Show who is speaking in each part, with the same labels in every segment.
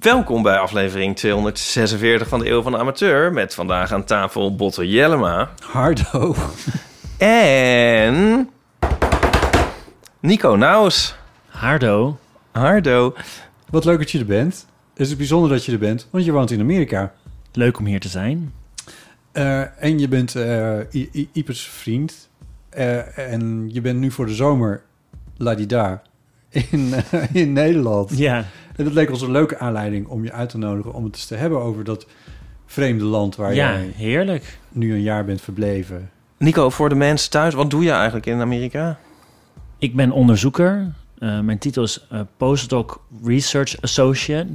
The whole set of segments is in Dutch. Speaker 1: Welkom bij aflevering 246 van de Eeuw van de Amateur. Met vandaag aan tafel Botte Jellema.
Speaker 2: Hardo.
Speaker 1: En. Nico Naus.
Speaker 3: Hardo.
Speaker 1: Hardo.
Speaker 2: Wat leuk dat je er bent. Het is bijzonder dat je er bent, want je woont in Amerika.
Speaker 3: Leuk om hier te zijn.
Speaker 2: Eh, en je bent eh, I- I- Ipers vriend. Eh, en je bent nu voor de zomer ladida in, eh, in Nederland.
Speaker 3: Ja.
Speaker 2: En dat leek ons een leuke aanleiding om je uit te nodigen... om het eens te hebben over dat vreemde land waar
Speaker 3: ja,
Speaker 2: jij
Speaker 3: heerlijk.
Speaker 2: nu een jaar bent verbleven.
Speaker 1: Nico, voor de mensen thuis, wat doe je eigenlijk in Amerika?
Speaker 3: Ik ben onderzoeker. Eh, mijn titel is eh, Postdoc Research Associate.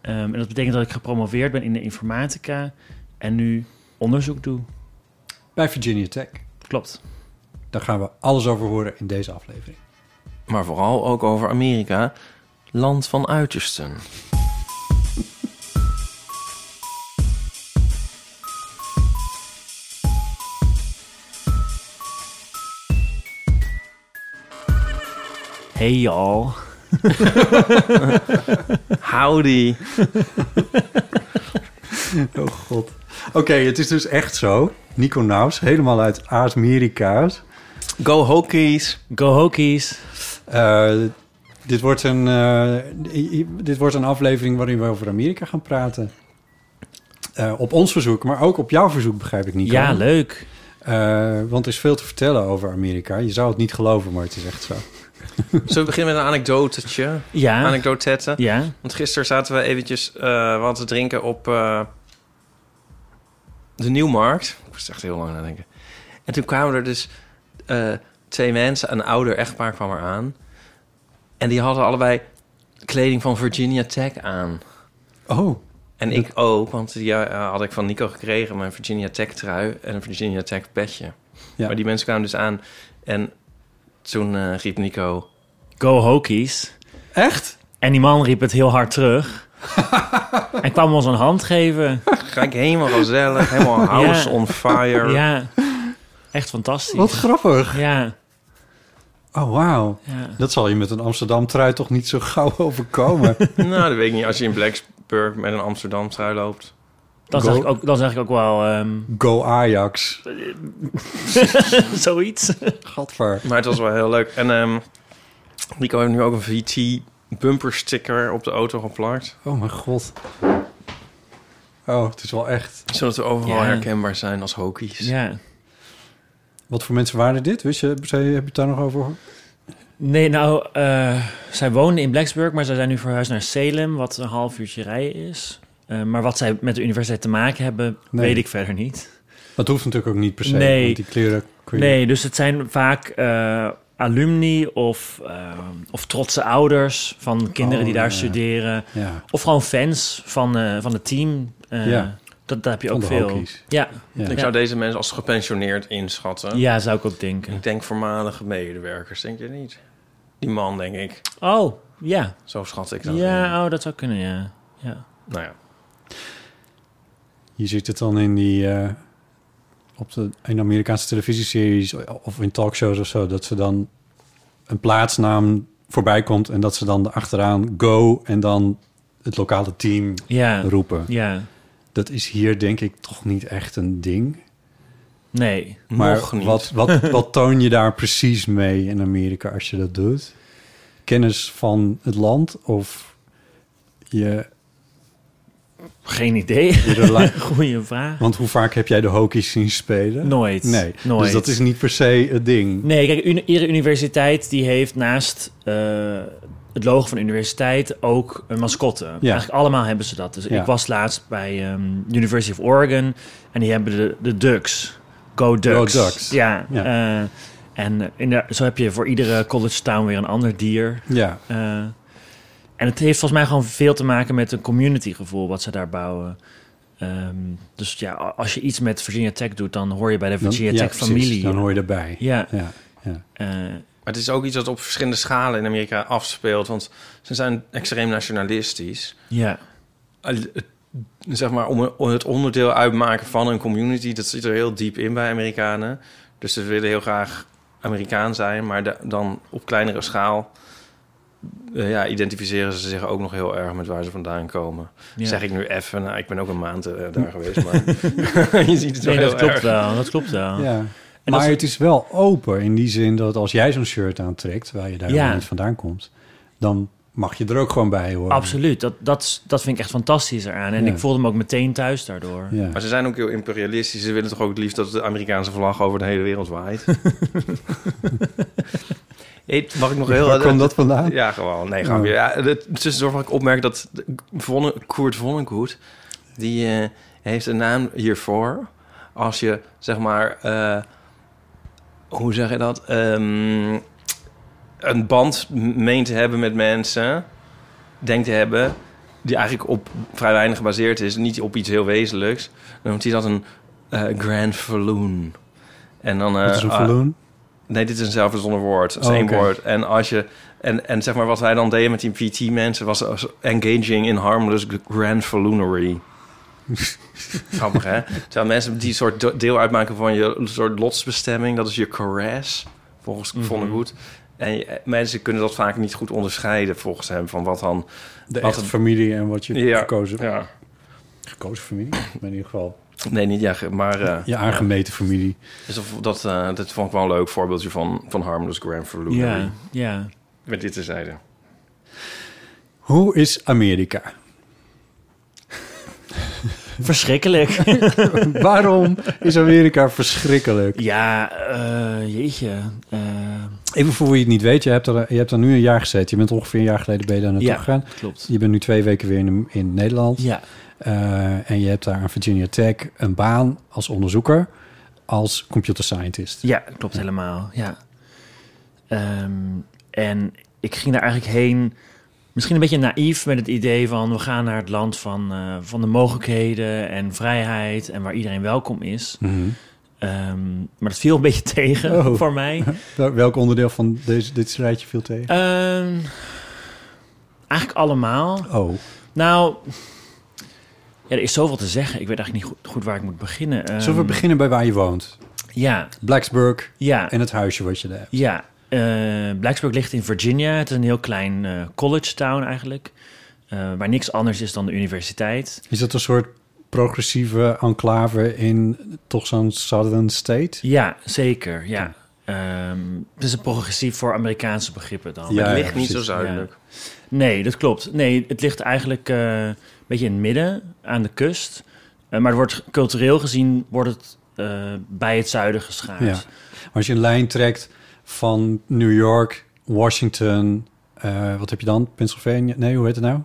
Speaker 3: Ehm, en dat betekent dat ik gepromoveerd ben in de informatica en nu onderzoek doe.
Speaker 2: Bij Virginia Tech.
Speaker 3: Klopt.
Speaker 2: Daar gaan we alles over horen in deze aflevering.
Speaker 1: Maar vooral ook over Amerika. Land van uitersten.
Speaker 3: Hey y'all.
Speaker 1: Howdy.
Speaker 2: Oh god. Oké, het is dus echt zo. Nico Naus, helemaal uit Aas-Amerika's.
Speaker 1: Go Hokies.
Speaker 3: Go Hokies.
Speaker 2: Eh, dit, wordt een, eh, i- i- dit wordt een aflevering waarin we over Amerika gaan praten. Eh, op ons verzoek, maar ook op jouw verzoek, begrijp ik niet.
Speaker 3: Ja, leuk.
Speaker 2: want er is veel te vertellen over Amerika. Je zou het niet geloven, maar het is echt zo.
Speaker 1: Zullen we beginnen met een anekdotetje?
Speaker 3: Ja.
Speaker 1: Anekdotette.
Speaker 3: Ja.
Speaker 1: Want gisteren zaten we eventjes eh, wat te drinken op eh, de Nieuwmarkt. Ik moest echt heel lang nadenken. En toen kwamen er dus eh, twee mensen, een ouder echtpaar kwam er aan. En die hadden allebei kleding van Virginia Tech aan.
Speaker 2: Oh,
Speaker 1: En ik ook, want die eh, had ik van Nico gekregen, mijn Virginia Tech trui en een Virginia Tech petje.
Speaker 2: Ja.
Speaker 1: Maar die mensen kwamen dus aan en toen eh, riep Nico...
Speaker 3: Go Hokies.
Speaker 2: echt?
Speaker 3: En die man riep het heel hard terug. en kwam ons een hand geven.
Speaker 1: Ga ik helemaal gezellig, helemaal house
Speaker 3: Ja.
Speaker 1: on fire.
Speaker 3: Ja. Echt fantastisch.
Speaker 2: Wat grappig.
Speaker 3: Ja.
Speaker 2: Oh, wauw.
Speaker 3: Ja.
Speaker 2: Dat zal je met een Amsterdam-trui toch niet zo gauw overkomen.
Speaker 1: Nou, dat weet ik niet. Als je in Blacksburg met een Amsterdam trui loopt.
Speaker 3: Dan,
Speaker 2: Go-
Speaker 3: zeg ik ook, dan zeg ik ook wel ehm,
Speaker 2: Go Ajax.
Speaker 3: zoiets.
Speaker 2: Gadver.
Speaker 1: Maar het was wel heel leuk. En ehm Nico heeft nu ook een VT bumper sticker op de auto geplakt.
Speaker 2: Oh, mijn god. Oh, het is wel echt.
Speaker 1: Zodat we overal
Speaker 3: Ja.
Speaker 1: herkenbaar zijn als hokies.
Speaker 3: Ja.
Speaker 2: Wat voor mensen waren dit? Wist je, zei je- heb je het daar nog over?
Speaker 3: Nee, nou, eh, zij wonen in Blacksburg, maar zij zijn nu verhuisd naar Salem, wat een half uurtje rijden is. Eh, maar wat zij met de universiteit te maken hebben,
Speaker 2: Nee.
Speaker 3: weet ik verder niet.
Speaker 2: Dat hoeft natuurlijk ook niet per se.
Speaker 3: Nee.
Speaker 2: want die kleren kun je-
Speaker 3: Nee, dus het zijn vaak eh, alumni of, eh, of trotse ouders van kinderen
Speaker 2: Oh,
Speaker 3: die daar
Speaker 2: ja.
Speaker 3: studeren.
Speaker 2: Ja,
Speaker 3: Of gewoon fans van, eh, van het team. Eh,
Speaker 2: Ja.
Speaker 3: dat, dat heb je
Speaker 2: Van
Speaker 3: ook
Speaker 2: de
Speaker 3: veel.
Speaker 2: hokies.
Speaker 3: Ja.
Speaker 2: ja.
Speaker 1: Ik zou deze mensen als gepensioneerd inschatten.
Speaker 3: ja, zou ik ook denken.
Speaker 1: Ik denk voormalige medewerkers, denk je niet? Die man, denk ik.
Speaker 3: Oh, ja.
Speaker 1: Zo schat ik dat. in.
Speaker 3: Ja, oh, dat zou kunnen, ja. ja.
Speaker 1: Nou ja.
Speaker 2: Je ziet het dan in die... eh, op de, in Amerikaanse televisieseries of in talkshows of zo... dat ze dan een plaatsnaam voorbij komt... en dat ze dan achteraan go en dan het lokale team
Speaker 3: Ja.
Speaker 2: roepen.
Speaker 3: Ja.
Speaker 2: Dat is hier denk ik toch niet echt een ding.
Speaker 3: Nee.
Speaker 2: Maar
Speaker 1: Nog niet.
Speaker 2: Wat, wat, wat toon je daar precies mee in Amerika als je dat doet? Kennis van het land of je...
Speaker 3: Geen idee.
Speaker 2: je rela-
Speaker 3: Goeie vraag.
Speaker 2: Want hoe vaak heb jij de hockey's zien spelen?
Speaker 3: Nooit.
Speaker 2: Nee.
Speaker 3: Nooit.
Speaker 2: Dus dat is niet per se het ding.
Speaker 3: Nee, kijk, uni- iedere universiteit die heeft naast eh, het logo van de universiteit ook een mascotte. Eigenlijk allemaal hebben ze dat. Dus
Speaker 2: Ja.
Speaker 3: ik was laatst bij ehm, University of Oregon en die hebben de, de Ducks. Go Ducks.
Speaker 2: Go Ducks.
Speaker 3: Ja.
Speaker 2: Ja.
Speaker 3: eh, en in de, zo heb je voor iedere college town weer een ander dier.
Speaker 2: Ja,
Speaker 3: Eh, en het heeft volgens mij gewoon veel te maken met een communitygevoel wat ze daar bouwen. Ehm, dus ja, a- als je iets met Virginia Tech doet, dan hoor je bij de
Speaker 2: dan,
Speaker 3: Virginia
Speaker 2: ja,
Speaker 3: Tech
Speaker 2: precies.
Speaker 3: familie.
Speaker 2: Dan hoor je erbij.
Speaker 3: Ja.
Speaker 2: ja.
Speaker 3: eh,
Speaker 1: Maar het is ook iets dat op verschillende schalen in Amerika afspeelt. Want ze zijn extreem nationalistisch.
Speaker 3: ja.
Speaker 1: Eh, het- Zeg maar, om om het onderdeel uitmaken van een community... dat zit er heel diep in bij Amerikanen. Dus ze willen heel graag Amerikaan zijn... maar da- dan op kleinere schaal... eh, ja, identificeren ze zich ook nog heel erg met waar ze vandaan komen.
Speaker 3: Ja.
Speaker 1: Zeg ik nu even, nou, ik ben ook een maand eh, daar geweest, maar je ziet het wel
Speaker 3: Nee,
Speaker 1: heel
Speaker 3: dat klopt
Speaker 1: erg.
Speaker 3: wel. Dat klopt wel.
Speaker 2: Ja.
Speaker 3: Ah. En
Speaker 2: maar
Speaker 3: als-
Speaker 2: het is wel open in die zin dat als jij zo'n shirt aantrekt, waar je daar
Speaker 3: Ja.
Speaker 2: niet vandaan komt, dan mag je er ook gewoon bij horen.
Speaker 3: Absoluut. Dat, dat, is- dat vind ik echt fantastisch eraan. En
Speaker 2: Ja.
Speaker 3: ik voelde me ook meteen thuis daardoor.
Speaker 2: Ja. Dus
Speaker 1: Maar ze zijn ook heel imperialistisch. Ze willen toch ook het liefst dat de Amerikaanse vlag over de hele wereld waait. Hey, mag ik nog heel...
Speaker 2: Waar komt dat vandaan?
Speaker 1: Ja, gewoon. Nee, grapje. Ja, het, tussendoor mag ik opmerken dat de- Vonne, Koert Vonnegut... die eh, heeft een naam hiervoor. Als je, zeg maar... eh, hoe zeg je dat? Ehm, een band meent te hebben met mensen... denkt te hebben... die eigenlijk op vrij weinig gebaseerd is... niet op iets heel wezenlijks. Dan noemt hij dat een eh, grand verloon. En dan... eh,
Speaker 2: Dat is een
Speaker 1: ah,
Speaker 2: verloon.
Speaker 1: Nee, dit is een zelfverzonnen woord. Het is
Speaker 2: Oh,
Speaker 1: één
Speaker 2: oké.
Speaker 1: woord. En als je... En, en zeg maar wat wij dan deden met die PT-mensen... was als engaging in harmless grand falloonery. Grappig, hè? Terwijl mensen die soort do- deel uitmaken van je soort lotsbestemming... dat is je caress, volgens
Speaker 2: Mhm.
Speaker 1: mm Vonnegut. En je- eh, mensen kunnen dat vaak niet goed onderscheiden, volgens hem... van wat dan...
Speaker 2: de
Speaker 1: wat
Speaker 2: echte
Speaker 1: het-
Speaker 2: familie en wat je gekozen,
Speaker 1: ja.
Speaker 2: gekozen familie. Maar in ieder geval
Speaker 1: Nee, niet ja, ge- maar... eh,
Speaker 2: je aangemeten familie.
Speaker 1: dus dat, dat, eh, dat vond ik wel een leuk voorbeeldje van, van harmless grand falloonery.
Speaker 3: Ja, ja.
Speaker 1: Met dit terzijde.
Speaker 2: Hoe is Amerika?
Speaker 3: Verschrikkelijk.
Speaker 2: Waarom is Amerika verschrikkelijk?
Speaker 3: ja, eh, jeetje. Eh,
Speaker 2: Even voor wie het niet weet, je hebt, er, je hebt er nu een jaar gezeten. Je bent ongeveer een jaar geleden ben je daar naartoe
Speaker 3: Ja.
Speaker 2: gegaan.
Speaker 3: klopt.
Speaker 2: Je bent nu twee weken weer in, in Nederland.
Speaker 3: Ja,
Speaker 2: Eh, en je hebt daar aan Virginia Tech een baan als onderzoeker, als computer scientist.
Speaker 3: ja klopt helemaal. Ja. Ehm, en ik ging daar eigenlijk heen... Misschien een beetje naïef met het idee van... we gaan naar het land van, eh, van de mogelijkheden en vrijheid... en waar iedereen welkom is.
Speaker 2: Mhm.
Speaker 3: Ehm, maar dat viel een beetje tegen
Speaker 2: Oh.
Speaker 3: voor mij.
Speaker 2: Wel- Welk onderdeel van deze, dit strijdje viel tegen?
Speaker 3: Ehm, eigenlijk allemaal.
Speaker 2: Oh,
Speaker 3: Nou, ja, er is zoveel te zeggen. Ik weet eigenlijk niet goed, goed waar ik moet beginnen. Ehm,
Speaker 2: zullen we beginnen bij waar je woont?
Speaker 3: Ja,
Speaker 2: Blacksburg
Speaker 3: ja,
Speaker 2: en het huisje wat je daar hebt.
Speaker 3: ja. Eh, Blacksburg ligt in Virginia. Het is een heel klein eh, college town eigenlijk. eh, waar niks anders is dan de universiteit.
Speaker 2: Is dat een soort progressieve enclave in toch zo'n southern state?
Speaker 3: Ja, zeker, ja. Ehm, het is een progressief voor Amerikaanse begrippen dan.
Speaker 2: Ja,
Speaker 1: het
Speaker 2: ja,
Speaker 1: ligt niet zo
Speaker 2: precies.
Speaker 1: zuidelijk.
Speaker 3: Nee, dat klopt. Nee, het ligt eigenlijk eh, een beetje in het midden, aan de kust. Eh, maar het wordt cultureel gezien wordt het eh, bij het zuiden geschaard.
Speaker 2: Ja. Als je een lijn trekt van New York, Washington, eh, wat heb je dan? Pennsylvania? Nee, hoe heet het nou?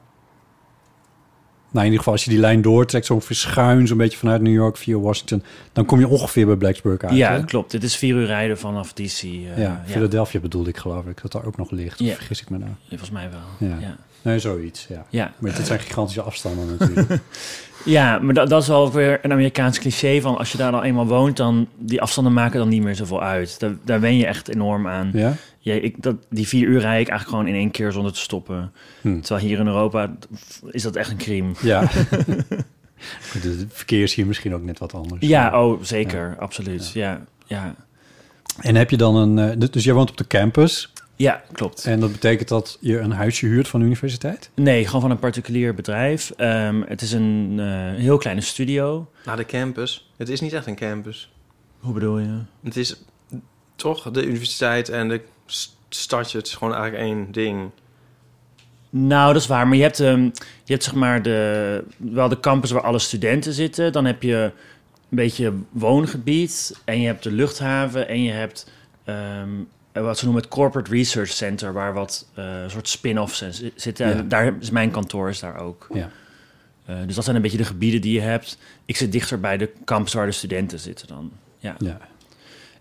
Speaker 2: Nou, in ieder geval als je die lijn doortrekt, zo ongeveer schuin, zo'n beetje vanuit New York via Washington, dan kom je ongeveer bij Blacksburg uit.
Speaker 3: Ja,
Speaker 2: hè?
Speaker 3: klopt. Dit is vier uur rijden vanaf DC. eh,
Speaker 2: ja,
Speaker 3: ja,
Speaker 2: Philadelphia bedoelde ik geloof ik, dat daar ook nog ligt. Of
Speaker 3: Ja.
Speaker 2: Vergis ik me nou?
Speaker 3: volgens mij wel.
Speaker 2: Ja.
Speaker 3: Ja, ja.
Speaker 2: Nee, zoiets, ja.
Speaker 3: ja.
Speaker 2: Maar dit zijn gigantische afstanden natuurlijk.
Speaker 3: maar dat, dat is wel ook weer een Amerikaans cliché van als je daar al eenmaal woont, dan die afstanden maken dan niet meer zoveel uit. Daar, daar wen je echt enorm aan.
Speaker 2: ja?
Speaker 3: Ja, ik, dat, die vier uur rijd ik eigenlijk gewoon in één keer zonder te stoppen.
Speaker 2: Hm.
Speaker 3: Terwijl hier in Europa is dat echt een crime.
Speaker 2: Ja. Goed, Het verkeer is hier misschien ook net wat anders.
Speaker 3: Ja, oh, zeker. Absoluut. Ja. Ja.
Speaker 2: En heb je dan een... eh, dus- Dus jij woont op de campus.
Speaker 3: ja, klopt.
Speaker 2: En dat betekent dat je een huisje huurt van de universiteit?
Speaker 3: Nee, gewoon van een particulier bedrijf. Ehm, het is een eh, heel kleine studio.
Speaker 1: Naar de campus. Het is niet echt een campus.
Speaker 3: Hoe bedoel je?
Speaker 1: Het is toch de universiteit en de s- stadje. Het is gewoon eigenlijk één ding.
Speaker 3: Nou, dat is waar. Maar je hebt, ehm, je hebt zeg maar de, wel de campus waar alle studenten zitten. Dan heb je een beetje woongebied. En je hebt de luchthaven. En je hebt ehm, eh, wat ze noemen het Corporate Research Center, waar wat eh, soort spin-offs in zi- zitten.
Speaker 2: Ja.
Speaker 3: En Daar is mijn kantoor is daar ook.
Speaker 2: Ja.
Speaker 3: Eh, dus dat zijn een beetje de gebieden die je hebt. Ik zit dichter bij de kamps waar de studenten zitten dan. Ja.
Speaker 2: Ja.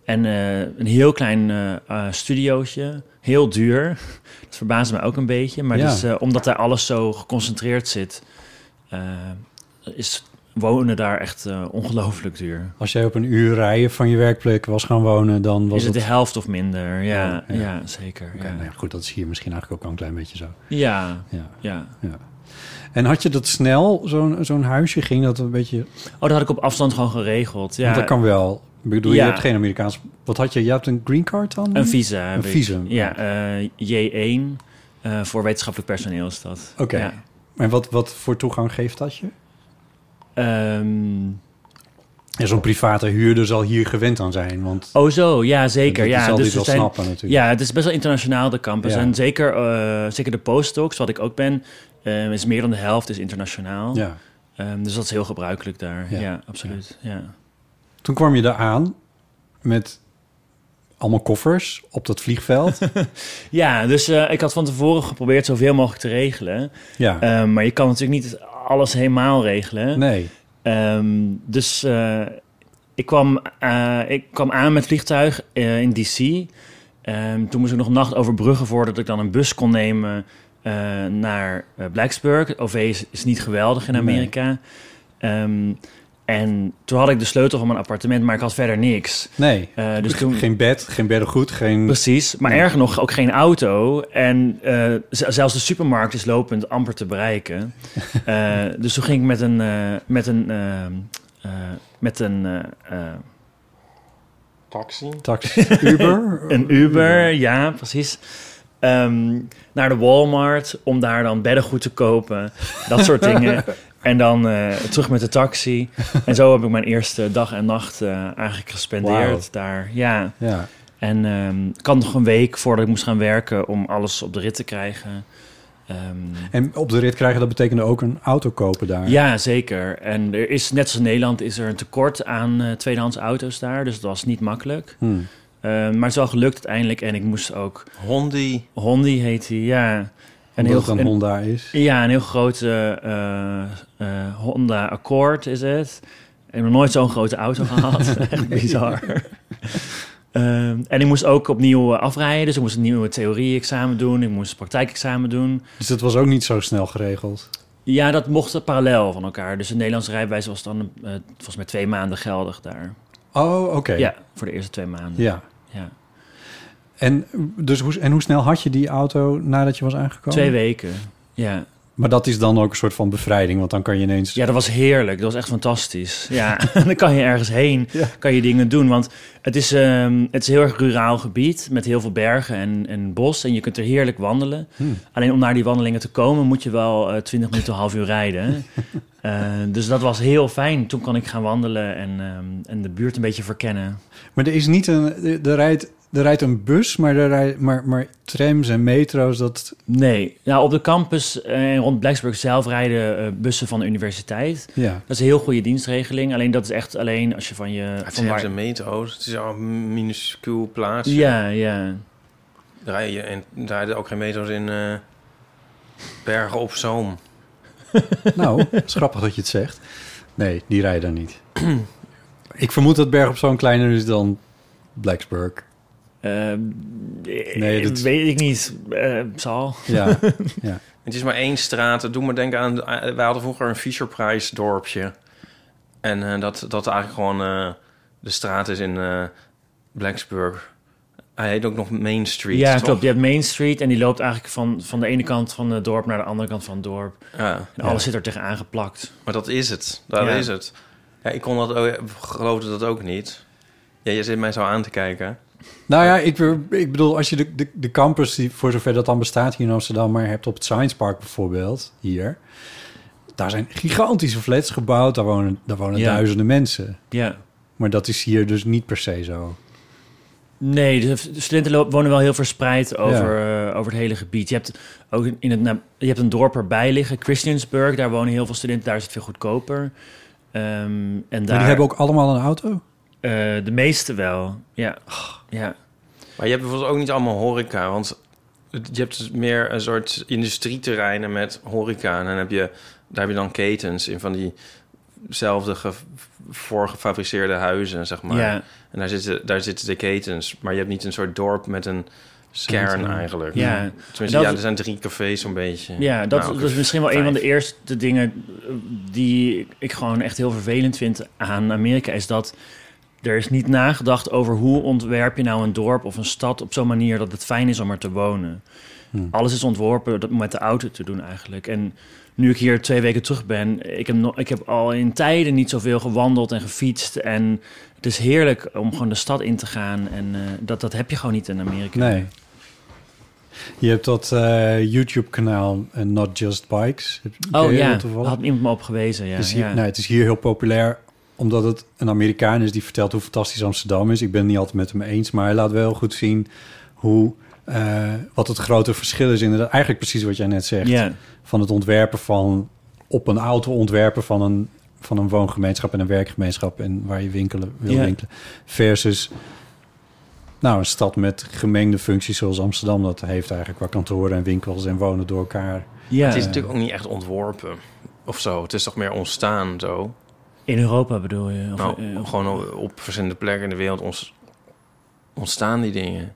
Speaker 3: En eh, een heel klein eh eh, studiootje, heel duur. Dat verbaasde me ook een beetje. Maar
Speaker 2: Ja.
Speaker 3: dus, eh, omdat daar alles zo geconcentreerd zit, eh, is wonen daar echt eh, ongelooflijk duur.
Speaker 2: Als jij op een uur rijden van je werkplek was gaan wonen, dan was
Speaker 3: is het
Speaker 2: het...
Speaker 3: de helft of minder? Ja,
Speaker 2: Ja,
Speaker 3: ja.
Speaker 2: ja.
Speaker 3: zeker.
Speaker 2: Oké,
Speaker 3: ja.
Speaker 2: nou ja, goed, dat is hier misschien eigenlijk ook al een klein beetje zo.
Speaker 3: ja,
Speaker 2: Ja.
Speaker 3: ja.
Speaker 2: En had je dat snel, zo'n zo'n huisje, ging dat een beetje...
Speaker 3: Oh, dat had ik op afstand gewoon geregeld. Ja,
Speaker 2: Want dat kan wel. Ik bedoel, je
Speaker 3: Ja.
Speaker 2: hebt geen Amerikaans... Wat had je? Je hebt een green card dan?
Speaker 3: Een visa. heb
Speaker 2: Een
Speaker 3: ik.
Speaker 2: visum.
Speaker 3: Ja, eh, J1 eh, voor wetenschappelijk personeel is dat.
Speaker 2: Oké.
Speaker 3: Ja.
Speaker 2: En wat, wat voor toegang geeft dat je?
Speaker 3: Ehm,
Speaker 2: Ja, zo'n private huurder zal hier gewend aan zijn, want...
Speaker 3: oh zo, ja
Speaker 2: die
Speaker 3: zeker. Ja,
Speaker 2: zal
Speaker 3: dus
Speaker 2: dit
Speaker 3: er
Speaker 2: wel
Speaker 3: zijn-
Speaker 2: snappen natuurlijk.
Speaker 3: Ja, het is best wel internationaal de campus.
Speaker 2: Ja.
Speaker 3: En zeker, eh, zeker de postdocs, wat ik ook ben, eh, is meer dan de helft is internationaal.
Speaker 2: ja.
Speaker 3: Ehm, dus dat is heel gebruikelijk daar.
Speaker 2: Ja.
Speaker 3: Ja, absoluut. Ja.
Speaker 2: Toen kwam je daar aan met allemaal koffers op dat vliegveld.
Speaker 3: Ja, dus eh, ik had van tevoren geprobeerd zoveel mogelijk te regelen.
Speaker 2: ja,
Speaker 3: Ehm, maar je kan natuurlijk niet alles helemaal regelen.
Speaker 2: nee.
Speaker 3: Ehm, dus eh, ik, kwam, eh, ik kwam aan met vliegtuig eh, in DC. Ehm, toen moest ik nog een nacht overbruggen voordat ik dan een bus kon nemen eh, naar eh, Blacksburg. Het OV is, is niet geweldig in
Speaker 2: Nee.
Speaker 3: Amerika. Ehm, en toen had ik de sleutel van mijn appartement, maar ik had verder niks.
Speaker 2: Nee.
Speaker 3: Eh, dus toen,
Speaker 2: Geen bed, geen beddengoed, geen...
Speaker 3: Precies, maar erger nog ook geen auto. En eh, z- zelfs de supermarkt is lopend amper te bereiken. Eh, dus toen ging ik met een, eh, met een, eh, eh, met een, eh, eh,
Speaker 1: Taxi.
Speaker 2: taxi, Uber.
Speaker 3: een Uber, ja precies, ehm, naar de Walmart om daar dan beddengoed te kopen. Dat soort dingen. En dan eh, terug met de taxi. En zo heb ik mijn eerste dag en nacht eh, eigenlijk gespendeerd daar. Ja.
Speaker 2: Ja,
Speaker 3: En ehm, ik had nog een week voordat ik moest gaan werken om alles op de rit te krijgen. Ehm,
Speaker 2: en op de rit krijgen, dat betekende ook een auto kopen daar.
Speaker 3: ja, zeker. En er is, net als in Nederland, is er een tekort aan eh, tweedehands auto's daar. Dus dat was niet makkelijk.
Speaker 2: Hmm.
Speaker 3: Ehm, maar het is wel gelukt uiteindelijk. En ik moest ook...
Speaker 1: Hondi.
Speaker 3: Hondi heet die, ja.
Speaker 2: En
Speaker 3: Een
Speaker 2: heel dan
Speaker 3: een-
Speaker 2: Honda is.
Speaker 3: Ja, een heel grote eh, eh, Honda Accord is het. Ik heb nog nooit zo'n grote auto gehad. Echt bizar. Ehm, en ik moest ook opnieuw eh, afrijden. Dus ik moest een nieuwe theorie-examen doen. Ik moest een praktijkexamen doen.
Speaker 2: Dus dat was ook niet zo snel geregeld.
Speaker 3: Ja, dat mocht parallel van elkaar. Dus een Nederlandse rijbewijs was dan eh, volgens mij twee maanden geldig daar.
Speaker 2: Oh, oké.
Speaker 3: Ja, voor de eerste twee maanden.
Speaker 2: Ja.
Speaker 3: Ja.
Speaker 2: En, dus hoe, en hoe snel had je die auto nadat je was aangekomen?
Speaker 3: Twee weken. Ja.
Speaker 2: Maar dat is dan ook een soort van bevrijding, want dan kan je ineens...
Speaker 3: Ja, dat was heerlijk. Dat was echt fantastisch. Ja, dan kan je ergens heen, kan je dingen doen. Want het is, ehm, het is een heel erg ruraal gebied met heel veel bergen en, en bos. En je kunt er heerlijk wandelen. Alleen om naar die wandelingen te komen moet je wel eh, twintig minuten, een half uur rijden. Eh, dus dat was heel fijn. Toen kon ik gaan wandelen en, ehm, en de buurt een beetje verkennen.
Speaker 2: Maar er is niet een... Er, er rijdt, er rijdt een bus, maar, er rijdt, maar, maar trams en metro's, dat...
Speaker 3: Nee, nou op de campus en rond Blacksburg zelf rijden eh, bussen van de universiteit.
Speaker 2: Ja.
Speaker 3: Dat is een heel goede dienstregeling. Alleen dat is echt alleen als je van je...
Speaker 1: Het
Speaker 3: van
Speaker 1: zijn de metro's. Het is al een minuscuul plaatsje.
Speaker 3: Ja, ja.
Speaker 1: Daar rijden je- en daar rijden ook geen metro's in eh, Bergen op Zoom.
Speaker 2: Nou, het is grappig dat je het zegt. Nee, die rijden daar niet. Ik vermoed dat Berg op Zoom kleiner is dan Blacksburg.
Speaker 3: Eh,
Speaker 2: Nee,
Speaker 3: eh,
Speaker 2: dat-
Speaker 3: Weet ik niet. Eh, zal.
Speaker 2: Ja,
Speaker 1: Het is maar één straat. Dat doet me denken aan... eh, Wij hadden vroeger een Fischerprijs dorpje. En eh, dat, dat eigenlijk gewoon eh, de straat is in eh Blacksburg. Hij heet ook nog Main Street,
Speaker 3: ja,
Speaker 1: toch?
Speaker 3: klopt. Je hebt Main Street en die loopt eigenlijk van, van de ene kant van het dorp naar de andere kant van het dorp.
Speaker 1: Ja,
Speaker 3: En alles zit er tegenaan geplakt.
Speaker 1: maar dat is het. Daar
Speaker 3: Ja.
Speaker 1: is het. Ja, ik kon dat ook, geloofde dat ook niet. Ja, je zit mij zo aan te kijken.
Speaker 2: Nou ja, ik, be- ik bedoel, als je de, de, de campus, die voor zover dat dan bestaat hier in Amsterdam, maar hebt op het Science Park bijvoorbeeld, hier. Daar zijn gigantische flats gebouwd, daar wonen, daar wonen
Speaker 3: Ja.
Speaker 2: duizenden mensen.
Speaker 3: Ja.
Speaker 2: Maar dat is hier dus niet per se zo.
Speaker 3: Nee, de de studenten lo- wonen wel heel verspreid over, eh, over het hele gebied. Je hebt ook in het, na- je hebt een dorp erbij liggen, Christiansburg. Daar wonen heel veel studenten, daar is het veel goedkoper. Ehm, en daar,
Speaker 2: Maar die hebben ook allemaal een auto?
Speaker 1: Oh,
Speaker 3: eh, de meeste wel. Ja. ja.
Speaker 1: Maar je hebt bijvoorbeeld ook niet allemaal horeca, want het- je hebt dus meer een soort industrieterreinen met horeca. En dan heb je, daar heb je dan ketens in van diezelfde ge- voorgefabriceerde huizen, zeg maar.
Speaker 3: Ja.
Speaker 1: En daar zitten, daar zitten de ketens. Maar je hebt niet een soort dorp met een kern
Speaker 2: Centrum.
Speaker 1: eigenlijk.
Speaker 3: Ja.
Speaker 1: Tenminste,
Speaker 3: Dat-
Speaker 1: ja, er zijn drie cafés zo'n beetje.
Speaker 3: Ja, dat,
Speaker 1: Nou,
Speaker 3: dat is misschien wel een van de
Speaker 1: vijf.
Speaker 3: eerste dingen eh, die ik gewoon echt heel vervelend vind aan Amerika. Is dat er is niet nagedacht over hoe ontwerp je nou een dorp of een stad op zo'n manier dat het fijn is om er te wonen.
Speaker 2: Hmm.
Speaker 3: Alles is ontworpen dat- om met de auto te doen eigenlijk. En nu ik hier twee weken terug ben, ik heb, no- ik heb al in tijden niet zoveel gewandeld en gefietst. En het is heerlijk om gewoon de stad in te gaan. En eh, dat, dat heb je gewoon niet in Amerika.
Speaker 2: Nee. Je hebt dat eh, YouTube-kanaal eh, Not Just Bikes. Heb- ken
Speaker 3: Oh
Speaker 2: je
Speaker 3: ja,
Speaker 2: dat toevallig?
Speaker 3: had iemand me op gewezen. Ja,
Speaker 2: Het is hier,
Speaker 3: ja.
Speaker 2: nee, het is hier heel populair omdat het een Amerikaan is die vertelt hoe fantastisch Amsterdam is. Ik ben het niet altijd met hem eens, maar hij laat wel goed zien hoe, eh, wat het grote verschil is. Inderdaad, eigenlijk precies wat jij net zegt.
Speaker 3: Ja.
Speaker 2: Van het ontwerpen van, op een auto ontwerpen van een, van een woongemeenschap en een werkgemeenschap en waar je winkelen wil
Speaker 3: Ja.
Speaker 2: winkelen. Versus nou, een stad met gemengde functies zoals Amsterdam dat heeft eigenlijk. Waar kantoren en winkels en wonen door elkaar.
Speaker 3: Ja.
Speaker 1: Het is natuurlijk ook niet echt ontworpen of zo. Het is toch meer ontstaan zo.
Speaker 3: In Europa bedoel je? Of,
Speaker 1: Nou,
Speaker 3: eh, of-
Speaker 1: gewoon op, op verschillende plekken in de wereld ons- ontstaan die dingen.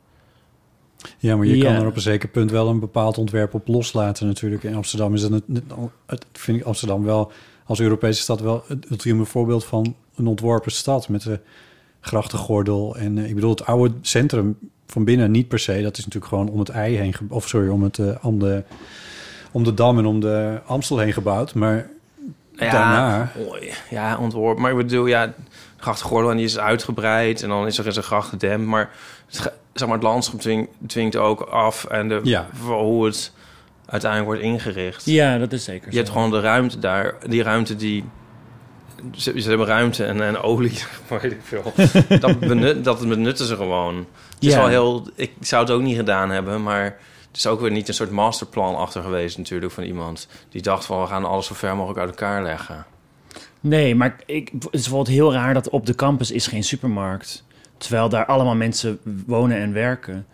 Speaker 2: Ja, maar je
Speaker 3: Ja.
Speaker 2: kan er op een zeker punt wel een bepaald ontwerp op loslaten natuurlijk. In Amsterdam is dat het, het vind ik Amsterdam wel als Europese stad wel het ultieme voorbeeld van een ontworpen stad met de grachtengordel en eh, ik bedoel het oude centrum van binnen niet per se. Dat is natuurlijk gewoon om het ei heen ge- of sorry om het eh, om de om de dam en om de Amstel heen gebouwd, maar daarna
Speaker 1: Oei, Ja, ontworpen. Maar ik bedoel, ja, de grachtengordel en die is uitgebreid en dan is er eens een gracht gedempt. Maar het, ge- zeg maar, het landschap dwing- dwingt ook af en de,
Speaker 2: Ja.
Speaker 1: voor hoe het uiteindelijk wordt ingericht.
Speaker 3: Ja, dat is zeker.
Speaker 1: Je hebt gewoon de ruimte daar. Die ruimte die... Ze, ze hebben ruimte en, en olie, weet ik veel. dat, benut, dat benutten ze gewoon. Het is
Speaker 3: Ja.
Speaker 1: wel heel... Ik zou het ook niet gedaan hebben, maar... Het is ook weer niet een soort masterplan achter geweest natuurlijk van iemand... die dacht van, we gaan alles zo ver mogelijk uit elkaar leggen.
Speaker 3: Nee, maar ik, het is bijvoorbeeld heel raar dat op de campus is geen supermarkt. Terwijl daar allemaal mensen wonen en werken.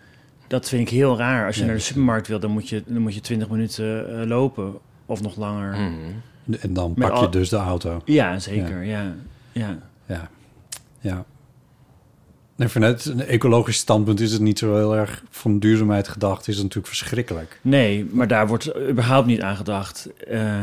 Speaker 3: Dat vind ik heel raar. Als je naar de supermarkt wil, dan moet je, dan moet je 20 minuten eh, lopen. Of nog langer.
Speaker 1: Hmm.
Speaker 2: en dan
Speaker 3: Met
Speaker 2: pak je
Speaker 3: al-
Speaker 2: dus de auto.
Speaker 3: Ja, zeker. Ja. Ja.
Speaker 2: Ja. Ja. En vanuit een ecologisch standpunt is het niet zo heel erg van duurzaamheid gedacht. Is het natuurlijk verschrikkelijk.
Speaker 3: Nee, maar daar wordt überhaupt niet aan gedacht. Eh,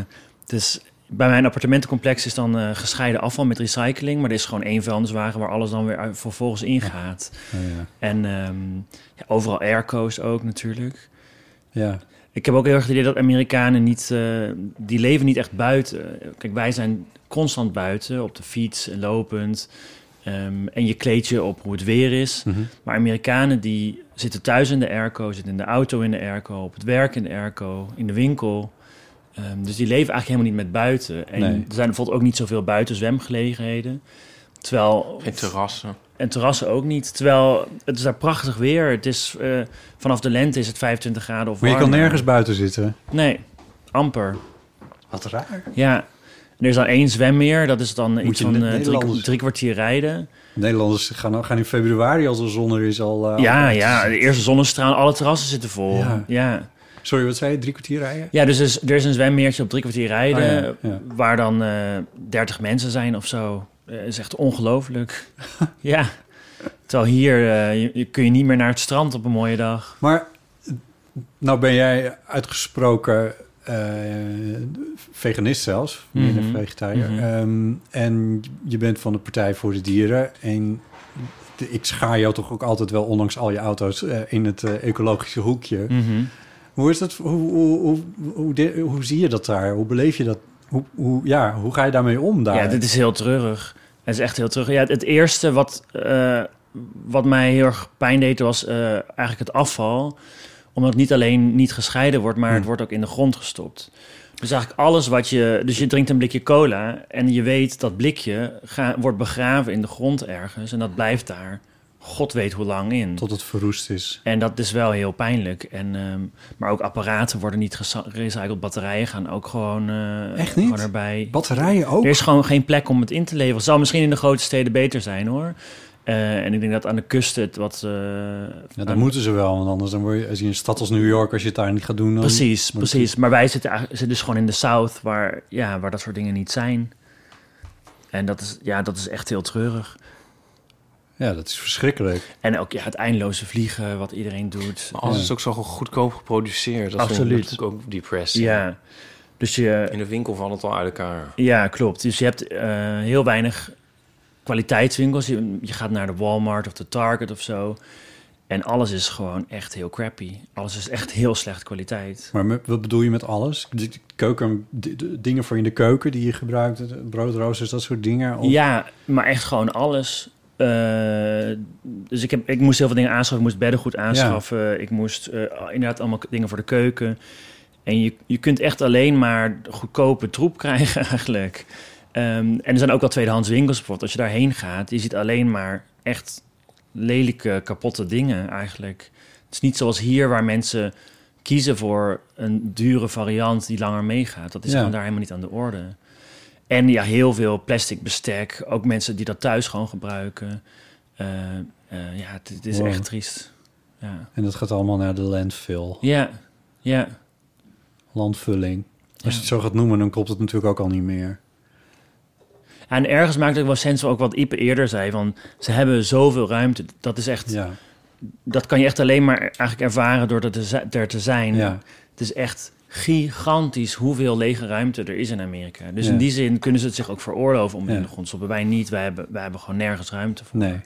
Speaker 3: dus bij mijn appartementencomplex is dan eh, gescheiden afval met recycling. Maar er is gewoon één vuilniswagen waar alles dan weer uit- vervolgens ingaat.
Speaker 2: Ja, ja.
Speaker 3: En ehm, ja, overal airco's ook natuurlijk.
Speaker 2: ja.
Speaker 3: Ik heb ook heel erg het idee dat Amerikanen niet... eh, die leven niet echt buiten. Kijk, wij zijn constant buiten. Op de fiets en lopend. Ehm, en je kleed je op hoe het weer is. Maar Amerikanen die zitten thuis in de airco. Zitten in de auto in de airco. Op het werk in de airco. In de winkel. Ehm, dus die leven eigenlijk helemaal niet met buiten. En
Speaker 2: Nee.
Speaker 3: er zijn bijvoorbeeld ook niet zoveel buiten zwemgelegenheden. Terwijl
Speaker 1: Geen terrassen.
Speaker 3: en terrassen ook niet. Terwijl het is daar prachtig weer. Het is, eh, vanaf de lente is het 25 graden of
Speaker 2: Maar je kan
Speaker 3: warmer.
Speaker 2: nergens buiten zitten.
Speaker 3: Nee, amper.
Speaker 2: Wat raar.
Speaker 3: Ja. En er is dan één zwemmeer. Dat is dan iets
Speaker 2: je
Speaker 3: van
Speaker 2: net
Speaker 3: eh, drie,
Speaker 2: Nederlanders-
Speaker 3: drie kwartier rijden.
Speaker 2: Nederlanders gaan, gaan in februari als de zon er is al... eh,
Speaker 3: ja,
Speaker 2: al-
Speaker 3: ja. De eerste zonnestraal. Alle terrassen zitten vol. Ja.
Speaker 2: Ja.
Speaker 3: ja.
Speaker 2: Sorry, wat zei je? Drie kwartier rijden?
Speaker 3: dus er is, er is een zwemmeertje op drie kwartier rijden.
Speaker 2: Ah, ja, ja.
Speaker 3: Waar dan eh 30 mensen zijn of zo. Eh, is echt ongelooflijk. ja. Terwijl hier eh, je- je kun je niet meer naar het strand op een mooie dag.
Speaker 2: Maar nou ben jij uitgesproken eh, veganist zelfs. Meer een
Speaker 3: Mhm.
Speaker 2: vegetariër.
Speaker 3: Mhm.
Speaker 2: Ehm, en je bent van de Partij voor de Dieren. En de- ik schaar jou toch ook altijd wel, ondanks al je auto's, eh, in het eh, ecologische hoekje.
Speaker 3: Mhm.
Speaker 2: Hoe is dat? Hoe, hoe, hoe, hoe, de- hoe zie je dat daar? Hoe beleef je dat? Hoe, hoe, ja, hoe ga je daarmee om daar?
Speaker 3: Ja, dit is heel treurig. Het is echt heel treurig. Ja, het, het eerste wat, eh, wat mij heel erg pijn deed was eh, eigenlijk het afval. Omdat het niet alleen niet gescheiden wordt,
Speaker 2: Hm.
Speaker 3: maar het wordt ook in de grond gestopt. Dus eigenlijk alles wat je... Dus je drinkt een blikje cola en je weet dat blikje ga- wordt begraven in de grond ergens. En dat blijft daar, god weet hoe lang in.
Speaker 2: Tot het verroest is.
Speaker 3: En dat is wel heel pijnlijk. En, ehm, maar ook apparaten worden niet gesa- gerecycled. Batterijen gaan ook gewoon, eh,
Speaker 2: Echt niet?
Speaker 3: gewoon erbij.
Speaker 2: Batterijen ook?
Speaker 3: Er is gewoon geen plek om het in te leveren. Het zal misschien in de grote steden beter zijn hoor. Eh, en ik denk dat aan de kust het wat... eh,
Speaker 2: Ja,
Speaker 3: aan-
Speaker 2: dan moeten ze wel, want anders dan word je, als je in een stad als New York, als je het daar niet gaat doen... Dan
Speaker 3: Precies,
Speaker 2: moet je-
Speaker 3: precies. Maar wij zitten, eigenlijk- zitten dus gewoon in de South, waar, ja, waar dat soort dingen niet zijn. En dat is, ja, dat is echt heel treurig.
Speaker 2: Ja, dat is verschrikkelijk.
Speaker 3: En ook ja, het eindeloze vliegen, wat iedereen doet.
Speaker 1: Maar alles is ook zo goedkoop geproduceerd. Dat
Speaker 3: Absoluut.
Speaker 1: Vind ik ook depressing.
Speaker 3: Ja, dus je,
Speaker 1: In de winkel valt het al uit elkaar.
Speaker 3: ja klopt. Dus je hebt eh, heel weinig kwaliteitswinkels. Je, je gaat naar de Walmart of de Target of zo. En alles is gewoon echt heel crappy. Alles is echt heel slecht kwaliteit.
Speaker 2: Maar met- wat bedoel je met alles? De- de Keuken, de- de dingen voor in de keuken die je gebruikt, de- de broodroosters, dat soort dingen? Of,
Speaker 3: Ja, maar echt gewoon alles. Eh, dus ik, heb, ik moest heel veel dingen aanschaffen. Ik moest beddengoed aanschaffen. Ik moest eh, inderdaad allemaal k- dingen voor de keuken. En je, je kunt echt alleen maar goedkope troep krijgen eigenlijk. Ehm, en er zijn ook wel tweedehands winkels bijvoorbeeld. Als je daarheen gaat, je ziet alleen maar echt lelijke, kapotte dingen eigenlijk. Het is niet zoals hier waar mensen kiezen voor een dure variant die langer meegaat. Dat is
Speaker 2: Ja.
Speaker 3: gewoon daar helemaal niet aan de orde. En ja, heel veel plastic bestek. Ook mensen die dat thuis gewoon gebruiken. Eh, eh, ja, het, het is
Speaker 2: Wow.
Speaker 3: echt triest. Ja,
Speaker 2: En dat gaat allemaal naar de landfill,
Speaker 3: ja. ja.
Speaker 2: landvulling. Als je het zo gaat noemen, dan klopt het natuurlijk ook al niet meer.
Speaker 3: En ergens maakt het ook wel sens, ook wat Ipe eerder zei, van ze hebben zoveel ruimte. Dat is echt,
Speaker 2: Ja,
Speaker 3: dat kan je echt alleen maar eigenlijk ervaren door er te, zi- er te zijn.
Speaker 2: ja.
Speaker 3: Het is echt gigantisch hoeveel lege ruimte er is in Amerika. Dus
Speaker 2: Ja.
Speaker 3: in die zin kunnen ze het zich ook veroorloven om
Speaker 2: Ja.
Speaker 3: in de grond te stoppen. Wij niet, wij hebben, wij hebben gewoon nergens ruimte voor.
Speaker 2: Nee,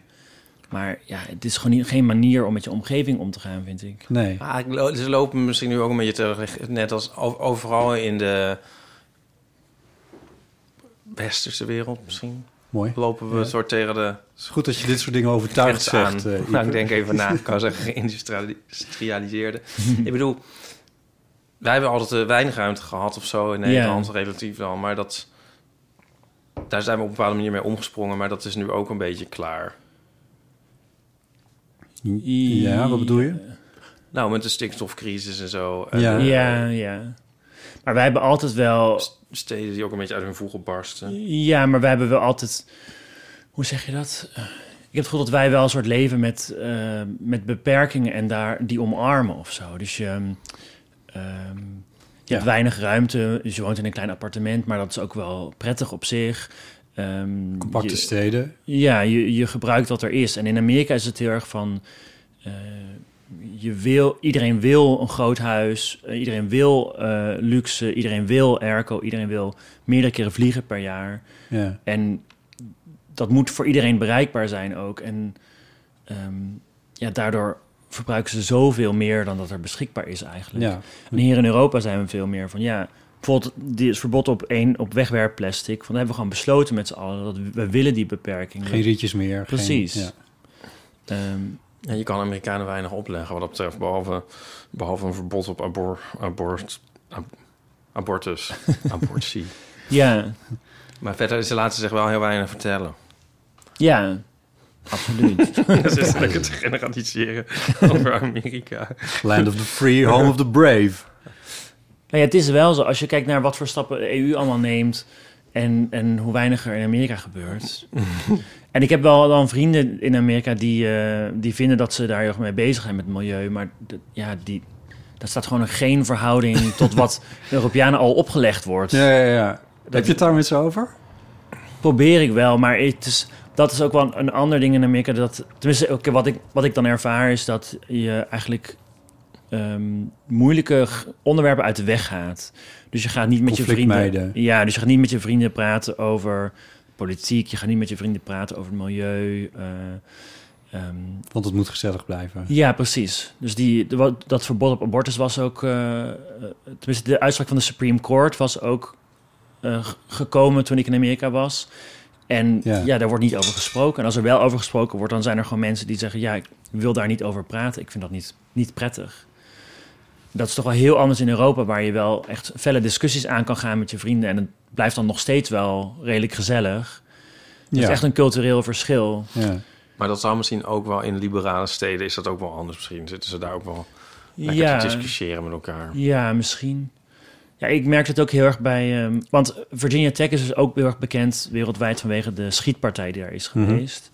Speaker 3: Maar ja, het is gewoon niet- geen manier om met je omgeving om te gaan, vind ik.
Speaker 2: nee.
Speaker 1: Ah, ik lo- ze lopen misschien nu ook een beetje terug. eh, Net als o- overal in de westerse wereld misschien.
Speaker 2: Mooi.
Speaker 1: Lopen we een soort tegen de
Speaker 2: Het is goed dat je dit soort dingen overtuigd
Speaker 1: grens aan.
Speaker 2: zegt. eh, Iep.
Speaker 1: nou, ik denk even na. Ik kan zeggen geïndustrialiseerde. ik bedoel, wij hebben altijd eh, weinig ruimte gehad of zo in
Speaker 3: Ja.
Speaker 1: Nederland, relatief dan. Maar dat, daar zijn we op een bepaalde manier mee omgesprongen. Maar dat is nu ook een beetje klaar.
Speaker 2: Ja, wat bedoel je?
Speaker 1: Nou, met de stikstofcrisis en zo. En,
Speaker 2: Ja.
Speaker 1: eh,
Speaker 3: Ja, ja. Maar wij hebben altijd wel...
Speaker 1: st- Steden die ook een beetje uit hun voegen barsten.
Speaker 3: Ja, maar wij hebben wel altijd... Hoe zeg je dat? Eh, Ik heb het gevoel dat wij wel een soort leven met, eh, met beperkingen en daar die omarmen of zo. Dus je, ehm, ehm, je hebt weinig ruimte, dus je woont in een klein appartement, maar dat is ook wel prettig op zich. Ehm,
Speaker 2: Compacte
Speaker 3: je-
Speaker 2: steden.
Speaker 3: Ja, je, je gebruikt wat er is. En in Amerika is het heel erg van. eh, je wil, iedereen wil een groot huis, eh, iedereen wil eh, luxe, iedereen wil airco, iedereen wil meerdere keren vliegen per jaar.
Speaker 2: Ja.
Speaker 3: En dat moet voor iedereen bereikbaar zijn ook. En ehm, ja, daardoor verbruiken ze zoveel meer dan dat er beschikbaar is eigenlijk.
Speaker 2: ja.
Speaker 3: En hier in Europa zijn we veel meer van ja. Bijvoorbeeld die is verbod op één op wegwerpplastic. Van daar hebben we gewoon besloten met z'n allen dat we, we willen die beperking.
Speaker 2: Geen rietjes meer. geen-
Speaker 3: Precies.
Speaker 2: ja.
Speaker 3: Ehm,
Speaker 1: En je kan Amerikanen weinig opleggen wat dat betreft. Behalve, behalve een verbod op abor, abort, ab- abortus. Abortie.
Speaker 3: ja,
Speaker 1: Maar verder, ze laten zich wel heel weinig vertellen.
Speaker 3: ja, absoluut.
Speaker 1: Ze is lekker te generaliseren over Amerika.
Speaker 2: Land of the free, home of the brave.
Speaker 3: nou ja, het is wel zo. Als je kijkt naar wat voor stappen de EU allemaal neemt en, en hoe weinig er in Amerika gebeurt. en ik heb wel dan vrienden in Amerika die, eh, die vinden dat ze daar heel erg mee bezig zijn met milieu. Maar d- ja, die, daar staat gewoon geen verhouding tot wat Europeanen al opgelegd wordt.
Speaker 2: Ja, ja, ja. Heb je het daar met ze over?
Speaker 3: probeer ik wel, maar het is, dat is ook wel een, ander ding in Amerika. Dat, tenminste, oké, wat, ik, wat ik dan ervaar is dat je eigenlijk ehm, moeilijke g- onderwerpen uit de weg gaat. Dus je gaat niet met je
Speaker 2: Conflict
Speaker 3: vrienden.
Speaker 2: mijden.
Speaker 3: Ja, dus je gaat niet met je vrienden praten over politiek. Je gaat niet met je vrienden praten over het milieu. eh, ehm,
Speaker 2: Want het moet gezellig blijven.
Speaker 3: ja, precies. Dus die, de- wat- dat verbod op abortus was ook... eh, eh, tenminste, de uitspraak van de Supreme Court was ook eh, g- gekomen toen ik in Amerika was. En
Speaker 2: Ja.
Speaker 3: ja. daar wordt niet over gesproken. En als er wel over gesproken wordt, dan zijn er gewoon mensen die zeggen... ja, ik wil daar niet over praten. Ik vind dat niet, niet prettig. Dat is toch wel heel anders in Europa... waar je wel echt felle discussies aan kan gaan met je vrienden. En het blijft dan nog steeds wel redelijk gezellig. Dat
Speaker 2: Ja.
Speaker 3: is echt een cultureel verschil.
Speaker 2: Ja.
Speaker 1: Maar dat zou misschien ook wel in liberale steden is dat ook wel anders. Misschien zitten ze daar ook wel lekker te discussiëren met elkaar.
Speaker 3: Ja, misschien. Ja, ik merk het ook heel erg bij... ehm, want Virginia Tech is dus ook heel erg bekend wereldwijd... vanwege de schietpartij die daar is
Speaker 2: Mhm.
Speaker 3: geweest.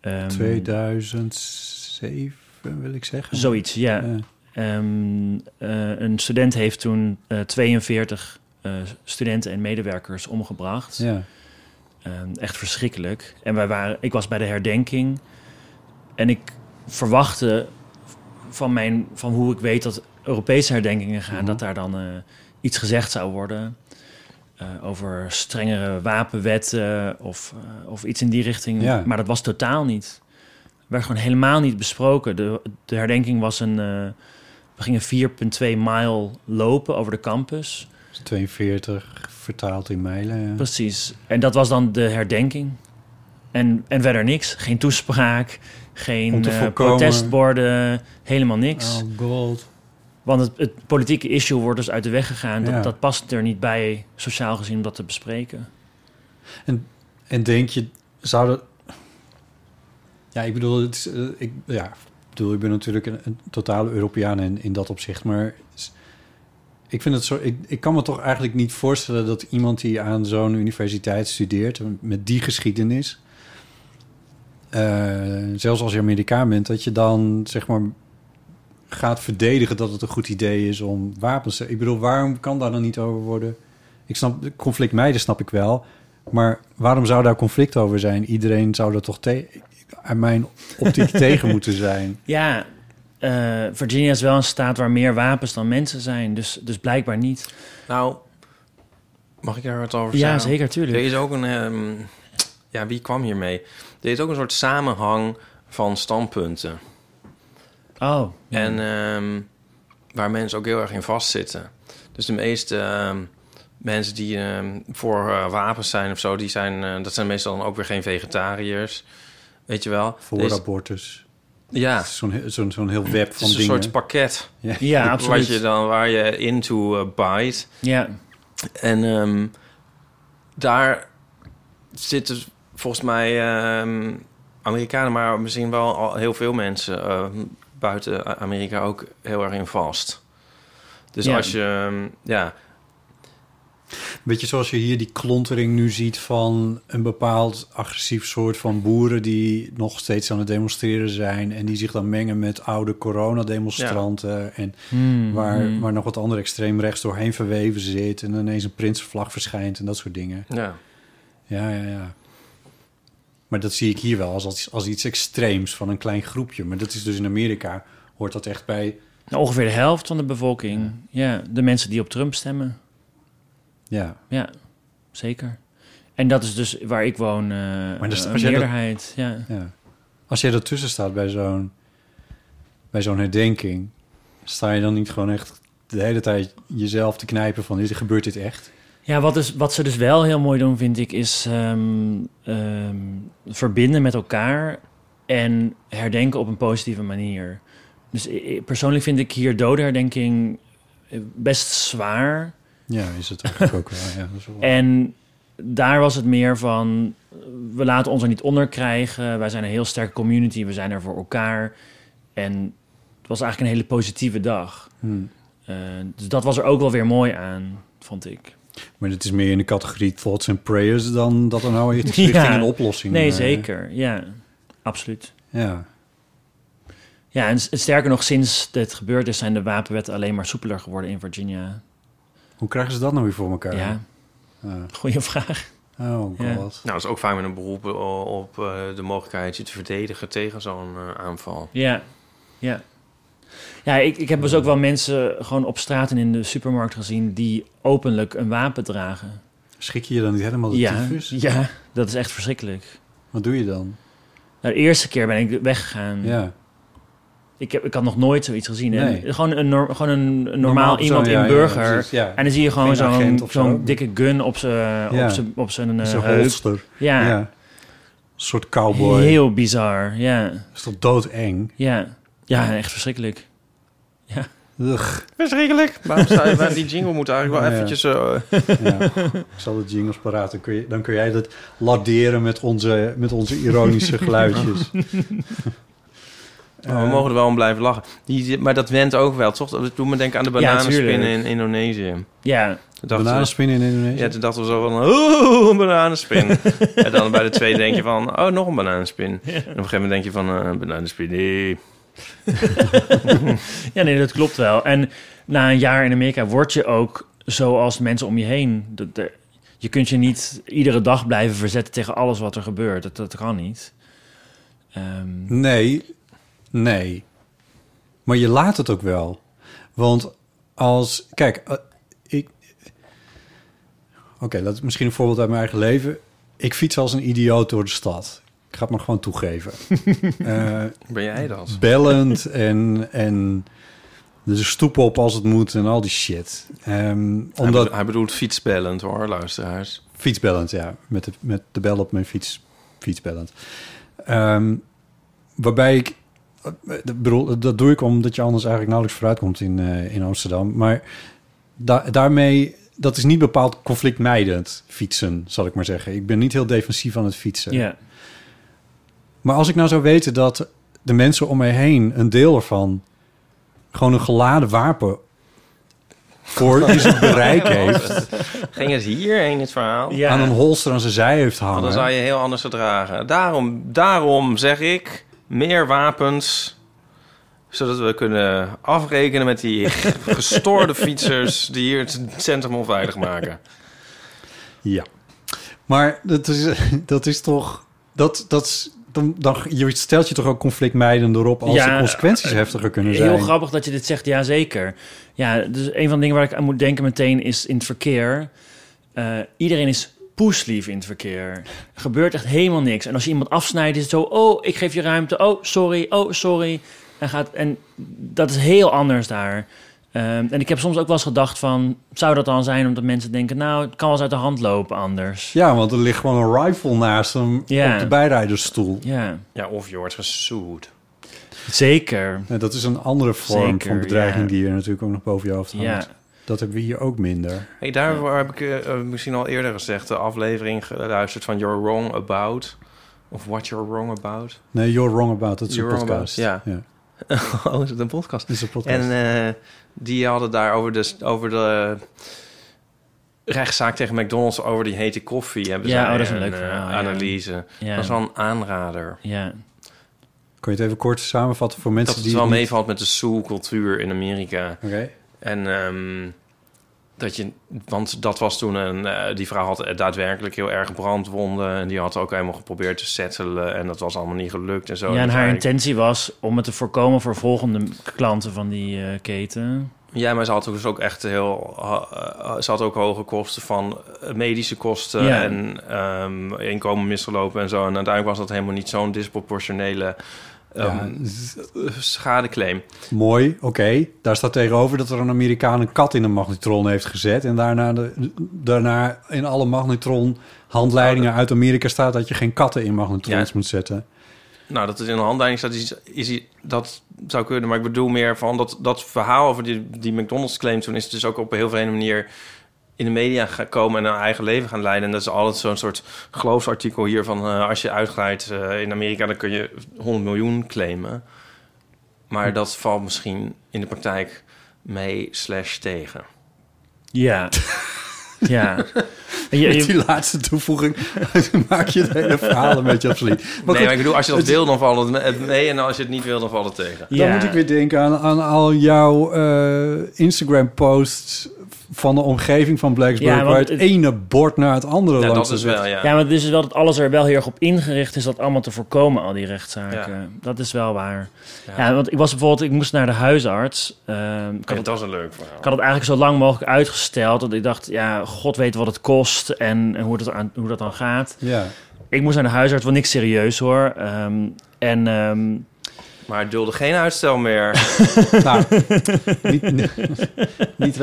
Speaker 3: Ehm,
Speaker 2: 2007 wil ik zeggen.
Speaker 3: Zoiets, ja.
Speaker 2: Ja.
Speaker 3: Ehm, eh, een student heeft toen eh, 42 eh, studenten en medewerkers omgebracht.
Speaker 2: ja.
Speaker 3: Ehm, echt verschrikkelijk. En wij waren, ik was bij de herdenking. En ik verwachtte van, mijn, van hoe ik weet dat Europese herdenkingen gaan, dat daar dan eh, iets gezegd zou worden. eh, over strengere wapenwetten of, eh, of iets in die richting.
Speaker 2: Ja.
Speaker 3: Maar dat was totaal niet. Werd gewoon helemaal niet besproken. De, de herdenking was een. eh, we gingen 4,2 mijl lopen over de campus.
Speaker 2: Dus 42 vertaald in mijlen. ja.
Speaker 3: Precies. En dat was dan de herdenking. En, en verder niks. Geen toespraak,
Speaker 2: Om
Speaker 3: geen
Speaker 2: te
Speaker 3: eh,
Speaker 2: voorkomen.
Speaker 3: protestborden, helemaal niks.
Speaker 2: Oh god.
Speaker 3: Want het, het politieke issue wordt dus uit de weg gegaan.
Speaker 2: Ja.
Speaker 3: Dat, dat past er niet bij, sociaal gezien, om dat te bespreken.
Speaker 2: En denk je, zou dat... Ja, ik bedoel, het is, eh, ik, ja, ik bedoel, ik ben natuurlijk een, een totale Europeaan in, in dat opzicht, maar s- ik vind het zo, ik, ik kan me toch eigenlijk niet voorstellen dat iemand die aan zo'n universiteit studeert met die geschiedenis, eh, zelfs als je Amerikaan bent, dat je dan zeg maar gaat verdedigen dat het een goed idee is om wapens te. Ik bedoel, waarom kan daar dan niet over worden? Ik snap, conflict meiden snap ik wel. Maar waarom zou daar conflict over zijn? Iedereen zou er toch te- aan mijn optiek tegen moeten zijn.
Speaker 3: Ja, eh, Virginia is wel een staat waar meer wapens dan mensen zijn. Dus, dus blijkbaar niet.
Speaker 1: Nou, mag ik daar wat over zeggen?
Speaker 3: Ja, zeker,
Speaker 1: Er
Speaker 3: tuurlijk.
Speaker 1: is ook een... ehm, ja, wie kwam hiermee? Er is ook een soort samenhang van standpunten.
Speaker 3: Oh,
Speaker 1: En
Speaker 2: Mhm.
Speaker 1: ehm, waar mensen ook heel erg in vastzitten. Dus de meeste ehm, mensen die ehm, voor eh, wapens zijn of zo, die zijn, eh, dat zijn meestal dan ook weer geen vegetariërs. Weet je wel?
Speaker 2: Voor
Speaker 1: Deze-
Speaker 2: abortus.
Speaker 1: ja,
Speaker 2: Het is Zo'n he- zo'n zo'n heel web
Speaker 1: het
Speaker 2: van
Speaker 1: is een
Speaker 2: dingen.
Speaker 1: soort pakket.
Speaker 3: ja,
Speaker 1: Wat je
Speaker 3: absoluut.
Speaker 1: dan, waar je into eh, bite.
Speaker 3: Ja,
Speaker 1: En ehm, daar zitten volgens mij ehm, Amerikanen, maar misschien wel al heel veel mensen ehm, buiten Amerika ook heel erg in vast. Dus
Speaker 3: Ja.
Speaker 1: als je, ehm, ja,
Speaker 2: Beetje zoals je hier die klontering nu ziet van een bepaald agressief soort van boeren die nog steeds aan het demonstreren zijn en die zich dan mengen met oude coronademonstranten en
Speaker 3: Hmm,
Speaker 2: waar,
Speaker 3: hmm.
Speaker 2: waar nog wat ander extreem rechts doorheen verweven zit en ineens een prinsenvlag verschijnt en dat soort dingen.
Speaker 1: ja,
Speaker 2: Ja, ja, ja. Maar dat zie ik hier wel als, als, als iets extreems van een klein groepje. Maar dat is dus in Amerika, hoort dat echt bij...
Speaker 3: Nou, ongeveer de helft van de bevolking. ja, de mensen die op Trump stemmen.
Speaker 2: Ja,
Speaker 3: Ja, zeker. En dat is dus waar ik woon, eh maar
Speaker 2: dus
Speaker 3: een
Speaker 2: als jij dat-
Speaker 3: meerderheid. Ja.
Speaker 2: ja. Als jij ertussen staat bij zo'n bij zo'n herdenking... sta je dan niet gewoon echt de hele tijd jezelf te knijpen van... Is, gebeurt dit echt?
Speaker 3: ja, wat, is, wat ze dus wel heel mooi doen, vind ik, is ehm, ehm, verbinden met elkaar en herdenken op een positieve manier. Dus i- i- persoonlijk vind ik hier dodenherdenking eh, best zwaar.
Speaker 2: Ja, is het eigenlijk ook wel. Ja, dat is wel-
Speaker 3: En daar was het meer van, we laten ons er niet onder krijgen. Wij zijn een heel sterke community, we zijn er voor elkaar. En het was eigenlijk een hele positieve dag.
Speaker 2: Hm.
Speaker 3: Eh, dus dat was er ook wel weer mooi aan, vond ik.
Speaker 2: Maar het is meer in de categorie thoughts and prayers... dan dat er nou iets richting
Speaker 3: Ja.
Speaker 2: een oplossing...
Speaker 3: Nee,
Speaker 2: eh,
Speaker 3: zeker. Ja, absoluut.
Speaker 2: Ja.
Speaker 3: Ja, en s- sterker nog, sinds dit gebeurd is, zijn de wapenwetten alleen maar soepeler geworden in Virginia.
Speaker 2: Hoe krijgen ze dat nou weer voor elkaar?
Speaker 3: Ja,
Speaker 2: Ah.
Speaker 3: goede vraag.
Speaker 2: Oh
Speaker 3: Ja.
Speaker 2: god.
Speaker 1: nou dat is ook vaak met een beroep o- op eh, de mogelijkheid je te verdedigen tegen zo'n eh, aanval.
Speaker 3: Ja, ja. Ja, ik, ik heb dus ook wel mensen gewoon op straat en in de supermarkt gezien die openlijk een wapen dragen.
Speaker 2: Schrik je je dan niet helemaal de
Speaker 3: ja,
Speaker 2: tyfus?
Speaker 3: ja, dat is echt verschrikkelijk.
Speaker 2: Wat doe je dan?
Speaker 3: Nou, de eerste keer ben ik weggegaan.
Speaker 2: Ja.
Speaker 3: Ik, heb, ik had nog nooit zoiets gezien.
Speaker 2: Nee.
Speaker 3: En gewoon een, nor- gewoon een normaal, iemand
Speaker 2: zo,
Speaker 3: in
Speaker 2: ja, ja,
Speaker 3: burger.
Speaker 2: precies, Ja,
Speaker 3: En dan zie je gewoon
Speaker 2: Geen
Speaker 3: zo'n
Speaker 2: agent
Speaker 3: zo'n
Speaker 2: of zo.
Speaker 3: dikke gun op zijn
Speaker 2: Ja.
Speaker 3: op zijn op zijn eh,
Speaker 2: Zo'n
Speaker 3: heup.
Speaker 2: holster.
Speaker 3: Ja,
Speaker 2: Ja. Een soort cowboy.
Speaker 3: heel bizar. Ja,
Speaker 2: Dat is toch doodeng?
Speaker 3: ja, ja, echt verschrikkelijk.
Speaker 2: Ugh.
Speaker 1: Verschrikkelijk. Waarom zou je, waar- die jingle moet eigenlijk wel
Speaker 2: Ja.
Speaker 1: eventjes... eh,
Speaker 2: Ja. Ik zal de jingles paraat. Dan kun, je, dan kun jij dat laderen met onze, met onze ironische geluidjes.
Speaker 1: Maar we mogen er wel om blijven lachen. Die, maar dat went ook wel, toch? Dat doet me denken aan de
Speaker 3: Ja,
Speaker 1: bananenspinnen
Speaker 3: tuurlijk.
Speaker 1: in Indonesië.
Speaker 3: Ja,
Speaker 1: Toen dachten we-
Speaker 2: Bananenspinnen in Indonesië.
Speaker 1: Ja, toen dachten we zo van, oeh, een bananenspin. en dan bij de tweede denk je van, oh, nog een bananenspin. En op een gegeven moment denk je van, eh, een bananenspin, nee.
Speaker 3: Ja, nee, dat klopt wel. En na een jaar in Amerika word je ook zoals de mensen om je heen. Dat, er- je kunt je niet iedere dag blijven verzetten tegen alles wat er gebeurt. Dat, dat kan niet. Ehm,
Speaker 2: Nee, nee. Maar je laat het ook wel. Want als... Kijk, eh, ik... Oké, dat is misschien een voorbeeld uit mijn eigen leven. Ik fiets als een idioot door de stad. Ik ga het maar gewoon toegeven. Eh,
Speaker 1: Ben jij dat?
Speaker 2: bellend en, en de stoep op als het moet en al die shit. Ehm,
Speaker 1: Hij,
Speaker 2: omdat,
Speaker 1: bedo- hij bedoelt fietsbellend, hoor, luisteraars.
Speaker 2: Fietsbellend, ja. Met de, met de bel op mijn fiets. Fietsbellend. Ehm, waarbij ik... eh, ik bedoel, dat doe ik omdat je anders eigenlijk nauwelijks vooruitkomt in, eh, in Amsterdam. Maar da- daarmee... Dat is niet bepaald conflictmijdend fietsen, zal ik maar zeggen. Ik ben niet heel defensief aan het fietsen.
Speaker 3: ja.
Speaker 2: Maar als ik nou zou weten dat de mensen om mij heen... een deel ervan gewoon een geladen wapen voor in zijn bereik heeft...
Speaker 1: Ging het hierheen, het verhaal?
Speaker 3: Ja.
Speaker 2: aan een holster aan zijn zij heeft hangen...
Speaker 1: Want dan zou je heel anders gedragen. Daarom, daarom zeg ik, meer wapens zodat we kunnen afrekenen met die gestoorde fietsers die hier het centrum onveilig maken.
Speaker 2: Ja. Maar dat is, dat is toch... Dat, dat is, dan, dan, je stelt je toch ook conflictmijden erop... als
Speaker 3: Ja, eh,
Speaker 2: de consequenties heftiger kunnen zijn.
Speaker 3: Heel grappig dat je dit zegt, ja zeker. Ja, dus een van de dingen waar ik aan moet denken meteen is in het verkeer. Eh, iedereen is poeslief in het verkeer. Er gebeurt echt helemaal niks. En als je iemand afsnijdt is het zo, oh, ik geef je ruimte. Oh, sorry, oh, sorry. En, gaat, en dat is heel anders daar. Ehm, en ik heb soms ook wel eens gedacht van, zou dat dan zijn omdat mensen denken, nou, het kan wel eens uit de hand lopen anders.
Speaker 2: Ja, want er ligt gewoon een rifle naast hem
Speaker 3: Ja.
Speaker 2: op de bijrijdersstoel.
Speaker 3: Ja,
Speaker 1: Ja, of je wordt gesoed.
Speaker 3: zeker.
Speaker 2: En dat is een andere vorm
Speaker 3: Zeker,
Speaker 2: van bedreiging
Speaker 3: ja.
Speaker 2: die je natuurlijk ook nog boven je hoofd hangt.
Speaker 3: Ja.
Speaker 2: Dat hebben we hier ook minder.
Speaker 1: Hey, daarvoor heb ik eh, eh, misschien al eerder gezegd... de aflevering geluisterd van You're Wrong About... of What You're Wrong About.
Speaker 2: Nee, You're Wrong About, dat is
Speaker 1: You're
Speaker 2: een
Speaker 1: Wrong
Speaker 2: podcast.
Speaker 1: About,
Speaker 2: ja.
Speaker 1: oh, is het een podcast?
Speaker 2: Dat is een podcast.
Speaker 1: En eh, die hadden daar over de, over de rechtszaak tegen McDonald's... over die hete koffie. Hebben
Speaker 3: Ja,
Speaker 1: ze
Speaker 3: oh, dat is een leuk
Speaker 1: eh,
Speaker 3: verhaal, ja.
Speaker 1: analyse.
Speaker 3: Ja.
Speaker 1: Dat is wel een aanrader.
Speaker 3: Ja.
Speaker 2: Kun je het even kort samenvatten voor mensen
Speaker 1: Dat het
Speaker 2: die...
Speaker 1: wel
Speaker 2: het niet-
Speaker 1: meevalt met de soul-cultuur in Amerika.
Speaker 2: Oké.
Speaker 1: En ehm, dat je, want dat was toen een, eh, die vrouw had daadwerkelijk heel erg brandwonden en die had ook helemaal geprobeerd te settelen en dat was allemaal niet gelukt en zo.
Speaker 3: ja, en
Speaker 1: Dus
Speaker 3: haar
Speaker 1: eigenlijk-
Speaker 3: intentie was om het te voorkomen voor volgende klanten van die eh, keten.
Speaker 1: Ja, maar ze had dus ook echt heel, eh, ze had ook hoge kosten van eh, medische kosten
Speaker 3: Ja.
Speaker 1: en ehm, inkomen misgelopen en zo. En uiteindelijk was dat helemaal niet zo'n disproportionele
Speaker 2: Ja,
Speaker 1: ehm, schadeclaim.
Speaker 2: Mooi, oké. Daar staat tegenover dat er een Amerikaan een kat in een magnetron heeft gezet. En daarna, de, daarna in alle magnetron-handleidingen uit Amerika staat dat je geen katten in magnetrons
Speaker 1: Nou, Ja.
Speaker 2: moet zetten.
Speaker 1: Nou, dat is in de handleiding staat, is, is, dat zou kunnen. Maar ik bedoel meer van dat, dat verhaal over die, die McDonald's claim toen is het dus ook op een heel vreemde manier in de media gekomen en een eigen leven gaan leiden. En dat is altijd zo'n soort geloofsartikel hier van eh, als je uitglijdt eh, in Amerika, dan kun je 100 miljoen claimen. Maar dat valt misschien in de praktijk mee slash tegen.
Speaker 3: Ja. ja. En je-
Speaker 2: Met
Speaker 3: je-
Speaker 2: die laatste toevoeging maak je het hele verhaal een beetje absoluut. Maar
Speaker 1: nee,
Speaker 2: goed,
Speaker 1: maar ik bedoel, als je dat wil, dan valt het me- het mee. En als je het niet wil, dan valt het tegen.
Speaker 2: dan
Speaker 3: ja.
Speaker 2: moet ik weer denken aan, aan al jouw eh, Instagram-posts van de omgeving van Blacksburg...
Speaker 3: Ja, want
Speaker 2: waar het,
Speaker 3: het-
Speaker 2: ene bord naar het andere
Speaker 1: Ja,
Speaker 2: langs
Speaker 1: dat is
Speaker 2: zit.
Speaker 1: wel, ja.
Speaker 3: Ja, maar het is wel dat alles er wel heel erg op ingericht is dat allemaal te voorkomen, al die rechtszaken. Dat is wel waar. Ja. want ik was bijvoorbeeld, ik moest naar de huisarts. Ehm, ik, had
Speaker 1: En
Speaker 3: het,
Speaker 1: dat is een leuk verhaal.
Speaker 3: ik had het eigenlijk zo lang mogelijk uitgesteld. Want ik dacht, ja, god weet wat het kost en, en hoe, dat aan, hoe dat dan gaat.
Speaker 2: Ja.
Speaker 3: Ik moest naar de huisarts, want niks serieus hoor. Ehm, en ehm,
Speaker 1: Maar het dulde geen uitstel meer.
Speaker 2: Nou, niet, niet, niet-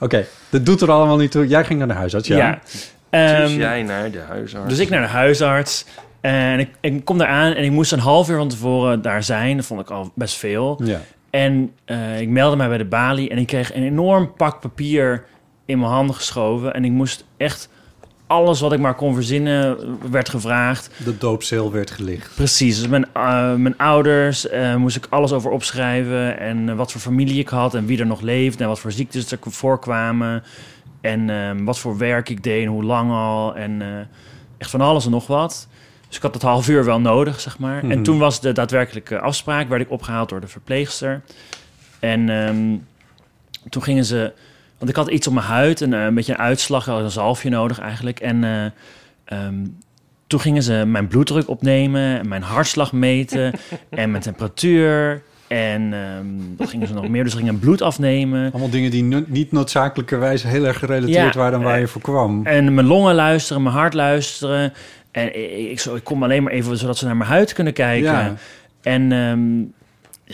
Speaker 2: Oké, dat doet er allemaal niet toe. Jij ging naar de huisarts, ja.
Speaker 3: ja.
Speaker 2: ja.
Speaker 1: dus
Speaker 3: Ehm,
Speaker 1: jij naar de huisarts.
Speaker 3: Dus ik naar de huisarts. En ik, ik kom daar aan en ik moest een half uur van tevoren daar zijn. Dat vond ik al best veel. En eh, ik meldde mij bij de balie en ik kreeg een enorm pak papier in mijn handen geschoven. En ik moest echt alles wat ik maar kon verzinnen werd gevraagd.
Speaker 2: De doopcel werd gelicht.
Speaker 3: Precies, dus mijn, eh, mijn ouders eh, moest ik alles over opschrijven. En eh, wat voor familie ik had en wie er nog leefde. En wat voor ziektes er voorkwamen. En eh, wat voor werk ik deed en hoe lang al. En eh, echt van alles en nog wat. Dus ik had dat half uur wel nodig, zeg maar.
Speaker 2: Mhm.
Speaker 3: En toen was de daadwerkelijke afspraak, werd ik opgehaald door de verpleegster. En ehm, toen gingen ze... Want ik had iets op mijn huid, een, eh, een beetje een uitslag, ik had een zalfje nodig eigenlijk. En eh, ehm, toen gingen ze mijn bloeddruk opnemen, en mijn hartslag meten en mijn temperatuur. En ehm wat gingen ze nog meer? Dus ze gingen bloed afnemen.
Speaker 2: Allemaal dingen die no- niet noodzakelijkerwijs heel erg gerelateerd
Speaker 3: Ja,
Speaker 2: waren aan waar
Speaker 3: eh,
Speaker 2: je voor kwam.
Speaker 3: En mijn longen luisteren, mijn hart luisteren. En ik, ik, zo- ik kom alleen maar even zodat ze naar mijn huid kunnen kijken.
Speaker 2: Ja.
Speaker 3: En ehm,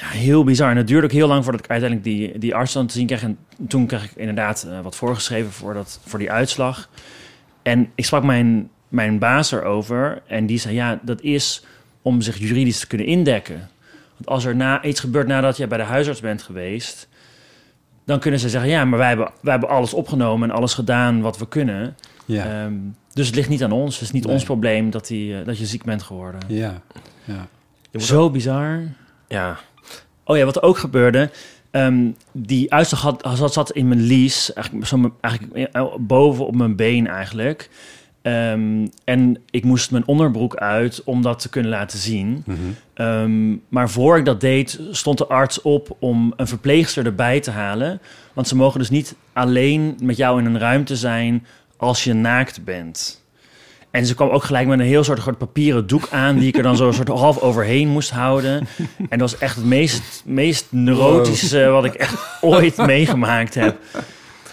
Speaker 3: ja, heel bizar. En het duurde ook heel lang voordat ik uiteindelijk die, die arts dan te zien kreeg. En toen kreeg ik inderdaad eh, wat voorgeschreven voor, dat, voor die uitslag. En ik sprak mijn, mijn baas erover. En die zei, ja, dat is om zich juridisch te kunnen indekken. Want als er na, iets gebeurt nadat jij bij de huisarts bent geweest... dan kunnen ze zeggen, ja, maar wij hebben, wij hebben alles opgenomen... en alles gedaan wat we kunnen.
Speaker 2: Ja.
Speaker 3: Ehm, dus het ligt niet aan ons. Het is niet
Speaker 2: Nee.
Speaker 3: ons probleem dat, die, eh, dat je ziek bent geworden.
Speaker 2: ja. ja.
Speaker 3: Zo bizar.
Speaker 1: Ja.
Speaker 3: Oh ja, wat er ook gebeurde. ehm, die uitslag had, zat, zat in mijn lies. Eigenlijk, zo, mijn- eigenlijk eh, boven op mijn been eigenlijk. Ehm, en ik moest mijn onderbroek uit om dat te kunnen laten zien. Ehm, maar voor ik dat deed, stond de arts op om een verpleegster erbij te halen. Want ze mogen dus niet alleen met jou in een ruimte zijn als je naakt bent. En ze kwam ook gelijk met een heel soort groot papieren doek aan... die ik er dan zo een soort half overheen moest houden. En dat was echt het meest, meest neurotische wat ik echt ooit meegemaakt heb.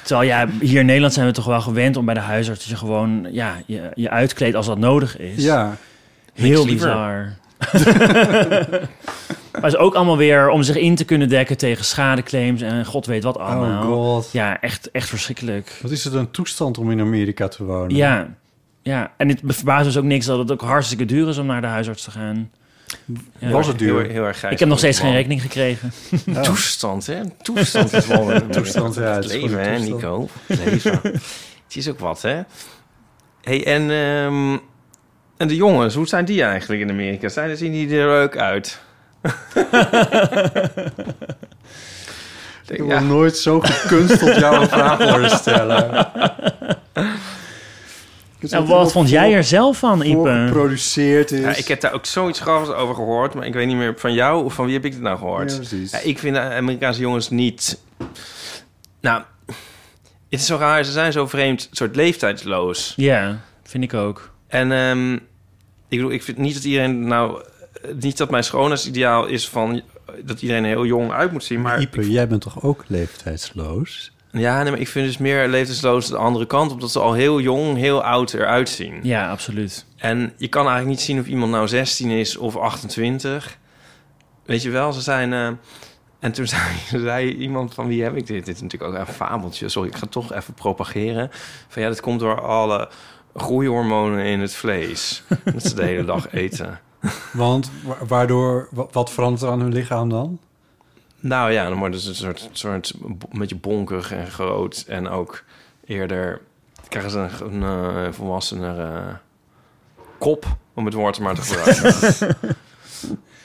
Speaker 3: Terwijl ja, hier in Nederland zijn we toch wel gewend om bij de huisarts... dat je gewoon ja, je, je uitkleedt als dat nodig is.
Speaker 2: ja.
Speaker 3: Heel
Speaker 1: liever.
Speaker 3: bizar. maar is ook allemaal weer om zich in te kunnen dekken tegen schadeclaims en god weet wat
Speaker 2: Oh
Speaker 3: allemaal.
Speaker 2: god.
Speaker 3: ja, echt, echt verschrikkelijk.
Speaker 2: Wat is het een toestand om in Amerika te wonen?
Speaker 3: Ja. ja, en het verbaast dus ook niks dat het ook hartstikke duur is om naar de huisarts te gaan. Ja.
Speaker 2: Was het
Speaker 1: Heel,
Speaker 2: duur? Oh.
Speaker 1: heel erg grijs.
Speaker 3: Ik heb nog steeds
Speaker 1: Man.
Speaker 3: geen rekening gekregen.
Speaker 1: Een Toestand, hè? Een Toestand is wel een
Speaker 2: Toestand, ja, het
Speaker 1: Het
Speaker 2: is gewoon
Speaker 1: leven,
Speaker 2: een
Speaker 1: hè,
Speaker 2: toestand.
Speaker 1: Nico? Leven. het is ook wat, hè? hey, en, ehm, en de jongens, hoe zijn die eigenlijk in Amerika? Zijn, zien die er leuk uit?
Speaker 2: Ik wil
Speaker 1: Ja.
Speaker 2: nooit zo gekunsteld jou een vraag horen stellen.
Speaker 3: Nou, wat vond jij er zelf van, Ipe?
Speaker 2: geproduceerd is.
Speaker 1: Ja, ik heb daar ook zoiets grappigs over gehoord, maar ik weet niet meer van jou of van wie heb ik het nou
Speaker 2: Ja,
Speaker 1: gehoord.
Speaker 2: precies.
Speaker 1: Ja, ik vind de Amerikaanse jongens niet. Nou, het is zo raar. Ze zijn zo vreemd, soort leeftijdsloos.
Speaker 3: Ja, vind ik ook.
Speaker 1: En ehm, ik bedoel, ik vind niet dat iedereen nou, eh, niet dat mijn schoonheidsideaal is van eh, dat iedereen er heel jong uit moet zien. Maar
Speaker 2: Ieper, jij bent toch ook leeftijdsloos?
Speaker 1: ja, nee, maar ik vind dus meer leeftijdsloos de andere kant, omdat ze al heel jong, heel oud eruit zien.
Speaker 3: Ja, absoluut.
Speaker 1: En je kan eigenlijk niet zien of iemand nou 16 is of 28. Weet je wel, ze zijn. eh, en toen zei, zei iemand van wie heb ik dit? Dit is natuurlijk ook een fabeltje. Sorry, ik ga het toch even propageren. Van ja, dat komt door alle groeihormonen in het vlees. Dat ze de hele dag eten.
Speaker 2: Want wa- waardoor, wa- wat verandert er aan hun lichaam dan?
Speaker 1: Nou ja, dan worden ze een soort, soort bo- een beetje bonkig en groot. En ook eerder krijgen ze een, een eh, volwassener eh, kop, om het woord maar te gebruiken.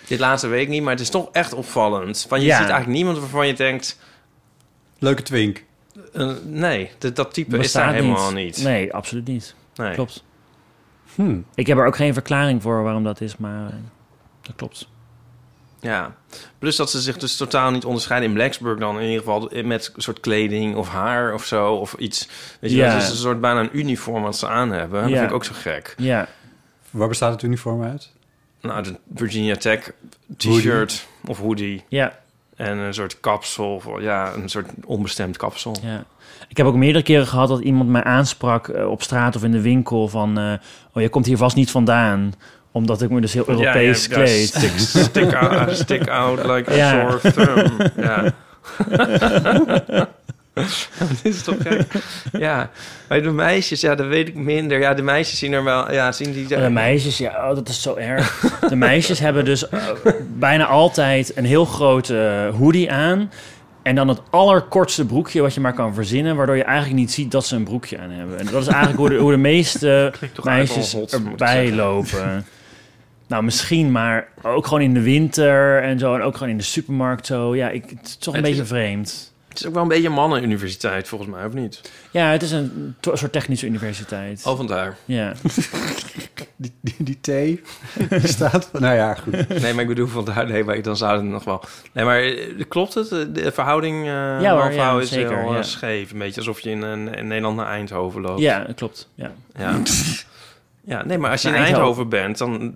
Speaker 1: Dit laatste week niet, maar het is toch echt opvallend. Van, je
Speaker 3: Ja.
Speaker 1: ziet eigenlijk niemand waarvan je denkt...
Speaker 2: Leuke twink.
Speaker 1: eh, nee, dat, dat type is
Speaker 3: Bestaat
Speaker 1: daar helemaal niet.
Speaker 3: Nee, absoluut niet.
Speaker 1: Nee.
Speaker 3: Klopt.
Speaker 2: Hm.
Speaker 3: Ik heb er ook geen verklaring voor waarom dat is, maar eh, dat klopt.
Speaker 1: Ja. Plus dat ze zich dus totaal niet onderscheiden in Blacksburg dan. In ieder geval met een soort kleding of haar of zo. Of iets. Weet je,
Speaker 3: Ja.
Speaker 1: wel, het is een soort bijna een uniform wat ze aan hebben. Dat
Speaker 3: Ja.
Speaker 1: vind ik ook zo gek.
Speaker 3: Ja,
Speaker 2: Waar bestaat het uniform uit?
Speaker 1: Nou, de Virginia Tech t-shirt of hoodie.
Speaker 3: ja,
Speaker 1: En een soort kapsel. of- Ja, een soort onbestemd kapsel.
Speaker 3: Ja. Ik heb ook meerdere keren gehad dat iemand mij aansprak eh, op straat of in de winkel van... eh, oh, je komt hier vast niet vandaan, omdat ik me dus heel Europees
Speaker 1: ja, ja,
Speaker 3: kleed.
Speaker 1: stick, stick, out, uh, stick out like
Speaker 3: Ja.
Speaker 1: a sore thumb. Ja. Dat is toch gek? Ja, maar de meisjes, ja, dat weet ik minder. Ja, de meisjes zien er wel... Ja, zien die...
Speaker 3: De meisjes, ja, oh, dat is zo erg. De meisjes hebben dus eh, bijna altijd een heel grote eh, hoodie aan... En dan het allerkortste broekje wat je maar kan verzinnen, waardoor je eigenlijk niet ziet dat ze een broekje aan hebben. En dat is eigenlijk hoe de, hoe de meeste meisjes
Speaker 1: eigenlijk wel hot, moet ik
Speaker 3: erbij
Speaker 1: zeggen.
Speaker 3: lopen. Nou, misschien, maar ook gewoon in de winter en zo. En ook gewoon in de supermarkt zo. Ja, ik, het is toch een
Speaker 1: Het is-
Speaker 3: beetje vreemd.
Speaker 1: Het is ook wel een beetje een mannenuniversiteit, volgens mij, of niet?
Speaker 3: Ja, het is een to- soort technische universiteit.
Speaker 1: Al vandaar.
Speaker 3: Ja.
Speaker 2: Die, die, die thee die staat... Nou ja, goed.
Speaker 1: Nee, maar ik bedoel vandaar. Nee, maar dan zou het nog wel... Nee, maar eh, klopt het? De de verhouding eh
Speaker 3: Ja hoor,
Speaker 1: man-vrouw
Speaker 3: ja,
Speaker 1: is
Speaker 3: zeker,
Speaker 1: heel eh,
Speaker 3: ja.
Speaker 1: scheef. Een beetje alsof je in, een- in Nederland naar Eindhoven loopt.
Speaker 3: ja, klopt. Ja.
Speaker 1: Ja. ja, nee, maar als je
Speaker 3: Naar
Speaker 1: in
Speaker 3: Eindhoven.
Speaker 1: Eindhoven bent, dan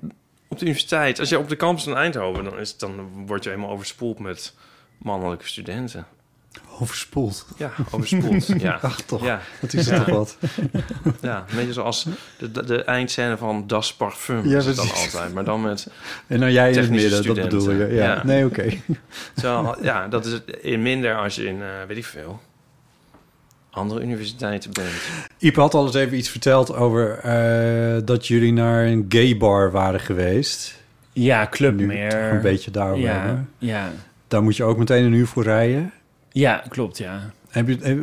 Speaker 1: op de universiteit, als je op de campus in Eindhoven, dan, is het, dan word je helemaal overspoeld met mannelijke studenten.
Speaker 2: Overspoeld.
Speaker 1: Ja, overspoeld. ja.
Speaker 2: Ach, toch.
Speaker 1: Ja,
Speaker 2: Wat is het toch wat?
Speaker 1: ja, een beetje zoals de, de, de eindscène van Das Parfum
Speaker 2: Ja,
Speaker 1: is het dan
Speaker 2: precies.
Speaker 1: altijd. Maar dan met...
Speaker 2: En dan jij in het
Speaker 1: Technische
Speaker 2: midden, dat
Speaker 1: studenten.
Speaker 2: bedoel je. Ja.
Speaker 1: Ja.
Speaker 2: Nee, oké.
Speaker 1: Terwijl, ja, dat is het in minder als je in, eh, weet ik veel, andere universiteiten bent.
Speaker 2: Iep had al eens even iets verteld over eh, dat jullie naar een gay bar waren geweest.
Speaker 3: Ja, club
Speaker 2: Nu
Speaker 3: meer.
Speaker 2: toch een beetje daarover
Speaker 3: Ja,
Speaker 2: hebben.
Speaker 3: ja.
Speaker 2: Daar moet je ook meteen een uur voor rijden.
Speaker 3: ja, klopt, ja.
Speaker 2: Heb je, heb,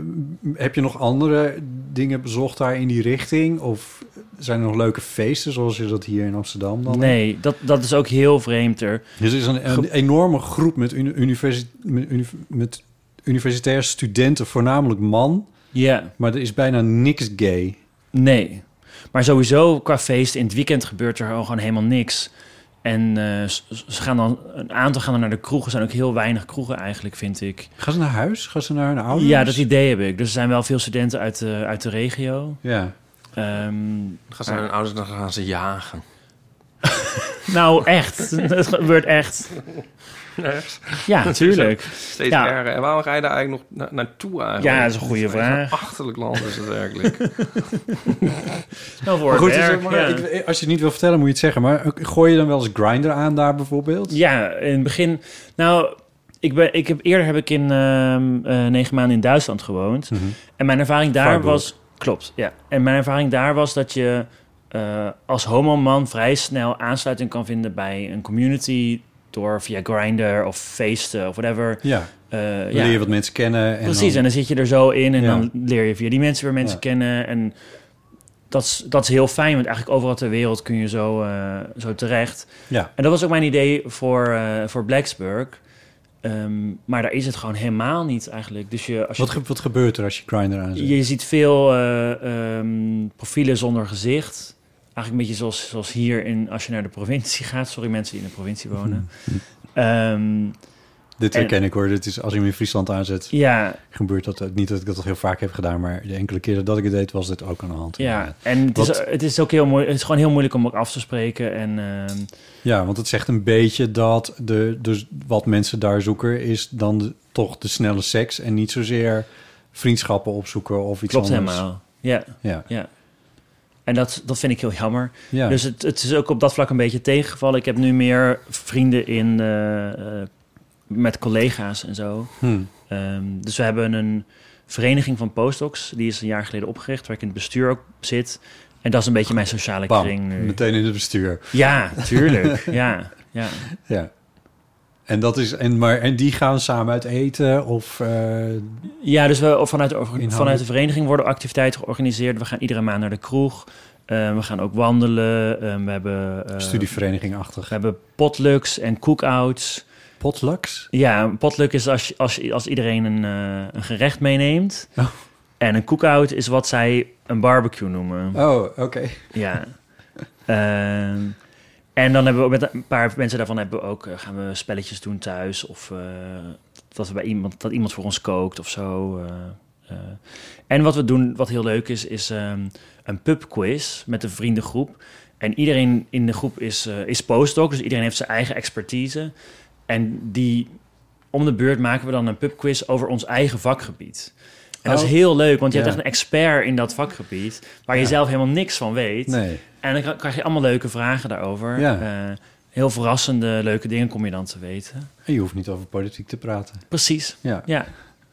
Speaker 2: heb je nog andere dingen bezocht daar in die richting? Of zijn er nog leuke feesten zoals je dat hier in Amsterdam dan hebt?
Speaker 3: Nee, dat, dat is ook heel vreemd er.
Speaker 2: Dus er is een, een enorme groep met, uni- universi- met, uni- met universitair studenten, voornamelijk man.
Speaker 3: Ja,
Speaker 2: Maar er is bijna niks gay.
Speaker 3: nee. Maar sowieso qua feest in het weekend gebeurt er gewoon helemaal niks. En eh, s- s- ze gaan dan, een aantal gaan dan naar de kroegen. Er zijn ook heel weinig kroegen eigenlijk, vind ik.
Speaker 2: Gaan ze naar huis? Gaan ze naar hun ouders?
Speaker 3: Ja, dat idee heb ik. Dus er zijn wel veel studenten uit de, uit de regio.
Speaker 2: Ja.
Speaker 3: Ehm,
Speaker 1: Dan gaan ze naar hun ouders en dan gaan ze jagen.
Speaker 3: nou, echt. Het gebeurt echt. Ja, natuurlijk.
Speaker 1: Steeds
Speaker 3: Ja.
Speaker 1: erger. En waarom ga je daar eigenlijk nog na- naartoe eigenlijk?
Speaker 3: Ja, dat is een goede vraag.
Speaker 1: Een achterlijk land is het werkelijk.
Speaker 3: Nou, voor
Speaker 2: Maar
Speaker 3: het
Speaker 2: goed,
Speaker 3: werk,
Speaker 2: dus, maar
Speaker 3: ja.
Speaker 2: ik- als je het niet wil vertellen, moet je het zeggen. Maar gooi je dan wel eens grinder aan daar bijvoorbeeld?
Speaker 3: Ja, in het begin. Nou, ik ben, ik heb, eerder heb ik in ehm, eh, negen maanden in Duitsland gewoond. En mijn ervaring daar
Speaker 2: Freiburg.
Speaker 3: was. Klopt, ja. En mijn ervaring daar was dat je eh, als homoman vrij snel aansluiting kan vinden bij een community. Door via Grindr of feesten of whatever.
Speaker 2: Ja,
Speaker 3: Eh,
Speaker 2: dan
Speaker 3: ja.
Speaker 2: leer je wat mensen kennen. En
Speaker 3: Precies, en
Speaker 2: dan-
Speaker 3: dan zit je er zo in en
Speaker 2: Ja.
Speaker 3: dan leer je via die mensen weer mensen
Speaker 2: Ja.
Speaker 3: kennen. En dat is, dat is heel fijn, want eigenlijk overal ter wereld kun je zo, eh, zo terecht.
Speaker 2: ja.
Speaker 3: En dat was ook mijn idee voor, eh, voor Blacksburg. Ehm, maar daar is het gewoon helemaal niet eigenlijk. Dus je, als je,
Speaker 2: Wat, ge- wat gebeurt er als je grinder aan zet?
Speaker 3: je ziet veel eh, ehm, profielen zonder gezicht. Eigenlijk een beetje zoals, zoals hier in, als je naar de provincie gaat. Sorry mensen die in de provincie wonen. Ehm,
Speaker 2: Dit
Speaker 3: en-
Speaker 2: herken ik hoor. Dit is, als je hem in Friesland aanzet,
Speaker 3: ja,
Speaker 2: gebeurt dat. ook. Niet dat ik dat heel vaak heb gedaan, maar de enkele keren dat ik het deed, was dit ook aan de hand.
Speaker 3: ja, en het is,
Speaker 2: Wat-
Speaker 3: het is ook heel moeilijk. Het is gewoon heel moeilijk om ook af te spreken. En ehm,
Speaker 2: ja, want het zegt een beetje dat de, dus wat mensen daar zoeken is dan de- toch de snelle seks en niet zozeer vriendschappen opzoeken of iets
Speaker 3: klopt
Speaker 2: anders.
Speaker 3: helemaal. Ja,
Speaker 2: Ja,
Speaker 3: ja. En dat, dat vind ik heel jammer.
Speaker 2: ja.
Speaker 3: Dus het, het is ook op dat vlak een beetje tegengevallen. Ik heb nu meer vrienden in, eh, eh, met collega's en zo.
Speaker 2: Hm.
Speaker 3: Ehm, dus we hebben een vereniging van postdocs. Die is een jaar geleden opgericht, waar ik in het bestuur ook zit. En dat is een beetje mijn sociale
Speaker 2: Bam,
Speaker 3: kring nu.
Speaker 2: meteen in het bestuur.
Speaker 3: Ja, tuurlijk. ja, ja.
Speaker 2: Ja. En, dat is, en, maar, en die gaan samen uit eten of... eh,
Speaker 3: ja, dus we, of vanuit, de orga-
Speaker 2: Inhoudelijk.
Speaker 3: vanuit de vereniging worden activiteiten georganiseerd. We gaan iedere maand naar de kroeg. Eh, we gaan ook wandelen. Eh, we hebben... eh,
Speaker 2: Studievereniging-achtig.
Speaker 3: We hebben potlucks en cookouts.
Speaker 2: Potlucks?
Speaker 3: Ja, een potluck is als, je- als, je- als iedereen een, eh, een gerecht meeneemt.
Speaker 2: Oh.
Speaker 3: En een cookout is wat zij een barbecue noemen.
Speaker 2: Oh, oké.
Speaker 3: Ja. Ehm, en dan hebben we ook met een paar mensen daarvan hebben we ook, eh, gaan we spelletjes doen thuis. Of eh, dat, we bij iemand, dat iemand voor ons kookt of zo. eh, eh. En wat we doen, wat heel leuk is, is ehm, een pubquiz met de vriendengroep. En iedereen in de groep is, eh, is postdoc, dus iedereen heeft zijn eigen expertise. En die om de beurt maken we dan een pubquiz over ons eigen vakgebied. En dat is
Speaker 2: Oh.
Speaker 3: heel leuk, want je hebt
Speaker 2: Ja.
Speaker 3: echt een expert in dat vakgebied... waar je
Speaker 2: Ja.
Speaker 3: zelf helemaal niks van weet.
Speaker 2: Nee.
Speaker 3: En dan kra- krijg je allemaal leuke vragen daarover.
Speaker 2: Ja.
Speaker 3: Eh, heel verrassende, leuke dingen kom je dan te weten.
Speaker 2: En je hoeft niet over politiek te praten.
Speaker 3: Precies.
Speaker 2: Ja.
Speaker 3: Ja,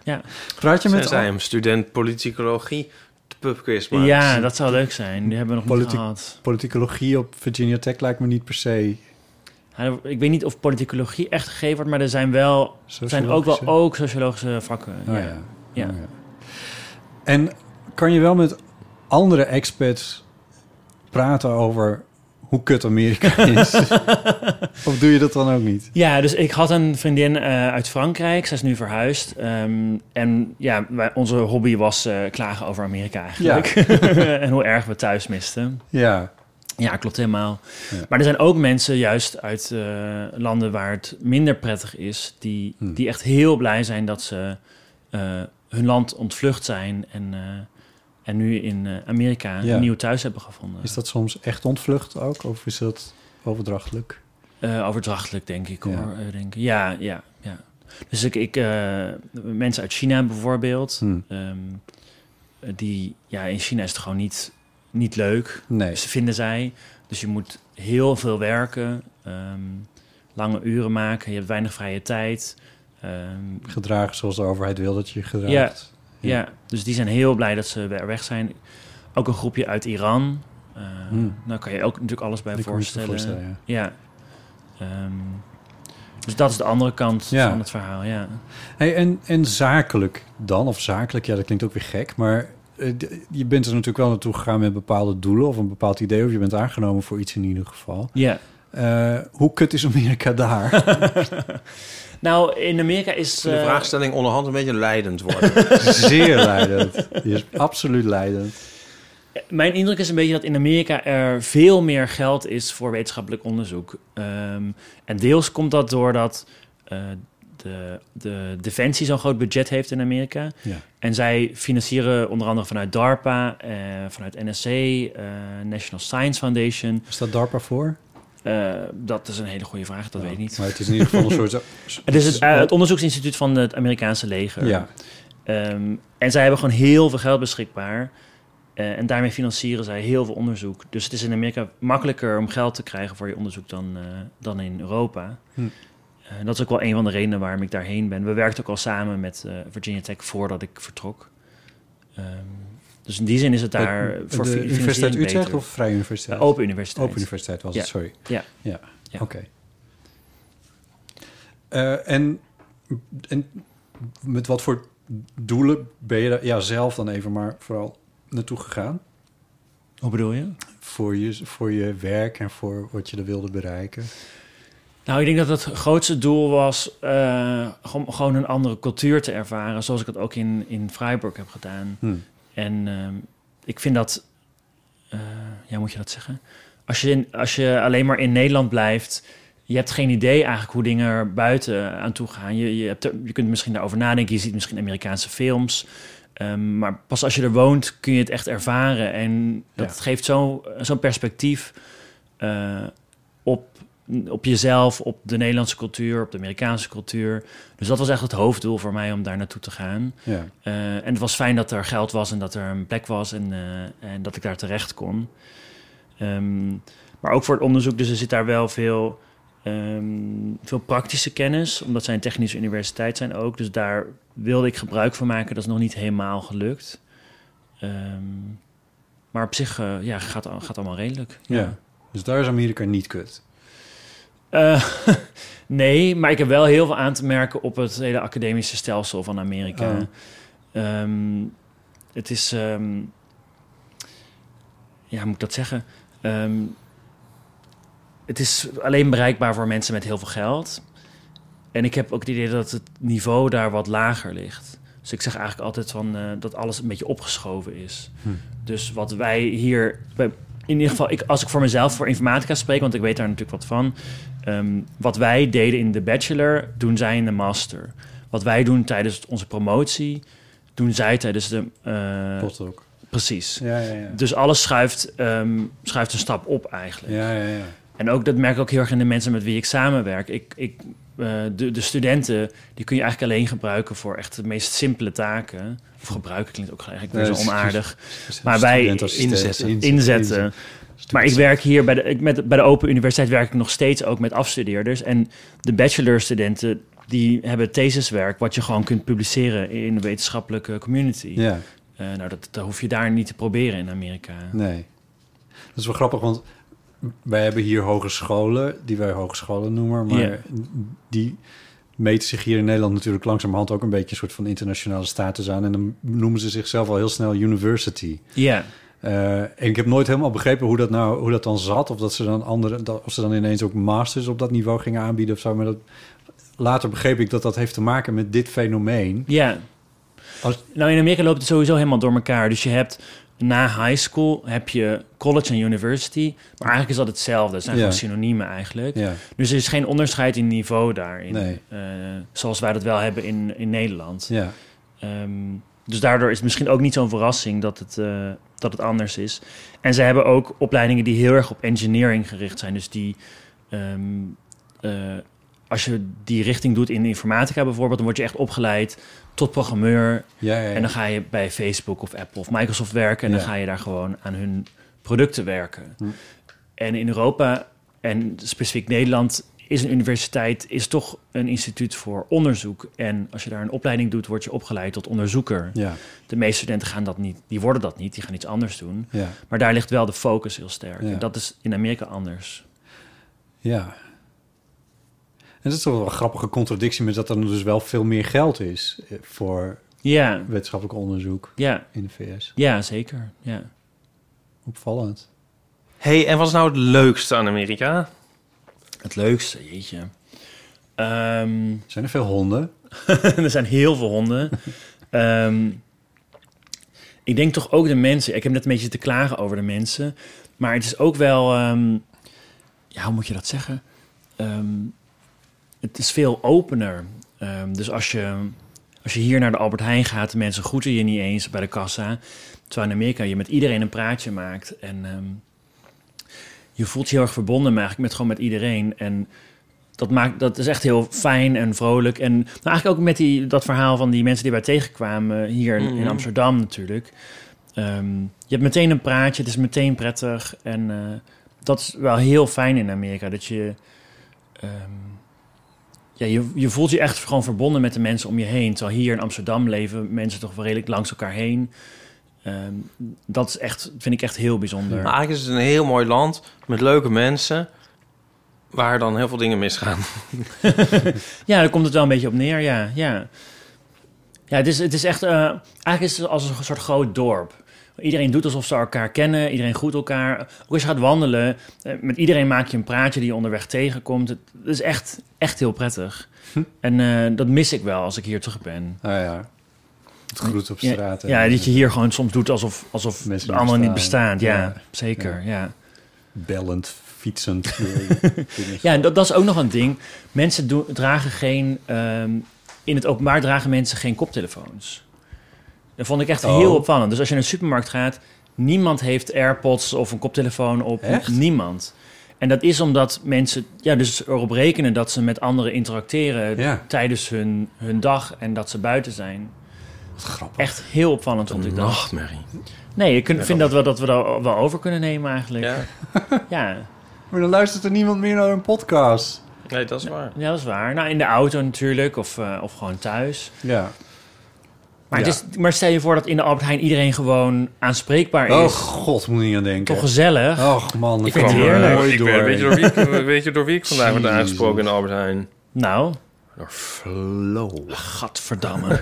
Speaker 3: ja.
Speaker 2: Praat je met...
Speaker 1: Tenzij hem student politicologie de pubquiz maakt.
Speaker 3: ja dat zou leuk zijn. Die hebben we nog
Speaker 2: Politiek-
Speaker 3: niet gehad.
Speaker 2: Politicologie op Virginia Tech lijkt me niet per se
Speaker 3: hij- ik weet niet of politicologie echt gegeven wordt, maar er zijn wel zijn ook wel ook sociologische vakken.
Speaker 2: Oh, ja.
Speaker 3: ja. Ja.
Speaker 2: Oh, ja. En kan je wel met andere expats praten over hoe kut Amerika is? of doe je dat dan ook niet?
Speaker 3: Ja, dus ik had een vriendin eh, uit Frankrijk. Zij is nu verhuisd. Ehm, en ja, wij- onze hobby was eh, klagen over Amerika eigenlijk. en hoe erg we thuis misten.
Speaker 2: Ja.
Speaker 3: Ja, klopt helemaal.
Speaker 2: Ja.
Speaker 3: Maar er zijn ook mensen juist uit eh, landen waar het minder prettig is... die,
Speaker 2: Hmm.
Speaker 3: die echt heel blij zijn dat ze eh, hun land ontvlucht zijn... en, eh, en nu in eh, Amerika
Speaker 2: Ja.
Speaker 3: een nieuw thuis hebben gevonden.
Speaker 2: Is dat soms echt ontvlucht ook? Of is dat overdrachtelijk?
Speaker 3: Eh, overdrachtelijk, denk ik
Speaker 2: Ja.
Speaker 3: hoor. Eh, denk, ik. ja, ja, ja. Dus ik, ik eh, mensen uit China bijvoorbeeld,
Speaker 2: Hmm.
Speaker 3: ehm, die, ja, in China is het gewoon niet, niet leuk.
Speaker 2: Nee.
Speaker 3: Ze vinden zij. Dus je moet heel veel werken, ehm, lange uren maken, je hebt weinig vrije tijd. ehm,
Speaker 2: Gedragen zoals de overheid wil dat je je
Speaker 3: Ja.
Speaker 2: gedraagt.
Speaker 3: ja. dus die zijn heel blij dat ze weer weg zijn. Ook een groepje uit Iran. Eh
Speaker 2: Hmm.
Speaker 3: Nou kan je ook natuurlijk alles bij
Speaker 2: Ik kan me iets
Speaker 3: voorstellen.
Speaker 2: voorstellen, ja.
Speaker 3: Ja. Ehm, dus dat is de andere kant
Speaker 2: Ja.
Speaker 3: van het verhaal, ja.
Speaker 2: Hey, en, en zakelijk dan? Of zakelijk, ja, dat klinkt ook weer gek, maar eh, d- je bent er natuurlijk wel naartoe gegaan met bepaalde doelen of een bepaald idee, of je bent aangenomen voor iets in ieder geval.
Speaker 3: Ja.
Speaker 2: Eh, hoe kut is Amerika daar?
Speaker 3: Nou, in Amerika is...
Speaker 1: De
Speaker 3: eh,
Speaker 1: vraagstelling onderhand een beetje leidend worden.
Speaker 2: Zeer leidend. Die is absoluut leidend.
Speaker 3: Mijn indruk is een beetje dat in Amerika er veel meer geld is voor wetenschappelijk onderzoek. Ehm, en deels komt dat doordat eh, de, de Defensie zo'n groot budget heeft in Amerika.
Speaker 2: Ja.
Speaker 3: En zij financieren onder andere vanuit DARPA, eh, vanuit NSC, eh, National Science Foundation.
Speaker 2: Is dat DARPA voor?
Speaker 3: Eh, dat is een hele goede vraag, dat weet ik niet.
Speaker 2: Maar het is in ieder geval een soort...
Speaker 3: Het is het, eh, het onderzoeksinstituut van het Amerikaanse leger.
Speaker 2: Ja,
Speaker 3: Ehm, en zij hebben gewoon heel veel geld beschikbaar. Eh, en daarmee financieren zij heel veel onderzoek. Dus het is in Amerika makkelijker om geld te krijgen voor je onderzoek dan, eh, dan in Europa.
Speaker 2: Hm.
Speaker 3: Eh, dat is ook wel een van de redenen waarom ik daarheen ben. We werkten ook al samen met eh, Virginia Tech voordat ik vertrok. Ehm, dus in die zin is het daar
Speaker 2: Bij-
Speaker 3: voor
Speaker 2: de
Speaker 3: fi-
Speaker 2: Universiteit
Speaker 3: financiering
Speaker 2: Utrecht
Speaker 3: beter.
Speaker 2: of Vrije Universiteit?
Speaker 3: Eh, open universiteit.
Speaker 2: Open Universiteit was het,
Speaker 3: Ja.
Speaker 2: sorry.
Speaker 3: Ja.
Speaker 2: Ja,
Speaker 3: Ja.
Speaker 2: oké. Eh, en, en met wat voor doelen ben je daar ja, zelf dan even maar vooral naartoe gegaan? oh,
Speaker 3: Hoe bedoel je?
Speaker 2: Voor je, voor je werk en voor wat je er wilde bereiken?
Speaker 3: Nou, ik denk dat het grootste doel was eh, gewoon, gewoon een andere cultuur te ervaren, zoals ik dat ook in, in Freiburg heb gedaan.
Speaker 2: Hm.
Speaker 3: En ehm, ik vind dat, eh, ja, moet je dat zeggen? Als je, in, als je alleen maar in Nederland blijft, je hebt geen idee eigenlijk hoe dingen er buiten aan toe gaan. Je, je, hebt er- je kunt misschien daarover nadenken, je ziet misschien Amerikaanse films. ehm, maar pas als je er woont kun je het echt ervaren. En dat
Speaker 2: Ja.
Speaker 3: geeft zo- zo'n perspectief eh, op, op jezelf, op de Nederlandse cultuur, op de Amerikaanse cultuur. Dus dat was echt het hoofddoel voor mij om daar naartoe te gaan.
Speaker 2: Ja.
Speaker 3: Eh, en het was fijn dat er geld was en dat er een plek was en, eh, en dat ik daar terecht kon. Ehm, maar ook voor het onderzoek, dus er zit daar wel veel, ehm, veel praktische kennis, omdat zij een technische universiteit zijn ook. Dus daar wilde ik gebruik van maken, dat is nog niet helemaal gelukt. Ehm, maar op zich eh, ja, gaat, al- gaat allemaal redelijk.
Speaker 2: Ja. Dus daar is Amerika niet kut.
Speaker 3: Eh, nee, maar ik heb wel heel veel aan te merken op het hele academische stelsel van Amerika.
Speaker 2: Oh.
Speaker 3: Ehm, het is, ehm, ja, hoe moet ik dat zeggen? Ehm, het is alleen bereikbaar voor mensen met heel veel geld. En ik heb ook het idee dat het niveau daar wat lager ligt. Dus ik zeg eigenlijk altijd van, eh, dat alles een beetje opgeschoven is.
Speaker 2: Hm.
Speaker 3: Dus wat wij hier, bij- in ieder geval, ik, als ik voor mezelf voor informatica spreek, want ik weet daar natuurlijk wat van. ehm, wat wij deden in de bachelor, doen zij in de master. Wat wij doen tijdens onze promotie, doen zij tijdens de. eh,
Speaker 2: Postdoc.
Speaker 3: precies.
Speaker 2: Ja, ja, ja.
Speaker 3: Dus alles schuift, ehm, schuift een stap op eigenlijk.
Speaker 2: Ja, ja, ja.
Speaker 3: En ook, dat merk ik ook heel erg in de mensen met wie ik samenwerk. Ik, ik, eh, de, de studenten, die kun je eigenlijk alleen gebruiken voor echt de meest simpele taken. Of gebruiken klinkt ook eigenlijk weer
Speaker 2: Nee,
Speaker 3: zo
Speaker 2: dat is-
Speaker 3: onaardig. Maar wij
Speaker 2: Studentassistent.
Speaker 1: inzetten.
Speaker 3: Inzetten. Maar ik werk hier bij de, ik met, bij de Open Universiteit werk ik nog steeds ook met afstudeerders. En de bachelorstudenten die hebben thesiswerk, wat je gewoon kunt publiceren in de wetenschappelijke community.
Speaker 2: Ja,
Speaker 3: Eh, nou, dat, dat hoef je daar niet te proberen in Amerika.
Speaker 2: nee. Dat is wel grappig, want wij hebben hier hogescholen, die wij hogescholen noemen, maar
Speaker 3: Ja.
Speaker 2: die meten zich hier in Nederland natuurlijk langzamerhand ook een beetje een soort van internationale status aan. En dan noemen ze zichzelf al heel snel university.
Speaker 3: Ja.
Speaker 2: Eh, en ik heb nooit helemaal begrepen hoe dat, nou, hoe dat dan zat. Of dat ze dan andere, dat- of ze dan ineens ook masters op dat niveau gingen aanbieden of zo. Maar dat, later begreep ik dat dat heeft te maken met dit fenomeen.
Speaker 3: Ja.
Speaker 2: Als-
Speaker 3: Nou, in Amerika loopt het sowieso helemaal door elkaar. Dus je hebt na high school heb je college en university. Maar eigenlijk is dat hetzelfde. Het zijn
Speaker 2: Ja.
Speaker 3: gewoon synoniemen eigenlijk.
Speaker 2: Ja,
Speaker 3: Dus er is geen onderscheid in niveau daarin.
Speaker 2: Nee.
Speaker 3: Eh, zoals wij dat wel hebben in, in Nederland.
Speaker 2: ja.
Speaker 3: Ehm, dus daardoor is het misschien ook niet zo'n verrassing dat het, eh, dat het anders is. En ze hebben ook opleidingen die heel erg op engineering gericht zijn. Dus die, ehm, eh, als je die richting doet in informatica bijvoorbeeld, dan word je echt opgeleid tot programmeur.
Speaker 2: ja, ja, ja.
Speaker 3: En dan ga je bij Facebook of Apple of Microsoft werken. En dan
Speaker 2: Ja.
Speaker 3: ga je daar gewoon aan hun producten werken.
Speaker 2: Hm.
Speaker 3: En in Europa en specifiek Nederland is een universiteit is toch een instituut voor onderzoek. En als je daar een opleiding doet, word je opgeleid tot onderzoeker.
Speaker 2: ja,
Speaker 3: De meeste studenten gaan dat niet, die worden dat niet, die gaan iets anders doen.
Speaker 2: ja,
Speaker 3: Maar daar ligt wel de focus heel sterk.
Speaker 2: Ja.
Speaker 3: En dat is in Amerika anders.
Speaker 2: ja. En dat is toch wel een grappige contradictie met dat er dus wel veel meer geld is eh, voor
Speaker 3: Ja,
Speaker 2: wetenschappelijk onderzoek
Speaker 3: ja,
Speaker 2: in de VS.
Speaker 3: ja, zeker. Ja.
Speaker 2: Opvallend.
Speaker 1: hey, en wat is nou het leukste aan Amerika?
Speaker 3: Het leukste, jeetje. Ehm,
Speaker 2: Zijn er veel honden?
Speaker 3: er zijn heel veel honden. Ehm, ik denk toch ook de mensen. Ik heb net een beetje te klagen over de mensen. Maar het is ook wel... ehm, ja, hoe moet je dat zeggen? Ehm, het is veel opener. Ehm, dus als je, als je hier naar de Albert Heijn gaat... de mensen groeten je niet eens bij de kassa. Terwijl in Amerika je met iedereen een praatje maakt. En ehm, je voelt je heel erg verbonden maar eigenlijk met, gewoon met iedereen. En dat, maakt, dat is echt heel fijn en vrolijk. En nou, eigenlijk ook met die, dat verhaal van die mensen die wij tegenkwamen hier in- in
Speaker 1: Mhm.
Speaker 3: Amsterdam natuurlijk. Ehm, je hebt meteen een praatje, het is meteen prettig. En eh, dat is wel heel fijn in Amerika. Dat je, ehm, ja, je, je voelt je echt gewoon verbonden met de mensen om je heen. Terwijl hier in Amsterdam leven mensen toch wel redelijk langs elkaar heen. Ehm, dat is echt, vind ik echt heel bijzonder.
Speaker 1: Maar Nou, eigenlijk is het een heel mooi land met leuke mensen, waar dan heel veel dingen misgaan.
Speaker 3: Ja, daar komt het wel een beetje op neer, ja. Ja, ja het, is, het is echt... eh, eigenlijk is het als een soort groot dorp. Iedereen doet alsof ze elkaar kennen. Iedereen groet elkaar. Ook als je gaat wandelen. eh, Met iedereen maak je een praatje die je onderweg tegenkomt. Het het is echt, echt heel prettig. En eh, dat mis ik wel als ik hier terug ben.
Speaker 2: Nou ja, het groet op straat. en-
Speaker 3: Ja, dat je hier gewoon soms doet alsof, alsof
Speaker 2: Mensen
Speaker 3: de
Speaker 2: niet
Speaker 3: anderen niet
Speaker 2: bestaan.
Speaker 3: bestaan. Ja,
Speaker 2: Ja.
Speaker 3: zeker. ja.
Speaker 2: bellend, fietsend. eh,
Speaker 3: Ja, en dat, dat is ook nog een ding. Mensen doen, dragen geen. ehm, in het openbaar dragen mensen geen koptelefoons. Dat vond ik echt
Speaker 2: Oh.
Speaker 3: heel opvallend. Dus als je naar de supermarkt gaat, niemand heeft AirPods of een koptelefoon op.
Speaker 2: Echt?
Speaker 3: Niemand. En dat is omdat mensen ja, dus erop rekenen dat ze met anderen interacteren
Speaker 2: Ja.
Speaker 3: tijdens hun, hun dag en dat ze buiten zijn.
Speaker 2: Wat grappig.
Speaker 3: Echt heel opvallend vond
Speaker 1: Een
Speaker 3: ik dat.
Speaker 1: nachtmerrie.
Speaker 3: Nee, ik kun- vind dat we dat we daar wel over kunnen nemen eigenlijk.
Speaker 1: Ja,
Speaker 3: ja.
Speaker 2: Maar dan luistert er niemand meer naar een podcast.
Speaker 1: nee, dat is waar.
Speaker 3: Ja, dat is waar. Nou, in de auto natuurlijk, of, eh, of gewoon thuis.
Speaker 2: Ja.
Speaker 3: Maar, het
Speaker 2: Ja.
Speaker 3: is, maar stel je voor dat in de Albert Heijn iedereen gewoon aanspreekbaar is.
Speaker 2: Oh god, moet ik niet aan denken.
Speaker 3: Toch gezellig.
Speaker 2: Och man, dat
Speaker 3: Ik vind
Speaker 2: kwam
Speaker 3: het
Speaker 2: er
Speaker 3: heerlijk.
Speaker 2: mooi
Speaker 1: Ik
Speaker 2: eh, door.
Speaker 1: ben- eh, weet, je door wie, ik- eh, weet je door wie ik vandaag werd
Speaker 2: Jezus.
Speaker 1: aangesproken in de Albert Heijn?
Speaker 3: Nou,
Speaker 1: Door Flo.
Speaker 3: gadverdamme.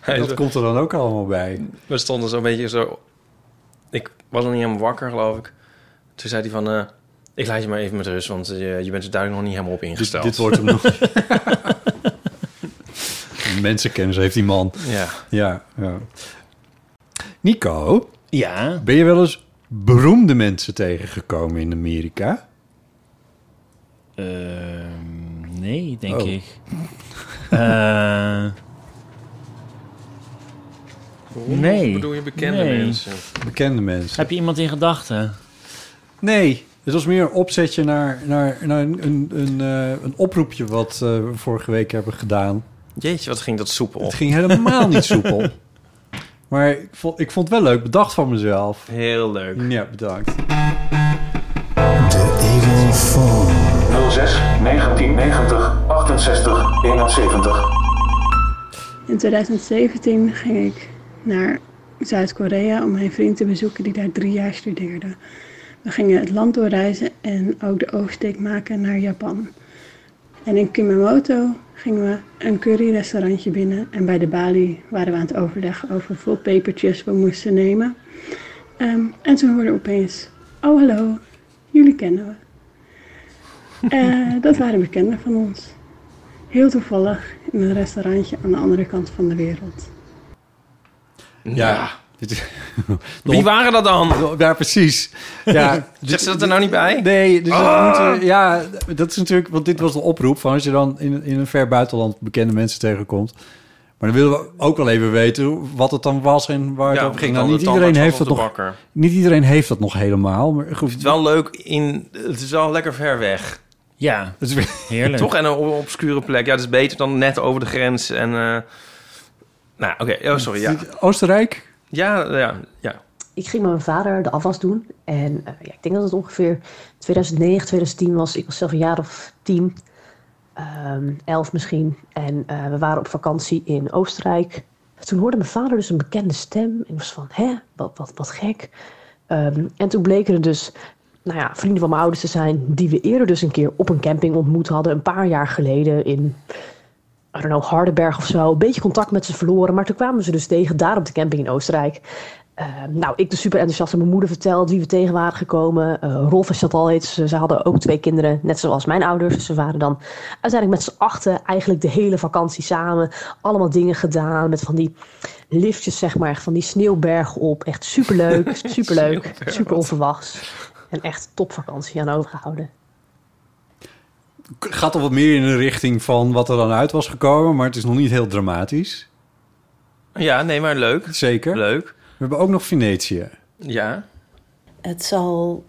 Speaker 1: Hij
Speaker 2: Dat
Speaker 1: zo-
Speaker 2: komt er dan ook allemaal bij.
Speaker 1: We stonden zo'n beetje zo... Ik was nog niet helemaal wakker, geloof ik. Toen zei hij van... eh, ik laat je maar even met rust, want eh, je bent er duidelijk nog niet helemaal op
Speaker 2: Dit,
Speaker 1: ingesteld.
Speaker 2: dit wordt hem nog. Mensenkennis heeft die man.
Speaker 1: Ja.
Speaker 2: Ja, ja. Nico,
Speaker 3: ja,
Speaker 2: ben je wel eens beroemde mensen tegengekomen in Amerika?
Speaker 3: ehm, nee, denk
Speaker 2: Oh.
Speaker 3: ik. Eh, Nee.
Speaker 1: bedoel je bekende
Speaker 3: Nee.
Speaker 1: mensen?
Speaker 2: Bekende mensen.
Speaker 3: heb je iemand in gedachten?
Speaker 2: Nee, het was meer een opzetje naar, naar, naar een, een, een, eh, een oproepje wat eh, we vorige week hebben gedaan.
Speaker 1: Jeetje, wat ging dat soepel.
Speaker 2: Het ging helemaal niet soepel. Maar ik vond, ik vond het wel leuk bedacht van mezelf.
Speaker 1: Heel leuk.
Speaker 2: Ja, bedankt.
Speaker 4: 06 1990 68 71.
Speaker 5: In 2017 ging ik naar Zuid-Korea om mijn vriend te bezoeken die daar drie jaar studeerde. We gingen het land doorreizen en ook de oversteek maken naar Japan. En in Kumamoto gingen we een curryrestaurantje binnen. En bij de balie waren we aan het overleggen over hoeveel pepertjes we moesten nemen. Ehm, en toen hoorden we opeens, oh hallo, jullie kennen we. Eh, dat waren bekenden van ons. Heel toevallig in een restaurantje aan de andere kant van de wereld.
Speaker 2: Ja. Dit is-
Speaker 1: Wie waren dat dan?
Speaker 2: Ja, precies. Ja,
Speaker 1: Zegt ze dat er nou niet bij?
Speaker 2: Nee, dus
Speaker 1: Ah!
Speaker 2: dat moet, eh, ja, dat is natuurlijk, want dit was een oproep van als je dan in, in een ver buitenland bekende mensen tegenkomt. Maar dan willen we ook wel even weten wat het dan was en waar het over ging. Nou, niet, iedereen heeft dat nog,
Speaker 1: Bakker.
Speaker 2: niet iedereen heeft dat nog helemaal. Maar goed,
Speaker 1: Het is wel leuk in... Het is wel lekker ver weg.
Speaker 3: Ja,
Speaker 2: het is weer-
Speaker 3: heerlijk.
Speaker 1: Toch? En een o- obscure plek. Ja, dat is beter dan net over de grens. En... eh, nou, oké. Oh, sorry. Ja.
Speaker 2: Oostenrijk?
Speaker 1: Ja, ja, ja.
Speaker 6: Ik ging met mijn vader de afwas doen. En eh, ja, ik denk dat het ongeveer 2009, 2010 was. Ik was zelf een jaar of tien, ehm, elf misschien. En eh, we waren op vakantie in Oostenrijk. Toen hoorde mijn vader dus een bekende stem. Ik was van, hè, wat, wat, wat gek. Ehm, en toen bleken er dus nou ja, vrienden van mijn ouders te zijn... die we eerder dus een keer op een camping ontmoet hadden... een paar jaar geleden in I don't know, Hardenberg of zo. Een beetje contact met ze verloren. Maar toen kwamen ze dus tegen daar op de camping in Oostenrijk. Eh, nou, ik dus super enthousiast aan mijn moeder verteld wie we tegen waren gekomen. Eh, Rolf en Chantal heet ze. Ze hadden ook twee kinderen, net zoals mijn ouders. Dus Ze waren dan uiteindelijk met z'n achten eigenlijk de hele vakantie samen. Allemaal dingen gedaan met van die liftjes, zeg maar. echt Van die sneeuwbergen op. Echt superleuk, superleuk, super onverwachts. En echt topvakantie aan overgehouden.
Speaker 2: Gaat al wat meer in de richting van wat er dan uit was gekomen, maar het is nog niet heel dramatisch.
Speaker 1: Ja, nee, maar leuk.
Speaker 2: Zeker.
Speaker 1: Leuk.
Speaker 2: We hebben ook nog Venetië.
Speaker 1: Ja.
Speaker 7: Het zal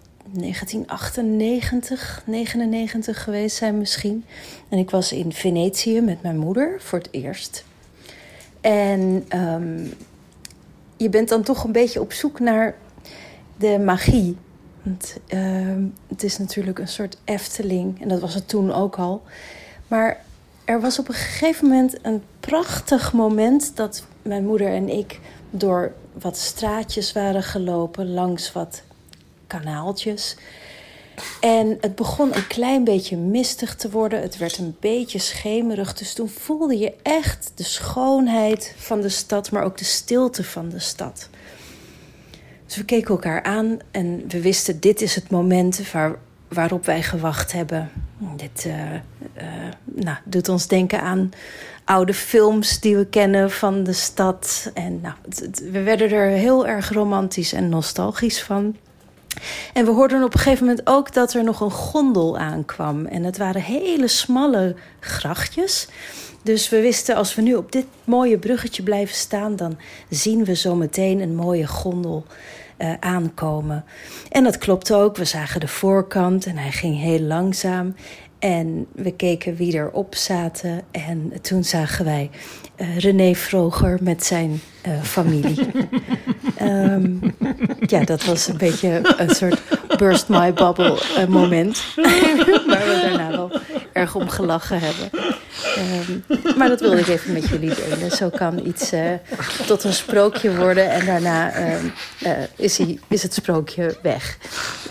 Speaker 7: 1998, 99 geweest zijn misschien. En ik was in Venetië met mijn moeder voor het eerst. En ehm, je bent dan toch een beetje op zoek naar de magie. Want ehm, het is natuurlijk een soort Efteling. En dat was het toen ook al. Maar er was op een gegeven moment een prachtig moment dat mijn moeder en ik door wat straatjes waren gelopen, langs wat kanaaltjes. En het begon een klein beetje mistig te worden. Het werd een beetje schemerig. Dus toen voelde je echt de schoonheid van de stad, maar ook de stilte van de stad. Dus we keken elkaar aan en we wisten: dit is het moment waar, waarop wij gewacht hebben. Dit eh, eh, nou, doet ons denken aan oude films die we kennen van de stad. En nou, het- het- we werden er heel erg romantisch en nostalgisch van. En we hoorden op een gegeven moment ook dat er nog een gondel aankwam. En het waren hele smalle grachtjes. Dus we wisten, als we nu op dit mooie bruggetje blijven staan, dan zien we zometeen een mooie gondel eh, aankomen. En dat klopte ook. We zagen de voorkant en hij ging heel langzaam. En we keken wie erop zaten. En toen zagen wij eh, René Vroger met zijn eh, familie. Ehm, ja, dat was een beetje een soort burst my bubble eh, moment. Waar we daarna wel erg om gelachen hebben. Ehm, maar dat wilde ik even met jullie delen. Zo kan iets eh, tot een sprookje worden en daarna ehm, eh, is, hij, is het sprookje weg.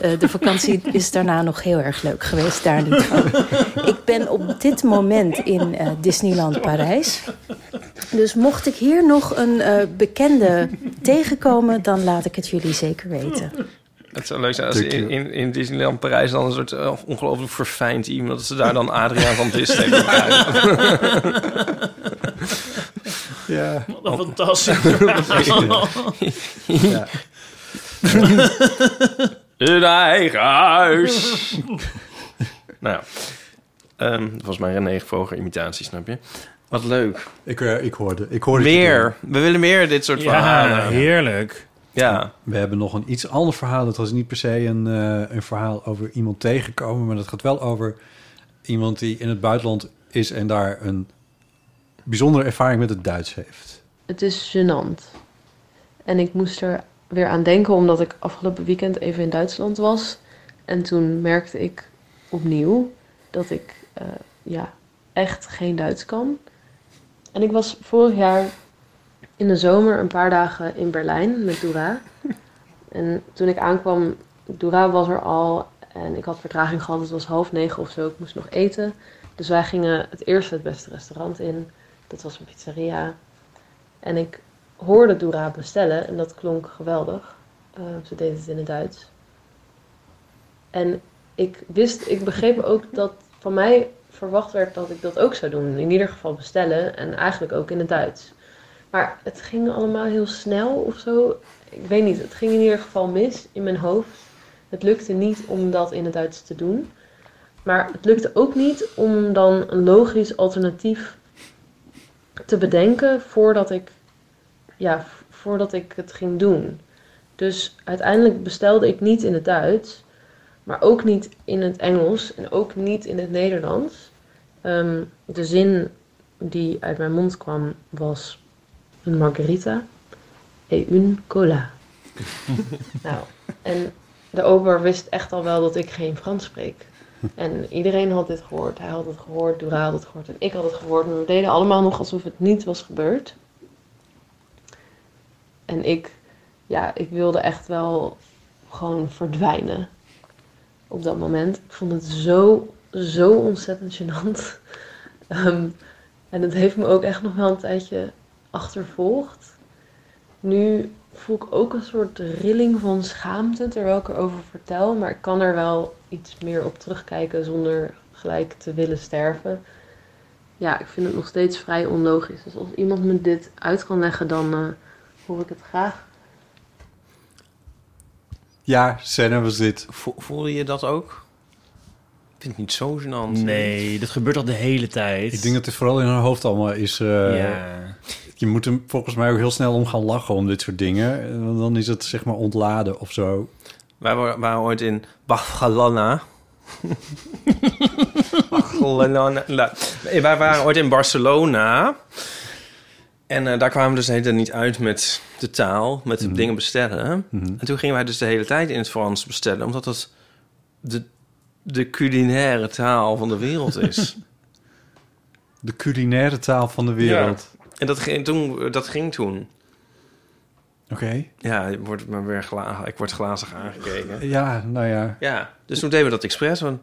Speaker 7: Eh, de vakantie is daarna nog heel erg leuk geweest, daar niet van. Ik ben op dit moment in eh, Disneyland Parijs. Dus mocht ik hier nog een eh, bekende tegenkomen, dan laat ik het jullie zeker weten.
Speaker 1: Het zou leuk zijn als in,
Speaker 2: Natuurlijk.
Speaker 1: in, in Disneyland Parijs dan een soort eh, ongelooflijk verfijnd iemand... dat ze daar dan Adriaan van Dis tegen elkaar-
Speaker 2: Ja.
Speaker 3: Wat een fantastisch.
Speaker 1: Een eigen huis. nou, ehm volgens mij René Vroger imitatie, snap je? Wat leuk.
Speaker 2: Ik, eh, ik hoorde. Ik hoorde het je doen.
Speaker 1: Meer. We willen meer dit soort
Speaker 2: eh.
Speaker 3: Ja,
Speaker 1: verhalen.
Speaker 3: heerlijk.
Speaker 1: Ja.
Speaker 2: We hebben nog een iets ander verhaal. Dat was niet per se een, eh, een verhaal over iemand tegenkomen, maar dat gaat wel over iemand die in het buitenland is en daar een bijzondere ervaring met het Duits heeft.
Speaker 6: Het is gênant. En ik moest er weer aan denken omdat ik afgelopen weekend even in Duitsland was. En toen merkte ik opnieuw dat ik eh, ja, echt geen Duits kan. En ik was vorig jaar in de zomer een paar dagen in Berlijn met Dora. En toen ik aankwam Doura was er al en ik had vertraging gehad. Het was half negen of zo. Ik moest nog eten. Dus wij gingen het eerste het beste restaurant in. Dat was een pizzeria. En ik hoorde Doura bestellen en dat klonk geweldig. Eh, ze deed het in het Duits. En ik wist, ik begreep ook dat van mij verwacht werd dat ik dat ook zou doen. In ieder geval bestellen en eigenlijk ook in het Duits. Maar het ging allemaal heel snel of zo. Ik weet niet, het ging in ieder geval mis in mijn hoofd. Het lukte niet om dat in het Duits te doen. Maar het lukte ook niet om dan een logisch alternatief te bedenken voordat ik, ja, v- voordat ik het ging doen. Dus uiteindelijk bestelde ik niet in het Duits, maar ook niet in het Engels en ook niet in het Nederlands. Ehm, de zin die uit mijn mond kwam was een margarita et une cola. nou, en de ober wist echt al wel dat ik geen Frans spreek. En iedereen had dit gehoord. Hij had het gehoord, Dora had het gehoord en ik had het gehoord. Maar we deden allemaal nog alsof het niet was gebeurd. En ik, ja, ik wilde echt wel gewoon verdwijnen op dat moment. Ik vond het zo, zo ontzettend gênant. Ehm, en het heeft me ook echt nog wel een tijdje achtervolgd. Nu voel ik ook een soort rilling van schaamte terwijl ik erover vertel. Maar ik kan er wel iets meer op terugkijken zonder gelijk te willen sterven. Ja, ik vind het nog steeds vrij onlogisch. Dus als iemand me dit uit kan leggen, dan eh, hoor ik het graag.
Speaker 2: Ja, scène was dit.
Speaker 1: Vo- Voelde je dat ook? Ik vind het niet zo gênant.
Speaker 3: Nee, dat gebeurt al de hele tijd.
Speaker 2: Ik denk dat het vooral in haar hoofd allemaal is. eh,
Speaker 3: Ja.
Speaker 2: Je moet hem volgens mij ook heel snel om gaan lachen om dit soort dingen. Eh, want Dan is het zeg maar ontladen of zo.
Speaker 1: Wij wa- waren ooit in Barcelona. Barcelona. La- Nee, Wij waren ooit in Barcelona. En eh, daar kwamen we dus de hele tijd niet uit met de taal, met
Speaker 2: Mhm.
Speaker 1: de dingen bestellen. En toen gingen wij dus de hele tijd in het Frans bestellen, omdat dat de, de culinaire taal van de wereld is.
Speaker 2: De culinaire taal van de wereld.
Speaker 1: Ja. En dat ging toen. Dat ging toen.
Speaker 2: Oké.
Speaker 1: Ja, je wordt me weer gla- ik word glazig aangekeken.
Speaker 2: Ja, nou ja.
Speaker 1: Ja, dus toen deden we dat expres. Van,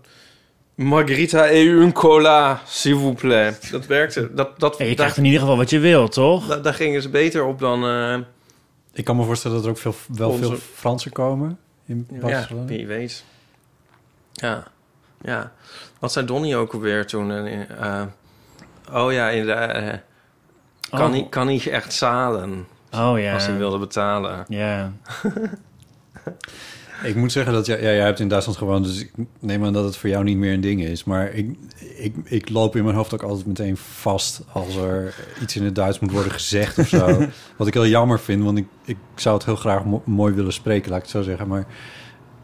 Speaker 1: Margarita et une cola, s'il vous plaît. Dat werkte. Dat, dat,
Speaker 3: En
Speaker 1: daar,
Speaker 3: je krijgt in ieder geval wat je wil, toch?
Speaker 1: daar, daar gingen ze beter op dan... eh,
Speaker 2: Ik kan me voorstellen dat er ook veel, wel
Speaker 1: Onze-
Speaker 2: veel Fransen komen in
Speaker 1: ja,
Speaker 2: Barcelona.
Speaker 1: wie weet. Ja, ja. Wat zei Donnie ook alweer toen? eh, eh, oh ja, in de, eh, kan,
Speaker 3: Oh.
Speaker 1: niet, kan niet echt zalen.
Speaker 3: Oh ja.
Speaker 1: Als hij wilde betalen.
Speaker 3: Ja.
Speaker 2: Ik moet zeggen dat jij, ja, jij hebt in Duitsland gewoond, dus ik neem aan dat het voor jou niet meer een ding is. Maar ik, ik, ik loop in mijn hoofd ook altijd meteen vast als er iets in het Duits moet worden gezegd of zo. Wat ik heel jammer vind, want ik, ik zou het heel graag mo- mooi willen spreken, laat ik het zo zeggen. Maar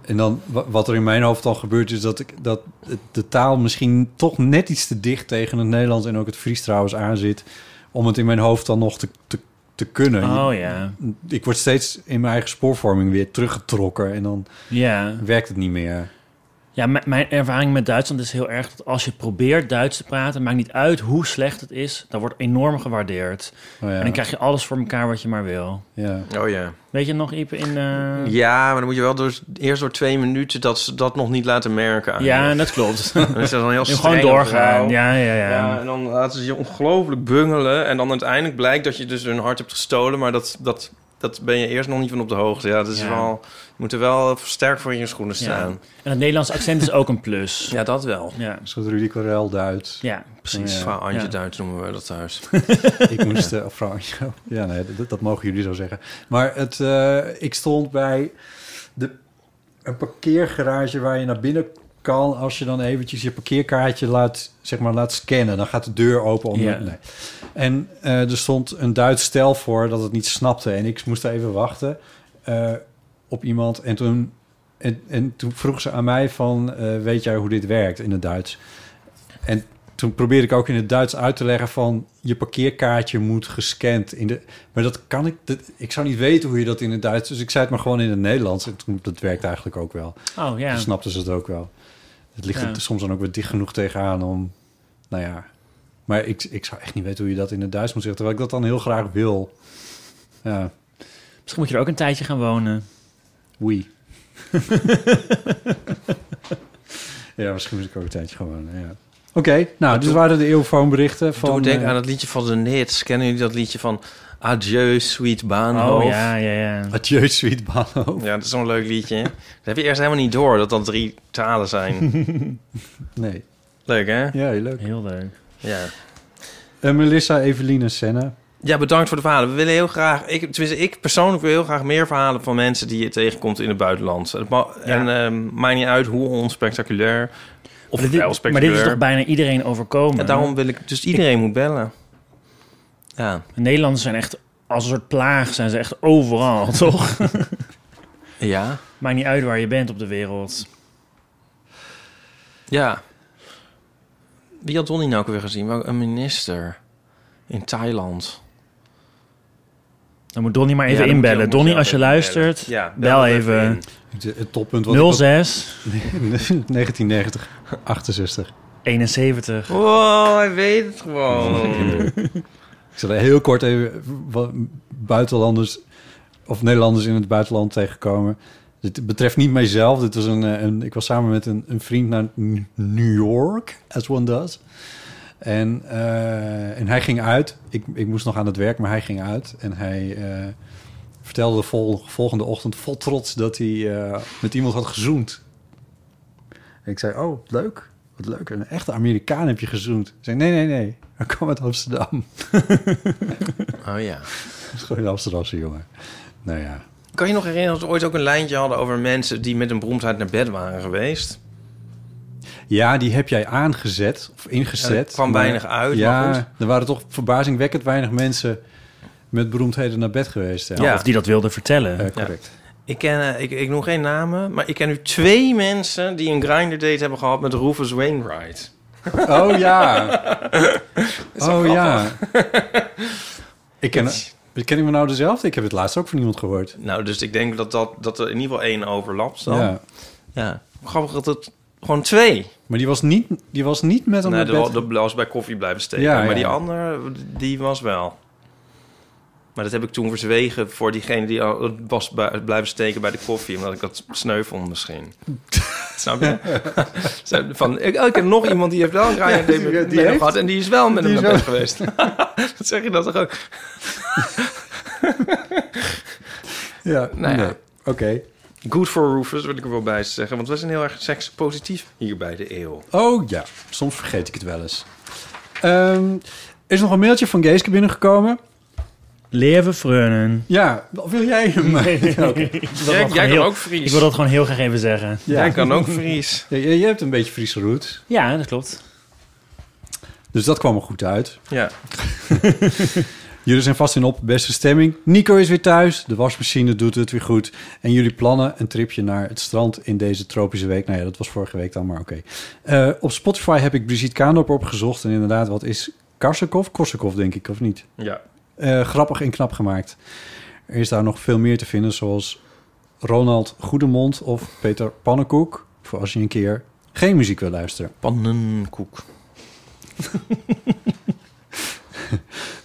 Speaker 2: en dan wa- wat er in mijn hoofd dan gebeurt, is dat, ik, dat het- de taal misschien toch net iets te dicht tegen het Nederlands en ook het Fries trouwens aan zit. Om het in mijn hoofd dan nog te, te, te kunnen.
Speaker 3: Oh, ja.
Speaker 2: Ik word steeds in mijn eigen spoorvorming weer teruggetrokken en dan
Speaker 3: Ja.
Speaker 2: werkt het niet meer.
Speaker 3: Ja, m- mijn ervaring met Duitsland is heel erg dat als je probeert Duits te praten, maakt niet uit hoe slecht het is, dat wordt enorm gewaardeerd.
Speaker 2: Oh ja.
Speaker 3: En dan krijg je alles voor elkaar wat je maar wil.
Speaker 2: Ja.
Speaker 1: Oh ja.
Speaker 3: Weet je nog, Iep, in... eh,
Speaker 1: Ja, maar dan moet je wel door, eerst door twee minuten dat ze dat nog niet laten merken.
Speaker 3: Ja, dat klopt.
Speaker 1: Dan is dat dan heel
Speaker 3: En
Speaker 1: streng.
Speaker 3: gewoon
Speaker 1: op
Speaker 3: doorgaan.
Speaker 1: jou.
Speaker 3: Ja, ja, ja.
Speaker 1: En dan laten ze je ongelooflijk bungelen. En dan uiteindelijk blijkt dat je dus hun hart hebt gestolen. Maar dat, dat, dat ben je eerst nog niet van op de hoogte. Ja, dat is
Speaker 3: Ja.
Speaker 1: wel... Je moet er wel sterk voor in je schoenen
Speaker 3: Ja.
Speaker 1: staan.
Speaker 3: En het Nederlands accent is ook een plus.
Speaker 1: Ja, dat wel.
Speaker 3: Ja,
Speaker 2: Een soort Rudy Corel Duits.
Speaker 3: ja precies.
Speaker 1: Vrouw Antje
Speaker 3: Ja.
Speaker 1: Duits noemen we dat thuis.
Speaker 2: Ik moest... eh, of vrouw, ja. ja, nee, dat, dat mogen jullie zo zeggen. Maar het, eh, ik stond bij de, een parkeergarage waar je naar binnen kan... als je dan eventjes je parkeerkaartje laat, zeg maar, laat scannen. Dan gaat de deur open. Om
Speaker 3: Ja.
Speaker 2: nee. En eh, er stond een Duits stel voor dat het niet snapte. En ik moest even wachten eh, op iemand. En toen, en, en toen vroeg ze aan mij van... eh, weet jij hoe dit werkt in het Duits? En toen probeerde ik ook in het Duits uit te leggen van... je parkeerkaartje moet gescand in de... Maar dat kan ik... dat- ik zou niet weten hoe je dat in het Duits... Dus ik zei het maar gewoon in het Nederlands. En toen, dat werkt eigenlijk ook wel.
Speaker 3: Oh, ja.
Speaker 2: Toen snapten ze het ook wel. Het ligt
Speaker 3: Ja.
Speaker 2: er soms dan ook weer dicht genoeg tegenaan om... Nou ja... Maar ik, ik zou echt niet weten hoe je dat in het Duits moet zeggen... terwijl ik dat dan heel graag wil. Ja,
Speaker 3: Misschien moet je er ook een tijdje gaan wonen.
Speaker 2: oui. Ja, misschien moet ik ook een tijdje gewoon. Ja. Oké, nou, dit waren de eeuwfoonberichten van...
Speaker 1: Toen denk
Speaker 2: eh,
Speaker 1: aan het liedje van de Nits. Kennen jullie dat liedje van Adieu, sweet Baanhof?
Speaker 3: Oh, ja, ja, ja.
Speaker 2: Adieu, sweet Baanhof.
Speaker 1: Ja, dat is zo'n leuk liedje. hè? dat heb je eerst helemaal niet door, dat dat drie talen zijn.
Speaker 2: Nee.
Speaker 1: Leuk, hè?
Speaker 2: Ja, heel leuk.
Speaker 3: Heel leuk.
Speaker 1: Ja.
Speaker 2: Eh, Melissa, Evelien en Senna.
Speaker 1: Ja, bedankt voor de verhalen. We willen heel graag, ik, tenminste, ik persoonlijk wil heel graag meer verhalen van mensen die je tegenkomt in het buitenland. Het ma- En ehm, maakt niet uit hoe onspectaculair of wel
Speaker 3: maar, dit, maar dit
Speaker 1: spectaculair.
Speaker 3: is toch bijna iedereen overkomen?
Speaker 1: En daarom wil ik, dus iedereen moet bellen. Ja.
Speaker 3: De Nederlanders zijn echt, als een soort plaag, zijn ze echt overal, toch?
Speaker 1: Ja.
Speaker 3: Maakt niet uit waar je bent op de wereld.
Speaker 1: Ja. Wie had Donnie nou ook weer gezien? Wel, Een minister in Thailand.
Speaker 3: Dan moet Donnie maar even
Speaker 1: Ja, dan moet je-
Speaker 3: inbellen.
Speaker 1: moet je
Speaker 3: Donnie,
Speaker 1: ook
Speaker 3: als je
Speaker 1: even
Speaker 3: luistert,
Speaker 1: bellen. Ja,
Speaker 3: bel
Speaker 1: bel even
Speaker 3: even.
Speaker 2: Het- Het toppunt was...
Speaker 3: 06
Speaker 2: 1990, 68.
Speaker 3: 71.
Speaker 1: Oh, Wow, hij weet het gewoon.
Speaker 2: Ik zal heel kort even wat buitenlanders of Nederlanders in het buitenland tegenkomen. Dit betreft niet mijzelf. Dit was een, eh, een, ik was samen met een, een vriend naar N- New York, as one does. En, eh, en hij ging uit. Ik, ik moest nog aan het werk, maar hij ging uit. En hij eh, vertelde de vol- volgende ochtend vol trots dat hij eh, met iemand had gezoend. En ik zei, oh, leuk. Wat leuk. Een echte Amerikaan heb je gezoend. Ik zei, nee, nee, nee. Hij kwam uit Amsterdam.
Speaker 1: oh ja.
Speaker 2: Dat is gewoon een Amsterdamse jongen. Nou ja.
Speaker 1: Kan je nog herinneren dat we ooit ook een lijntje hadden over mensen die met een beroemdheid naar bed waren geweest?
Speaker 2: Ja, die heb jij aangezet of ingezet.
Speaker 1: Ja, er kwam weinig uit,
Speaker 2: ja,
Speaker 1: maar goed.
Speaker 2: er waren toch verbazingwekkend weinig mensen met beroemdheden naar bed geweest. hè?
Speaker 3: Ja, Nou, of die dat wilden vertellen.
Speaker 2: Eh, correct.
Speaker 1: Ik, ken, eh, ik, ik noem geen namen, maar ik ken nu twee mensen die een grinder date hebben gehad met Rufus Wainwright.
Speaker 2: Oh ja.
Speaker 1: Is wel grappig.
Speaker 2: oh ja. ik ken, ken ik me nou dezelfde? Ik heb het laatst ook van iemand gehoord.
Speaker 1: Nou, dus ik denk dat, dat, dat er in ieder geval één overlapt dan.
Speaker 2: Ja.
Speaker 1: Ja. Grappig dat het gewoon twee.
Speaker 2: Maar die was niet, die was niet met hem
Speaker 1: Nee,
Speaker 2: naar bed.
Speaker 1: de, de was bij koffie blijven steken.
Speaker 2: Ja,
Speaker 1: maar
Speaker 2: ja.
Speaker 1: die ander, die was wel. Maar dat heb ik toen verzwegen voor diegene die al was bij- blijven steken bij de koffie. Omdat ik dat sneu vond misschien. Snap je? Zo Van, ik, oh, ik heb nog iemand die heeft wel een
Speaker 2: Ja, die-
Speaker 1: Ryan ja,
Speaker 2: die heeft-
Speaker 1: gehad. En die is wel met
Speaker 2: die
Speaker 1: hem naar bed
Speaker 2: is wel-
Speaker 1: geweest. dat zeg je dat toch ook?
Speaker 2: Ja,
Speaker 1: Nou ja.
Speaker 2: nee. Oké.
Speaker 1: Good for roofers, wil ik er wel bij zeggen. Want we zijn heel erg sekspositief hier bij de eeuw.
Speaker 2: Oh ja, soms vergeet ik het wel eens. Ehm, er is nog een mailtje van Geeske binnengekomen.
Speaker 3: Leven freunen.
Speaker 2: Ja, wil jij hem? Oké.
Speaker 1: Jij-
Speaker 3: dat
Speaker 1: jij
Speaker 3: gewoon
Speaker 1: kan
Speaker 3: heel-
Speaker 1: ook Fries.
Speaker 3: Ik wil dat gewoon heel graag even zeggen.
Speaker 2: Ja.
Speaker 1: Jij kan ook Fries.
Speaker 2: Ja, jij- jij hebt een beetje Friese roots,
Speaker 3: Ja, dat klopt.
Speaker 2: dus dat kwam er goed uit.
Speaker 1: Ja.
Speaker 2: Jullie zijn vast in op beste stemming. Nico is weer thuis, de wasmachine doet het weer goed. En jullie plannen een tripje naar het strand in deze tropische week. Nou ja, dat was vorige week dan, maar oké. Eh, op Spotify heb ik Brigitte Kaandorp opgezocht. En inderdaad, wat is Karsakov? Korsakov, denk ik, of niet?
Speaker 1: Ja.
Speaker 2: Eh, grappig en knap gemaakt. Er is daar nog veel meer te vinden, zoals Ronald Goedemond of Peter Pannenkoek. Voor als je een keer geen muziek wil luisteren.
Speaker 1: Pannenkoek.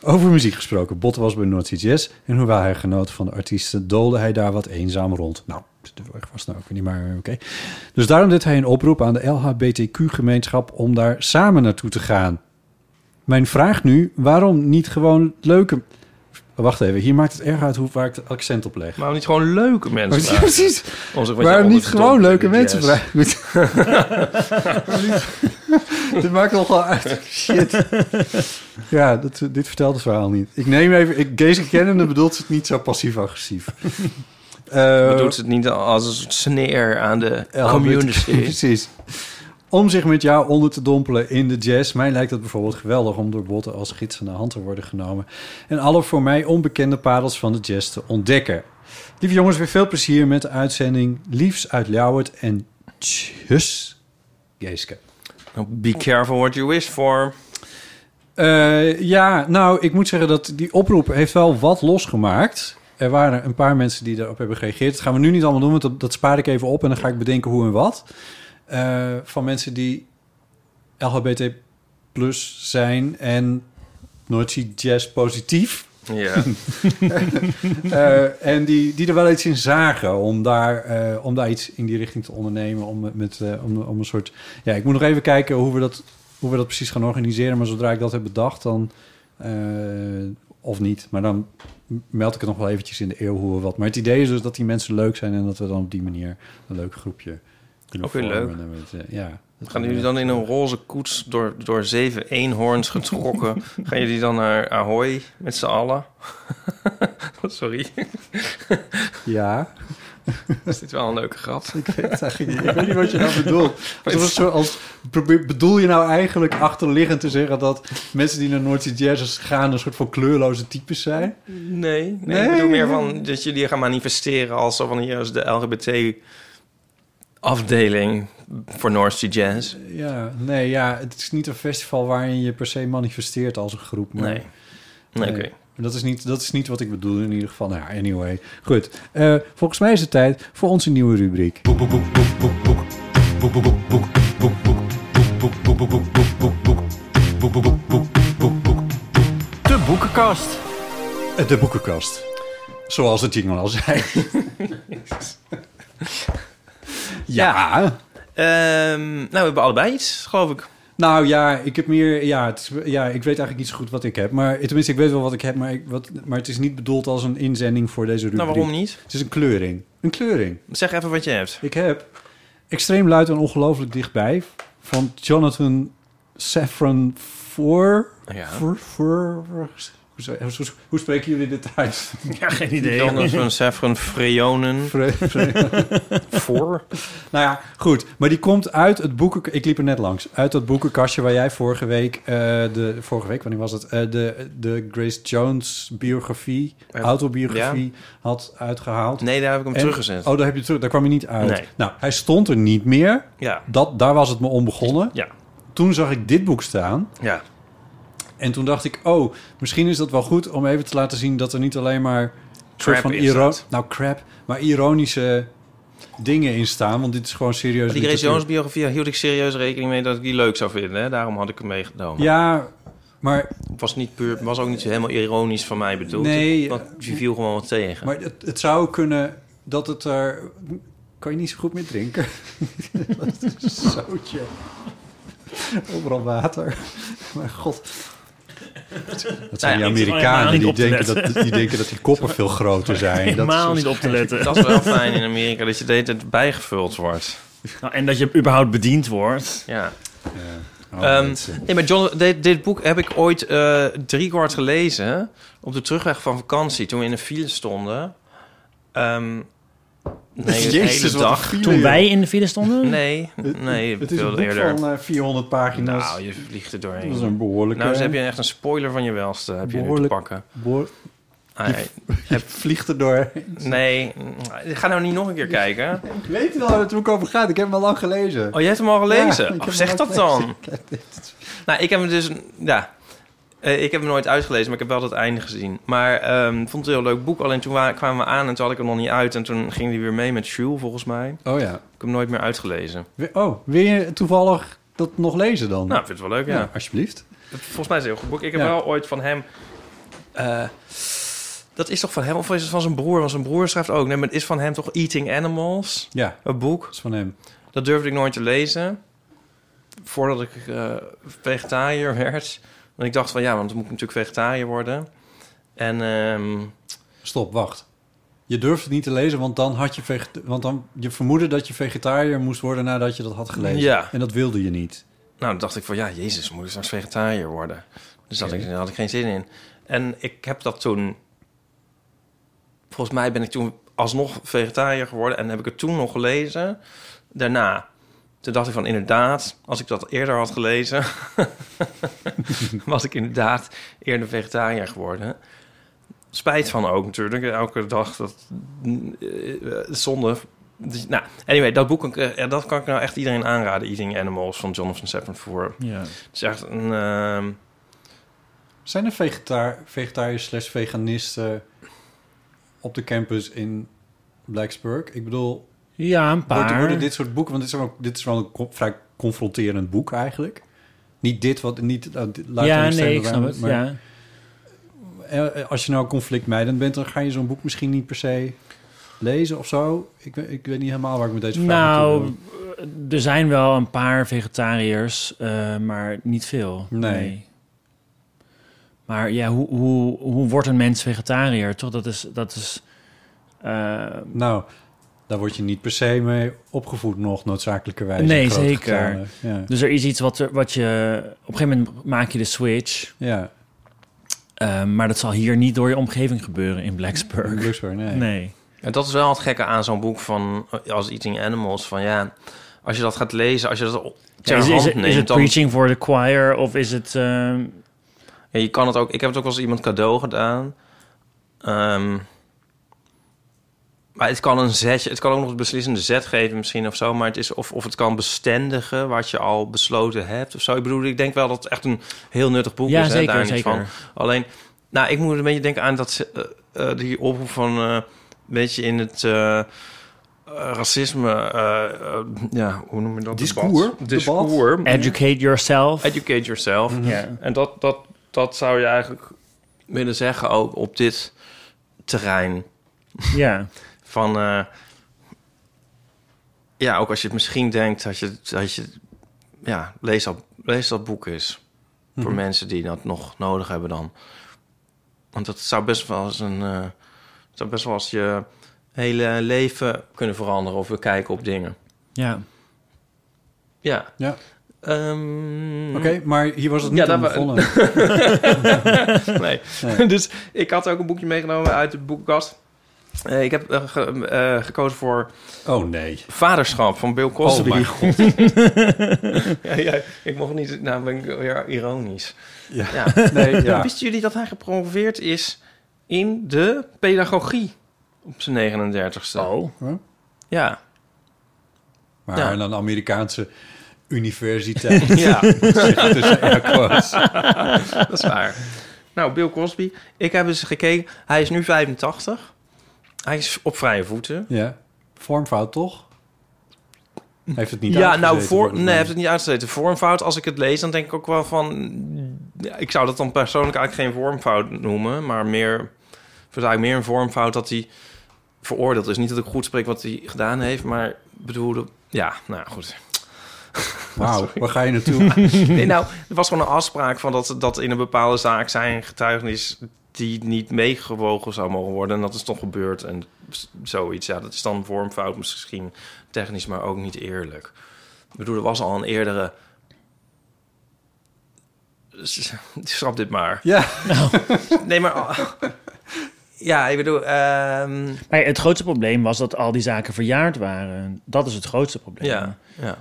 Speaker 2: Over muziek gesproken. Bot was bij North Sea Jazz. En hoewel hij genoot van de artiesten, doolde hij daar wat eenzaam rond. Nou, dat wil ik vast nou ook weer niet, maar oké. Dus daarom deed hij een oproep aan de LHBTQ-gemeenschap om daar samen naartoe te gaan. Mijn vraag nu, waarom niet gewoon leuke... Wacht even, hier maakt het erg uit hoe, waar ik het accent op leg.
Speaker 1: Maar niet gewoon leuke mensen
Speaker 2: Ja, precies.
Speaker 1: vragen? Om zich wat
Speaker 2: Waarom
Speaker 1: je
Speaker 2: niet gewoon
Speaker 1: onderverdomme
Speaker 2: leuke
Speaker 1: doet,
Speaker 2: mensen
Speaker 1: yes.
Speaker 2: vragen? Goed. dit maakt nogal uit. Shit. Ja, dat, dit vertelt het verhaal niet. Ik neem even... Ik, Gees kennende bedoelt het niet zo passief-agressief. Eh,
Speaker 1: Bedoelt het niet als een soort sneer aan de
Speaker 2: LHBTQ,
Speaker 1: community?
Speaker 2: Precies. Om zich met jou onder te dompelen in de jazz. Mij lijkt het bijvoorbeeld geweldig om door botten als gids aan de hand te worden genomen. En alle voor mij onbekende parels van de jazz te ontdekken. Lieve jongens, weer veel plezier met de uitzending. Liefs uit Ljouwert en tjus, Geeske.
Speaker 1: Nou, Be careful what you wish for.
Speaker 2: Eh, ja, nou, ik moet zeggen dat die oproep heeft wel wat losgemaakt. Er waren een paar mensen die daarop hebben gereageerd. Dat gaan we nu niet allemaal doen, want dat, dat spaar ik even op... en dan ga ik bedenken hoe en wat. Eh, van mensen die LGBT plus zijn en Noordzee Jazz positief
Speaker 1: Ja.
Speaker 2: Eh, en die, die er wel iets in zagen om daar, eh, om daar iets in die richting te ondernemen. Om, met- met, eh, om, om een soort. Ja, ik moet nog even kijken hoe we, dat, hoe we dat precies gaan organiseren. Maar zodra ik dat heb bedacht, dan. eh, of niet. Maar dan meld ik het nog wel eventjes in de eeuw hoe we wat. Maar het idee is dus dat die mensen leuk zijn en dat we dan op die manier een leuk groepje kunnen
Speaker 1: Ook weer
Speaker 2: vormen.
Speaker 1: leuk.
Speaker 2: En met, eh, ja.
Speaker 1: Gaan jullie dan in een roze koets door, door zeven eenhoorns getrokken? gaan jullie dan naar Ahoy met z'n allen? Sorry.
Speaker 2: Ja.
Speaker 1: Is dit wel een leuke grap?
Speaker 2: Ik weet het eigenlijk niet. Ik weet niet wat je nou bedoelt. Alsof het zo- als, probeer- bedoel je nou eigenlijk achterliggend te zeggen dat mensen die naar Noordse Jazz gaan een soort van kleurloze types zijn?
Speaker 1: Nee, nee, ik bedoel meer van dat jullie gaan manifesteren als zo van hier is de LGBT afdeling voor North Sea Jazz.
Speaker 2: Ja, nee, ja, het is niet een festival waarin je per se manifesteert als een groep. Maar,
Speaker 1: Nee. Nee, oké.
Speaker 2: Dat is, niet, dat is niet wat ik bedoel in ieder geval. Nou ja, anyway. Goed. Eh, volgens mij is het tijd voor onze nieuwe rubriek.
Speaker 8: De boekenkast.
Speaker 2: De boekenkast. Zoals het jingle al zei. ja.
Speaker 1: nou, we hebben allebei iets, geloof ik.
Speaker 2: Nou ja, ik heb meer. Ja, het is, ja, ik weet eigenlijk niet zo goed wat ik heb. Maar tenminste, ik weet wel wat ik heb. Maar, ik, wat, maar het is niet bedoeld als een inzending voor deze rubriek.
Speaker 1: Nou, waarom niet?
Speaker 2: Het is een kleuring. Een kleuring.
Speaker 1: Zeg even wat je hebt.
Speaker 2: Ik heb Extreem Luid en Ongelooflijk Dichtbij van Jonathan Safran Foer.
Speaker 1: Ja.
Speaker 2: Foer- Foer- Hoe, hoe- hoe spreken jullie dit uit?
Speaker 3: Ja, geen idee.
Speaker 1: Jonathan Saffron Freonen.
Speaker 2: Voor? Nou ja, goed. Maar die komt uit het boeken... Ik liep er net langs. Uit dat boekenkastje waar jij vorige week... eh, de, vorige week, wanneer was het? Eh, de, de Grace Jones biografie,
Speaker 1: Eh,
Speaker 2: autobiografie, had uitgehaald.
Speaker 1: Nee, daar heb ik hem
Speaker 2: En-
Speaker 1: teruggezet.
Speaker 2: Oh, daar heb je terug. Daar kwam je niet uit.
Speaker 1: Nee.
Speaker 2: Nou, hij stond er niet meer.
Speaker 1: Ja.
Speaker 2: Dat, daar was het me onbegonnen.
Speaker 1: Ja.
Speaker 2: Toen zag ik dit boek staan.
Speaker 1: Ja.
Speaker 2: En toen dacht ik, oh, misschien is dat wel goed om even te laten zien dat er niet alleen maar
Speaker 1: Crap is
Speaker 2: iro-
Speaker 1: dat.
Speaker 2: nou crap, maar ironische dingen in staan, want dit is gewoon serieus.
Speaker 1: Die Grace Jones
Speaker 2: literatuur.
Speaker 1: biografie daar hield ik serieus rekening mee dat ik die leuk zou vinden. Hè? Daarom had ik hem meegenomen.
Speaker 2: Ja, maar
Speaker 1: Was, niet puur, was ook niet zo helemaal ironisch van mij bedoeld.
Speaker 2: Nee, eh,
Speaker 1: Want je viel gewoon wat tegen.
Speaker 2: Maar het, het zou kunnen dat het er... Kan je niet zo goed meer drinken? dat is zootje. Overal water. Mijn god. Dat zijn
Speaker 3: Nou ja,
Speaker 2: die
Speaker 1: Oh
Speaker 3: ik zit helemaal
Speaker 2: Amerikanen
Speaker 3: niet
Speaker 2: die
Speaker 3: op te
Speaker 2: denken, dat,
Speaker 3: letten.
Speaker 2: die denken dat die koppen veel groter zijn.
Speaker 3: Helemaal
Speaker 2: dat
Speaker 3: niet op te letten.
Speaker 1: Dat dus- is wel fijn in Amerika dat je de hele tijd bijgevuld wordt.
Speaker 3: Nou, en dat je überhaupt bediend wordt.
Speaker 1: Ja.
Speaker 3: Oh,
Speaker 1: Ehm,
Speaker 3: mensen.
Speaker 1: nee, maar John, dit, dit boek heb ik ooit eh drie kwart gelezen. Op de terugweg van vakantie, toen we in de file stonden. Ehm nee, de
Speaker 2: Jezus,
Speaker 1: hele
Speaker 2: wat een
Speaker 1: dag.
Speaker 2: file, Toen joh. wij in de file stonden?
Speaker 1: Nee,
Speaker 2: Het-
Speaker 1: nee,
Speaker 2: het is een
Speaker 1: veel
Speaker 2: boek
Speaker 1: eerder.
Speaker 2: van eh, 400 pagina's.
Speaker 1: Nou, je vliegt er doorheen.
Speaker 2: Dat is een behoorlijke-
Speaker 1: Nou, dus heb je echt een spoiler van je welste. Heb je nu te
Speaker 2: Behoorlijk-
Speaker 1: pakken.
Speaker 2: behoor-
Speaker 1: Ah,
Speaker 2: je,
Speaker 1: nee.
Speaker 2: je vliegt er doorheen.
Speaker 1: Nee, mm, ga nou niet nog een keer kijken.
Speaker 2: Ik weet wel waar het boek over gaat. Ik heb hem al lang gelezen.
Speaker 1: Oh, jij hebt hem al gelezen?
Speaker 2: Ja, ik
Speaker 1: Oh,
Speaker 2: heb
Speaker 1: zeg
Speaker 2: hem al
Speaker 1: dat dan.
Speaker 2: gelezen.
Speaker 1: Nou, ik heb hem dus... Ja, eh, ik heb hem nooit uitgelezen, maar ik heb wel dat einde gezien. Maar ehm, ik vond het een heel leuk boek. Alleen toen wa- kwamen we aan en toen had ik hem nog niet uit. En toen ging hij weer mee met Jules, volgens mij.
Speaker 2: Oh ja.
Speaker 1: Ik heb hem nooit meer uitgelezen.
Speaker 2: We- Oh, wil je toevallig dat nog lezen dan?
Speaker 1: Nou, ik vind het wel leuk, ja.
Speaker 2: alsjeblieft.
Speaker 1: Volgens mij is het een heel goed boek. Ik heb
Speaker 2: Ja.
Speaker 1: wel ooit van hem... eh, dat is toch van hem? Of is het van zijn broer? Want zijn broer schrijft ook. Nee, maar het is van hem toch Eating Animals?
Speaker 2: Ja.
Speaker 1: Een boek. Dat
Speaker 2: is van hem.
Speaker 1: Dat durfde ik nooit te lezen. Voordat ik eh, vegetariër werd. Want ik dacht van ja, want dan moet ik natuurlijk vegetariër worden. En ehm,
Speaker 2: Stop, wacht. Je durft het niet te lezen, want dan had je vegeta- want dan je vermoedde dat je vegetariër moest worden nadat je dat had gelezen.
Speaker 1: Ja.
Speaker 2: En dat wilde je niet.
Speaker 1: nou, dan dacht ik van ja, Jezus, moet ik straks vegetariër worden? Dus dat ik, daar had ik geen zin in. En ik heb dat toen. Volgens mij ben ik toen alsnog vegetariër geworden en heb ik het toen nog gelezen. Daarna. Toen dacht ik van inderdaad, als ik dat eerder had gelezen, was ik inderdaad eerder vegetariër geworden. Spijt van ook natuurlijk. Elke dag dat eh, eh, zonde. Dus, nou, anyway, dat boek eh, dat kan ik nou echt iedereen aanraden. Eating Animals van Jonathan Safran Foer.
Speaker 2: Ja.
Speaker 1: Het is echt een. ehm,
Speaker 2: Zijn er vegetar vegetariërs slash veganisten op de campus in Blacksburg? Ik bedoel...
Speaker 3: Ja, een paar.
Speaker 2: Worden, worden dit soort boeken, want dit is, ook, dit is wel een co- vrij confronterend boek eigenlijk. Niet dit, wat niet... Uh, dit- laat
Speaker 3: Ja,
Speaker 2: hem
Speaker 3: nee,
Speaker 2: stemmen
Speaker 3: ik
Speaker 2: waar-
Speaker 3: snap het, ja.
Speaker 2: eh, als je nou conflictmijdend bent, dan ga je zo'n boek misschien niet per se lezen of zo. Ik, we- ik weet niet helemaal waar ik met deze vraag naartoe
Speaker 3: Nou,
Speaker 2: wil.
Speaker 3: er zijn wel een paar vegetariërs, eh, maar niet veel.
Speaker 2: Nee.
Speaker 3: Maar ja, hoe, hoe, hoe wordt een mens vegetariër? Toch, dat is... Dat is eh,
Speaker 2: nou, daar word je niet per se mee opgevoed nog noodzakelijkerwijs. in
Speaker 3: Nee,
Speaker 2: grote
Speaker 3: zeker.
Speaker 2: getalen. Ja.
Speaker 3: Dus er is iets wat, er- wat je... Op een gegeven moment maak je de switch. eh,
Speaker 2: Ja.
Speaker 3: maar dat zal hier niet door je omgeving gebeuren in Blacksburg.
Speaker 2: nee.
Speaker 1: En dat is wel het gekke aan zo'n boek van eh, als Eating Animals. Van ja, als je dat gaat lezen, als je dat op- ter
Speaker 3: Ja, is, is-
Speaker 1: hand
Speaker 3: is
Speaker 1: neemt,
Speaker 3: het
Speaker 1: dan-
Speaker 3: preaching for the choir of is het... ehm,
Speaker 1: Ja, je kan het ook. Ik heb het ook wel eens iemand cadeau gedaan. Ehm, maar het kan een zetje, het kan ook nog een beslissende zet geven misschien of zo. Maar het is of, of het kan bestendigen wat je al besloten hebt of zo. Ik bedoel, ik denk wel dat het echt een heel nuttig boek
Speaker 3: Ja,
Speaker 1: is. hè,
Speaker 3: zeker,
Speaker 1: daar niet
Speaker 3: zeker.
Speaker 1: Van. Alleen, nou, ik moet een beetje denken aan dat ze, eh, eh, die oproep van eh, een beetje in het eh, eh, racisme. eh, eh, ja, hoe noem je dat?
Speaker 3: Discours,
Speaker 1: Debat. Discours.
Speaker 3: Educate yourself.
Speaker 1: Educate yourself.
Speaker 3: Ja.
Speaker 1: En dat, dat, dat zou je eigenlijk willen zeggen ook op dit terrein.
Speaker 3: Ja.
Speaker 1: Van, eh, ja, ook als je het misschien denkt dat je, dat je ja, lees dat, lees dat boek eens. Voor
Speaker 3: Mhm.
Speaker 1: mensen die dat nog nodig hebben dan. Want dat zou best wel eens een, eh, zou best wel eens je hele leven kunnen veranderen of we kijken op dingen.
Speaker 3: Ja.
Speaker 1: Ja.
Speaker 2: Ja.
Speaker 1: Ehm,
Speaker 2: Oké, maar hier was het niet
Speaker 1: daar
Speaker 2: aan
Speaker 1: wa-
Speaker 2: begonnen.
Speaker 1: nee.
Speaker 2: Nee.
Speaker 1: Dus ik had ook een boekje meegenomen uit de boekenkast. Eh, ik heb eh, ge- eh, gekozen voor...
Speaker 2: Oh nee. Oh,
Speaker 1: Vaderschap van Bill Cosby.
Speaker 2: mijn
Speaker 1: god. ja, ja, ik mocht niet... Nou ben ik weer ironisch. Nou,
Speaker 2: Ja. Nee, ja.
Speaker 1: Wisten jullie dat hij gepromoveerd is in de pedagogie op zijn 39ste?
Speaker 3: Oh.
Speaker 1: Ja.
Speaker 2: Maar
Speaker 1: Ja.
Speaker 2: aan een Amerikaanse universiteit.
Speaker 1: Ja.
Speaker 2: Zegt tussen air quotes.
Speaker 1: dat is waar. Nou, Bill Cosby. Ik heb eens gekeken. Hij is nu 85. Hij is op vrije voeten.
Speaker 2: Ja. Vormfout toch? Hij Heeft het niet
Speaker 1: ja,
Speaker 2: uitgezeten,
Speaker 1: nou, voor,
Speaker 2: volgens
Speaker 1: nee,
Speaker 2: mij.
Speaker 1: hij heeft het niet uitgezeten. Vormfout, als ik het lees, dan denk ik ook wel van... ja, Ik zou dat dan persoonlijk eigenlijk geen vormfout noemen... maar meer, ik vind het eigenlijk meer een vormfout dat hij veroordeeld is. Niet dat ik goed spreek wat hij gedaan heeft, maar bedoelde... Ja, nou ja, goed.
Speaker 2: Wauw,
Speaker 1: Sorry.
Speaker 2: waar ga je naartoe?
Speaker 1: nee, nou, er was gewoon een afspraak van dat, dat in een bepaalde zaak zijn getuigenis die niet meegewogen zou mogen worden. En dat is toch gebeurd en z- zoiets. Ja, dat is dan vormfout misschien technisch, maar ook niet eerlijk. Ik bedoel, er was al een eerdere... S- Schrap dit maar.
Speaker 2: Ja.
Speaker 1: Nee, maar... Ja, ik bedoel... ehm,
Speaker 3: Maar ja, het grootste probleem was dat al die zaken verjaard waren. Dat is het grootste probleem.
Speaker 1: Ja, ja.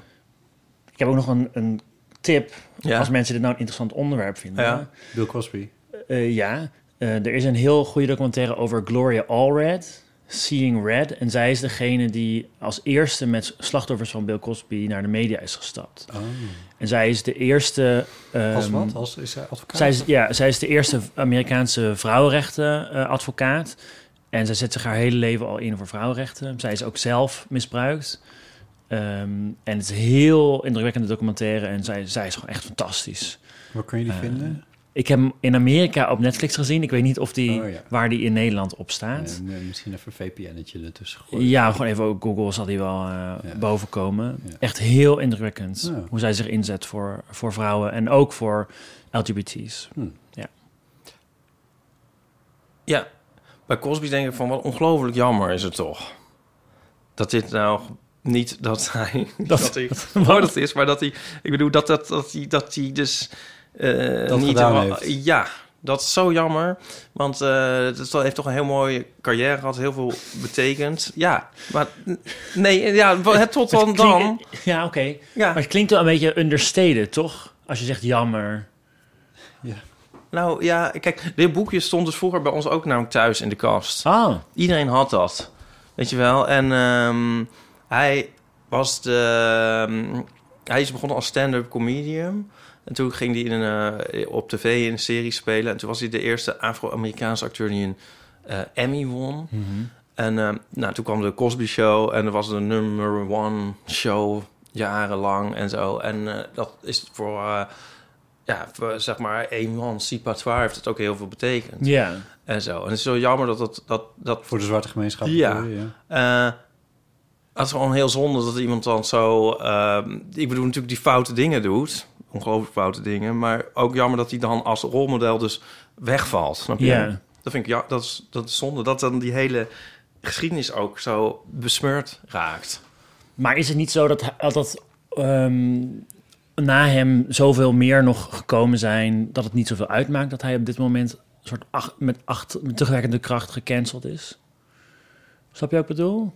Speaker 3: Ik heb ook nog een, een tip.
Speaker 1: Ja.
Speaker 3: Als mensen dit nou een interessant onderwerp vinden.
Speaker 1: Ja.
Speaker 2: Bill Cosby.
Speaker 3: Eh, ja. Eh, er is een heel goede documentaire over Gloria Allred. Seeing Red. En zij is degene die als eerste met slachtoffers van Bill Cosby naar de media is gestapt.
Speaker 2: Oh.
Speaker 3: En zij is de eerste. ehm,
Speaker 2: Als wat? Als, is hij advocaat?
Speaker 3: Zij is, ja, zij is de eerste Amerikaanse vrouwenrechtenadvocaat. en zij zet zich haar hele leven al in voor vrouwenrechten. Zij is ook zelf misbruikt. Ehm, en het is een heel indrukwekkende documentaire. En zij, zij is gewoon echt fantastisch.
Speaker 2: Waar kun je die
Speaker 3: Eh,
Speaker 2: vinden?
Speaker 3: Ik heb hem in Amerika op Netflix gezien. Ik weet niet of die,
Speaker 2: Oh, ja.
Speaker 3: waar die in Nederland op staat.
Speaker 2: Nee, nee, misschien even een VPN'tje ertussen gooien.
Speaker 3: Ja, gewoon even op Google zal die wel eh, bovenkomen. Echt heel indrukwekkend
Speaker 2: Ja.
Speaker 3: hoe zij zich inzet voor, voor vrouwen en ook voor LGBT's. Ja.
Speaker 1: Ja, bij Cosby denk ik van wat ongelooflijk jammer is het toch. Dat dit nou niet dat hij dat, hij veroordeeld is, maar dat hij, ik bedoel dat dat dat hij dat hij dus eh,
Speaker 2: Dat
Speaker 1: niet
Speaker 2: gedaan
Speaker 1: helemaal-
Speaker 2: heeft.
Speaker 1: ja. Dat is zo jammer, want eh het is- dat heeft toch een heel mooie carrière gehad, heel veel betekend. Ja, maar n- nee, ja, wa- het tot dan
Speaker 3: Het klinkt-
Speaker 1: dan.
Speaker 3: Ja, oké. Maar het klinkt wel een beetje understated, toch? Als je zegt jammer.
Speaker 1: Nou ja, kijk, dit boekje stond dus vroeger bij ons ook namelijk thuis in de kast. Iedereen had dat, weet je wel. En ehm, hij was de... ehm, hij is begonnen als stand-up comedian. En toen ging hij in een, eh, op tv in een serie spelen. En toen was hij de eerste Afro-Amerikaanse acteur die een eh, Emmy won.
Speaker 3: Mhm.
Speaker 1: En ehm, nou, toen kwam de Cosby Show en er was de number one show jarenlang en zo. En eh, dat is voor eh, ja, we- zeg maar, emancipatoire heeft het ook heel veel betekend.
Speaker 3: Ja.
Speaker 1: En zo. En het is zo jammer dat dat... dat, dat
Speaker 2: Voor de zwarte gemeenschap.
Speaker 1: Ja.
Speaker 2: bedoel je, ja.
Speaker 1: Eh, het is gewoon heel zonde dat iemand dan zo... ehm, ik bedoel natuurlijk die foute dingen doet. Ongelooflijk foute dingen. Maar ook jammer dat hij dan als rolmodel dus wegvalt. Snap je?
Speaker 3: Ja.
Speaker 1: Dat vind ik ja, dat is, dat is zonde. Dat dan die hele geschiedenis ook zo besmeurd raakt.
Speaker 3: Maar is het niet zo dat, hij- dat ehm, na hem zoveel meer nog gekomen zijn... dat het niet zoveel uitmaakt dat hij op dit moment... een soort ach- met, acht, met terugwerkende kracht gecanceld is? Snap je wat ik bedoel?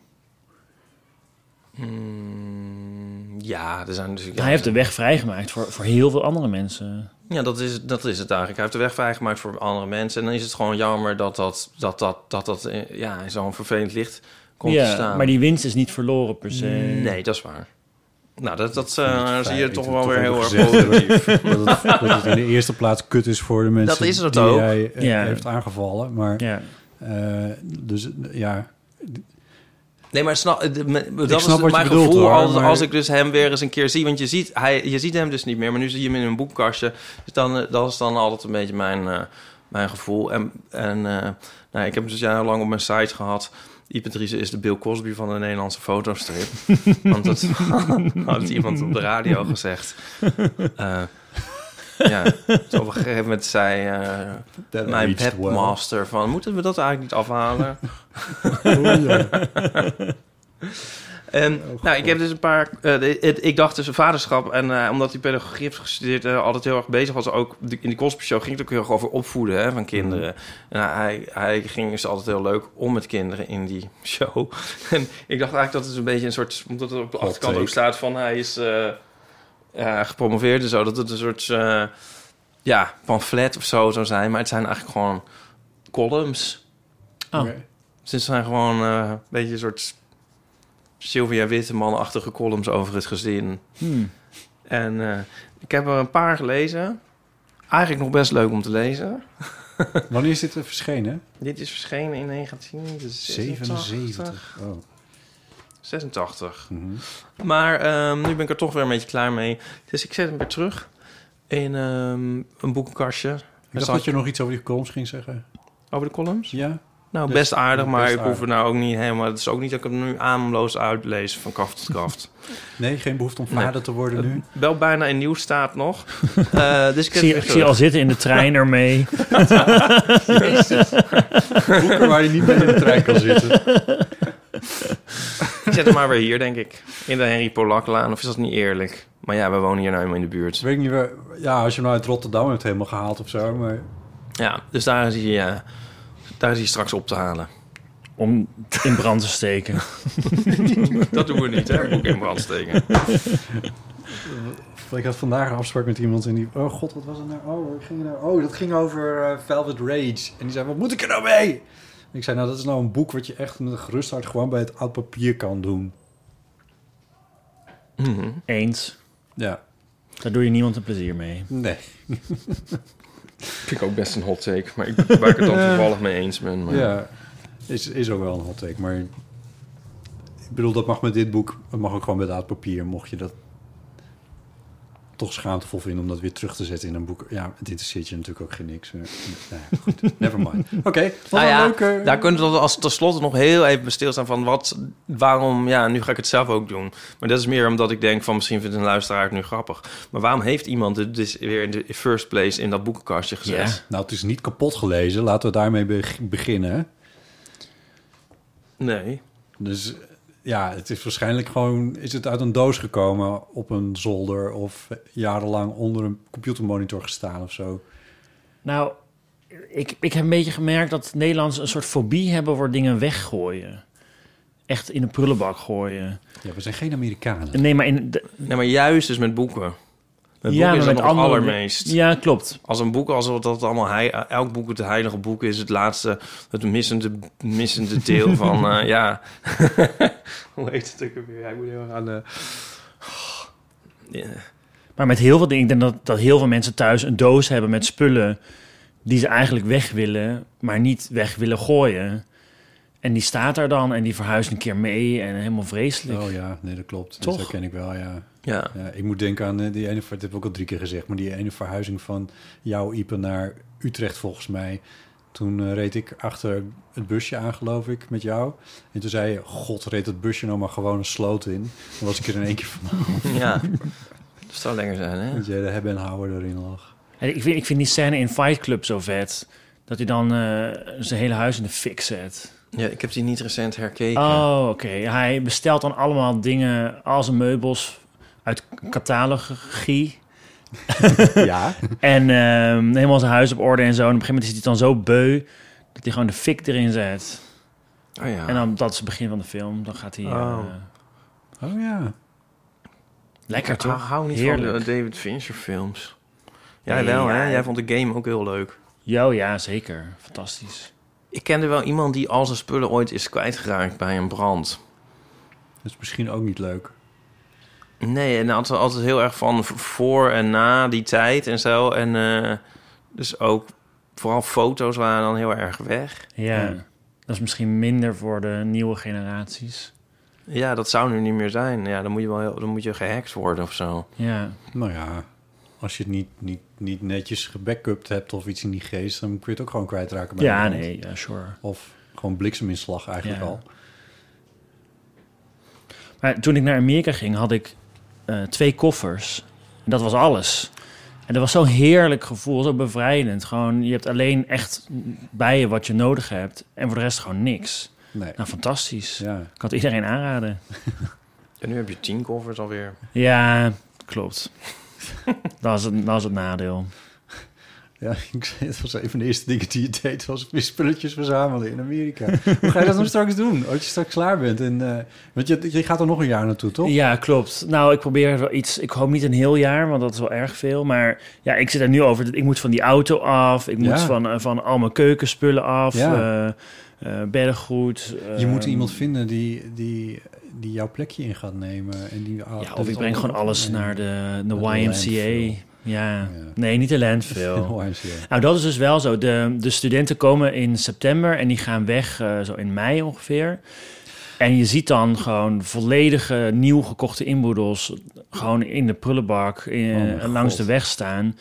Speaker 1: Mm, ja, er zijn natuurlijk...
Speaker 3: hij heeft de weg vrijgemaakt voor, voor heel veel andere mensen.
Speaker 1: Ja, dat is, dat is het eigenlijk. Hij heeft de weg vrijgemaakt voor andere mensen. En dan is het gewoon jammer dat dat, dat, dat, dat, dat eh, ja, in zo'n vervelend licht komt te staan.
Speaker 3: maar die winst is niet verloren per se.
Speaker 1: Nee, dat is waar. Nou, dat, dat eh, zie je
Speaker 2: feit
Speaker 1: toch
Speaker 2: dat
Speaker 1: wel
Speaker 2: het
Speaker 1: weer
Speaker 2: toch
Speaker 1: heel
Speaker 2: even
Speaker 1: erg positief.
Speaker 2: gezegd wordt. dat, het, dat het in de eerste plaats kut is voor de mensen
Speaker 1: Dat is het
Speaker 2: die
Speaker 1: ook.
Speaker 2: hij eh,
Speaker 1: Ja.
Speaker 2: heeft aangevallen. Maar,
Speaker 3: ja.
Speaker 2: dus eh, ja,
Speaker 1: Nee, maar snap, eh, de- me- dat
Speaker 2: snap
Speaker 1: is
Speaker 2: wat je
Speaker 1: mijn
Speaker 2: bedoelt,
Speaker 1: gevoel
Speaker 2: hoor,
Speaker 1: als,
Speaker 2: maar-
Speaker 1: als ik dus hem weer eens een keer zie. Want je ziet, hij, je ziet hem dus niet meer, maar nu zie je hem in een boekkastje. Dus dan, eh, dat is dan altijd een beetje mijn, eh, mijn gevoel. En, en eh, nou, ik heb hem dus jarenlang op mijn site gehad. Ipe Driessen is de Bill Cosby van de Nederlandse fotostrip. Want dat had iemand op de radio gezegd. Eh, ja, dus op een gegeven moment zei eh,
Speaker 2: That
Speaker 1: mijn
Speaker 2: aged well.
Speaker 1: webmaster van... moeten we dat eigenlijk niet afhalen?
Speaker 2: Oh, ja.
Speaker 1: En, nou, ik heb dus een paar. eh, de- het- ik dacht dus vaderschap. En eh, omdat hij pedagogie heeft gestudeerd, eh, altijd heel erg bezig was. Ook de- in de Cosby Show ging het ook heel erg over opvoeden hè, van kinderen. En hij, hij ging dus altijd heel leuk om met kinderen in die show. En ik dacht eigenlijk dat het een beetje een soort. Omdat het op de achterkant
Speaker 3: take.
Speaker 1: ook staat van hij is eh, ja, gepromoveerd en zo. Dat het een soort. eh, ja, pamflet of zo zou zijn. Maar het zijn eigenlijk gewoon columns.
Speaker 3: Oh.
Speaker 2: Oké.
Speaker 1: Dus het zijn gewoon eh, een beetje een soort Sylvia Witteman-achtige columns over het gezin.
Speaker 3: Hmm.
Speaker 1: En eh, ik heb er een paar gelezen. Eigenlijk nog best leuk om te lezen.
Speaker 2: wanneer is dit er verschenen?
Speaker 1: Dit is verschenen in dus 1977.
Speaker 2: 77. Oh. mhm.
Speaker 1: 86. Maar ehm, nu ben ik er toch weer een beetje klaar mee. Dus ik zet hem weer terug in ehm, een boekenkastje.
Speaker 2: Ik dacht dat je nog iets over die columns ging zeggen.
Speaker 1: Over de columns?
Speaker 2: Ja.
Speaker 1: Nou,
Speaker 2: Dus-
Speaker 1: best aardig, maar
Speaker 2: best
Speaker 1: ik hoef er nou ook niet helemaal... Het is ook niet dat ik hem nu ademloos uitlees van kaft tot kaft.
Speaker 2: Nee, geen behoefte om
Speaker 1: Nee.
Speaker 2: vader te worden nu.
Speaker 1: Het Wel bijna in nieuw staat nog. Eh, dus ik,
Speaker 3: Ik zie, ik zie je al zitten in de trein ermee.
Speaker 1: Jezus.
Speaker 2: Boeken waar je niet bij in de trein kan zitten.
Speaker 1: Ik zet hem maar weer hier, denk ik. In de Henry Polaklaan. Of is dat niet eerlijk? Maar ja, we wonen hier nou helemaal in de buurt.
Speaker 2: Weet ik niet waar... Ja, als je hem nou uit Rotterdam hebt helemaal gehaald of zo, maar...
Speaker 1: Ja, dus daar is hij, eh, daar is hij straks op te halen.
Speaker 3: Om in brand te steken.
Speaker 1: dat doen we niet, hè? Boek in brand steken.
Speaker 2: Ik had vandaag een afspraak met iemand en die... Oh god, wat was het nou? Oh, waar ging het nou? Oh, dat ging over eh, Velvet Rage. En die zei, wat moet ik er nou mee? En ik zei, nou, dat is nou een boek wat je echt met een gerust hart gewoon bij het oud papier kan doen.
Speaker 3: Eens.
Speaker 2: Ja.
Speaker 3: Daar doe je niemand een plezier mee.
Speaker 2: Nee.
Speaker 1: Vind ik ook best een hot take. Maar ik, waar ik het dan toevallig mee eens ben. Maar...
Speaker 2: Ja, is, is ook wel een hot take, maar... Ik bedoel, dat mag met dit boek, het mag ook gewoon met oud papier, mocht je dat toch schaamtevol vinden om dat weer terug te zetten in een boek. Ja, het interesseert je natuurlijk ook geen niks. Eh, Nou, ja, goed, never mind. Oké, wat
Speaker 1: Nou
Speaker 2: een
Speaker 1: ja,
Speaker 2: leuke...
Speaker 1: daar kunnen we tot als tenslotte nog heel even bij stilstaan van wat, waarom, ja, nu ga ik het zelf ook doen. Maar dat is meer omdat ik denk van misschien vindt een luisteraar het nu grappig. Maar waarom heeft iemand het dus weer in de first place in dat boekenkastje gezet?
Speaker 2: Nou, het is niet kapot gelezen. Laten we daarmee beg- beginnen.
Speaker 1: Nee.
Speaker 2: Dus eh, ja, het is waarschijnlijk gewoon... Is het uit een doos gekomen op een zolder... of jarenlang onder een computermonitor gestaan of zo?
Speaker 3: Nou, ik, ik heb een beetje gemerkt dat Nederlanders een soort fobie hebben voor dingen weggooien. Echt in de prullenbak gooien.
Speaker 2: Ja, we zijn geen Amerikanen.
Speaker 3: Nee, maar in... de-
Speaker 1: Nee, maar juist dus met boeken. Met
Speaker 3: Ja,
Speaker 1: boeken
Speaker 3: maar
Speaker 1: is
Speaker 3: met
Speaker 1: dat nog het
Speaker 3: andere-
Speaker 1: allermeest.
Speaker 3: Ja, klopt.
Speaker 1: Als een boek, alsof dat allemaal hei- elk boek het heilige boek is, het laatste, het missende, missende deel van, eh, ja. Hoe heet het ook weer? Ja, ik moet heel erg aan eh, de... Ja.
Speaker 3: Maar met heel veel dingen... Ik denk dat, dat heel veel mensen thuis een doos hebben met spullen... die ze eigenlijk weg willen, maar niet weg willen gooien. En die staat daar dan en die verhuist een keer mee en helemaal vreselijk.
Speaker 2: Oh ja, nee, dat klopt.
Speaker 3: Toch?
Speaker 2: Dat herken ik wel, ja.
Speaker 1: Ja.
Speaker 2: Ik moet denken aan eh, die ene, ver- dat heb ik ook al drie keer gezegd, maar die ene verhuizing van jouw Ipe naar Utrecht volgens mij. Toen eh, reed ik achter het busje aan, geloof ik, met jou. En toen zei je, god, reed dat busje nou maar gewoon een sloot in. Dan was ik er in één keer van.
Speaker 1: Ja. Dat zou lekker zijn, hè?
Speaker 2: Dat jij de hebben en houden erin lag.
Speaker 3: En ik, vind, ik vind die scène in Fight Club zo vet. Dat hij dan eh, zijn hele huis in de fik zet.
Speaker 1: Ja, ik heb die niet recent herkeken.
Speaker 3: Oh, oké. Hij bestelt dan allemaal dingen, al zijn meubels uit catalogie.
Speaker 2: ja.
Speaker 3: En ehm, helemaal zijn huis op orde en zo. En op een gegeven moment is hij dan zo beu dat hij gewoon de fik erin zet.
Speaker 1: Oh ja.
Speaker 3: En dan, dat is het begin van de film. Dan gaat hij... eh,
Speaker 1: Oh.
Speaker 2: Oh ja.
Speaker 3: lekker
Speaker 1: Ik
Speaker 3: toch?
Speaker 1: hou niet
Speaker 3: Heerlijk.
Speaker 1: van de David Fincher films. Jij
Speaker 3: Nee,
Speaker 1: wel, hè?
Speaker 3: ja.
Speaker 1: Jij vond de game ook heel leuk.
Speaker 3: Jo, ja, zeker. Fantastisch.
Speaker 1: Ik kende wel iemand die al zijn spullen ooit is kwijtgeraakt bij een brand.
Speaker 2: Dat is misschien ook niet leuk.
Speaker 1: Nee, en altijd, altijd heel erg van v- voor en na die tijd en zo. En eh, dus ook vooral foto's waren dan heel erg weg.
Speaker 3: Ja. Dat is misschien minder voor de nieuwe generaties.
Speaker 1: Ja, dat zou nu niet meer zijn. Ja, dan moet je wel heel, dan moet je gehackt worden of zo.
Speaker 3: Ja.
Speaker 2: Nou ja, als je het niet, niet, niet netjes gebackupt hebt of iets in die geest... dan kun je het ook gewoon kwijtraken bij
Speaker 3: Ja,
Speaker 2: iemand.
Speaker 3: nee, ja, sure.
Speaker 2: Of gewoon blikseminslag eigenlijk
Speaker 3: Ja.
Speaker 2: al.
Speaker 3: Maar toen ik naar Amerika ging, had ik eh, twee koffers. En dat was alles. En dat was zo'n heerlijk gevoel, zo bevrijdend. Gewoon, je hebt alleen echt bij je wat je nodig hebt. En voor de rest gewoon niks.
Speaker 2: Nee.
Speaker 3: Nou, fantastisch.
Speaker 2: Ja.
Speaker 3: Ik kan het iedereen aanraden.
Speaker 1: En nu heb je tien covers alweer.
Speaker 3: ja, klopt. dat, is het, dat is het nadeel.
Speaker 2: Ja, ik zei, het was een van de eerste dingen die je deed, was weer spulletjes verzamelen in Amerika. Hoe ga je dat nou straks doen, als je straks klaar bent? En, eh, want je, je gaat er nog een jaar naartoe, toch?
Speaker 3: Ja, klopt. Nou, ik probeer wel iets. Ik hoop niet een heel jaar, want dat is wel erg veel. Maar ja, ik zit er nu over. dat Ik moet van die auto af. Ik moet
Speaker 2: Ja.
Speaker 3: van, eh, van al mijn keukenspullen af.
Speaker 2: Ja.
Speaker 3: eh, eh, beddengoed.
Speaker 2: Je moet
Speaker 3: ehm,
Speaker 2: iemand vinden die, die, die jouw plekje in gaat nemen. En die,
Speaker 3: Ja, of ik breng gewoon alles naar de, de YMCA. Ja. nee, niet de landfill.
Speaker 2: YMCA.
Speaker 3: Nou, dat is dus wel zo. De, de studenten komen in september en die gaan weg eh, zo in mei ongeveer. En je ziet dan gewoon volledige nieuw gekochte inboedels gewoon in de prullenbak eh,
Speaker 2: Oh mijn
Speaker 3: langs
Speaker 2: God.
Speaker 3: de weg staan.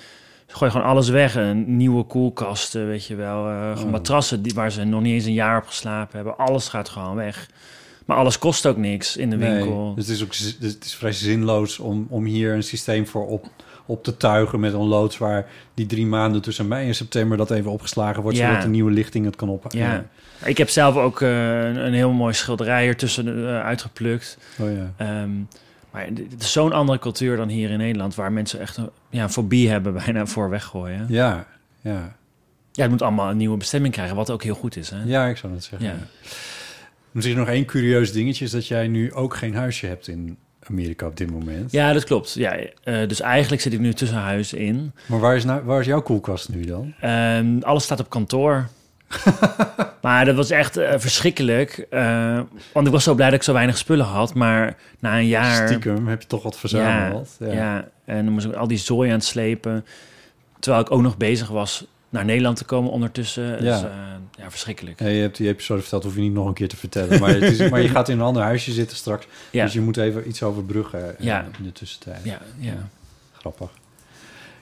Speaker 3: Ze gooien gewoon alles weg. En nieuwe koelkasten, weet je wel. eh, gewoon
Speaker 2: Oh.
Speaker 3: Matrassen die, waar ze nog niet eens een jaar op geslapen hebben. Alles gaat gewoon weg. Maar alles kost ook niks in de winkel.
Speaker 2: Nee, dus het is ook z- dus het is vrij zinloos om, om hier een systeem voor op, op te tuigen met een loods waar die drie maanden tussen mei en september dat even opgeslagen wordt,
Speaker 3: Ja.
Speaker 2: zodat de nieuwe lichting het kan oppakken.
Speaker 3: Ja. Ik heb zelf ook eh, een, een heel mooi schilderij ertussen eh, uitgeplukt.
Speaker 2: Oh ja.
Speaker 3: Ehm, maar dit dit is zo'n andere cultuur dan hier in Nederland... waar mensen echt een, ja, een fobie hebben bijna voor weggooien.
Speaker 2: Ja, ja.
Speaker 3: Ja, het moet allemaal een nieuwe bestemming krijgen, wat ook heel goed is. Hè?
Speaker 2: Ja, ik zou dat zeggen.
Speaker 3: Ja.
Speaker 2: ja. Misschien nog één curieus dingetje is dat jij nu ook geen huisje hebt in Amerika op dit moment.
Speaker 3: Ja, dat klopt. Ja, eh, dus eigenlijk zit ik nu tussen huis in.
Speaker 2: Maar waar is, nou, waar is jouw koelkast nu dan?
Speaker 3: Ehm, alles staat op kantoor. maar dat was echt eh, verschrikkelijk. eh, want ik was zo blij dat ik zo weinig spullen had. Maar na een jaar...
Speaker 2: Stiekem heb je toch wat verzameld.
Speaker 3: Ja, ja. en dan moest ik al die zooi aan het slepen. Terwijl ik ook nog bezig was naar Nederland te komen ondertussen. Dus,
Speaker 2: Ja.
Speaker 3: eh, ja verschrikkelijk.
Speaker 2: Ja, je hebt die episode verteld, hoef je niet nog een keer te vertellen. Maar, het is, maar je gaat in een ander huisje zitten straks.
Speaker 3: Ja.
Speaker 2: Dus je moet even iets overbruggen eh,
Speaker 3: Ja.
Speaker 2: in de tussentijd.
Speaker 3: Ja, ja.
Speaker 2: Grappig.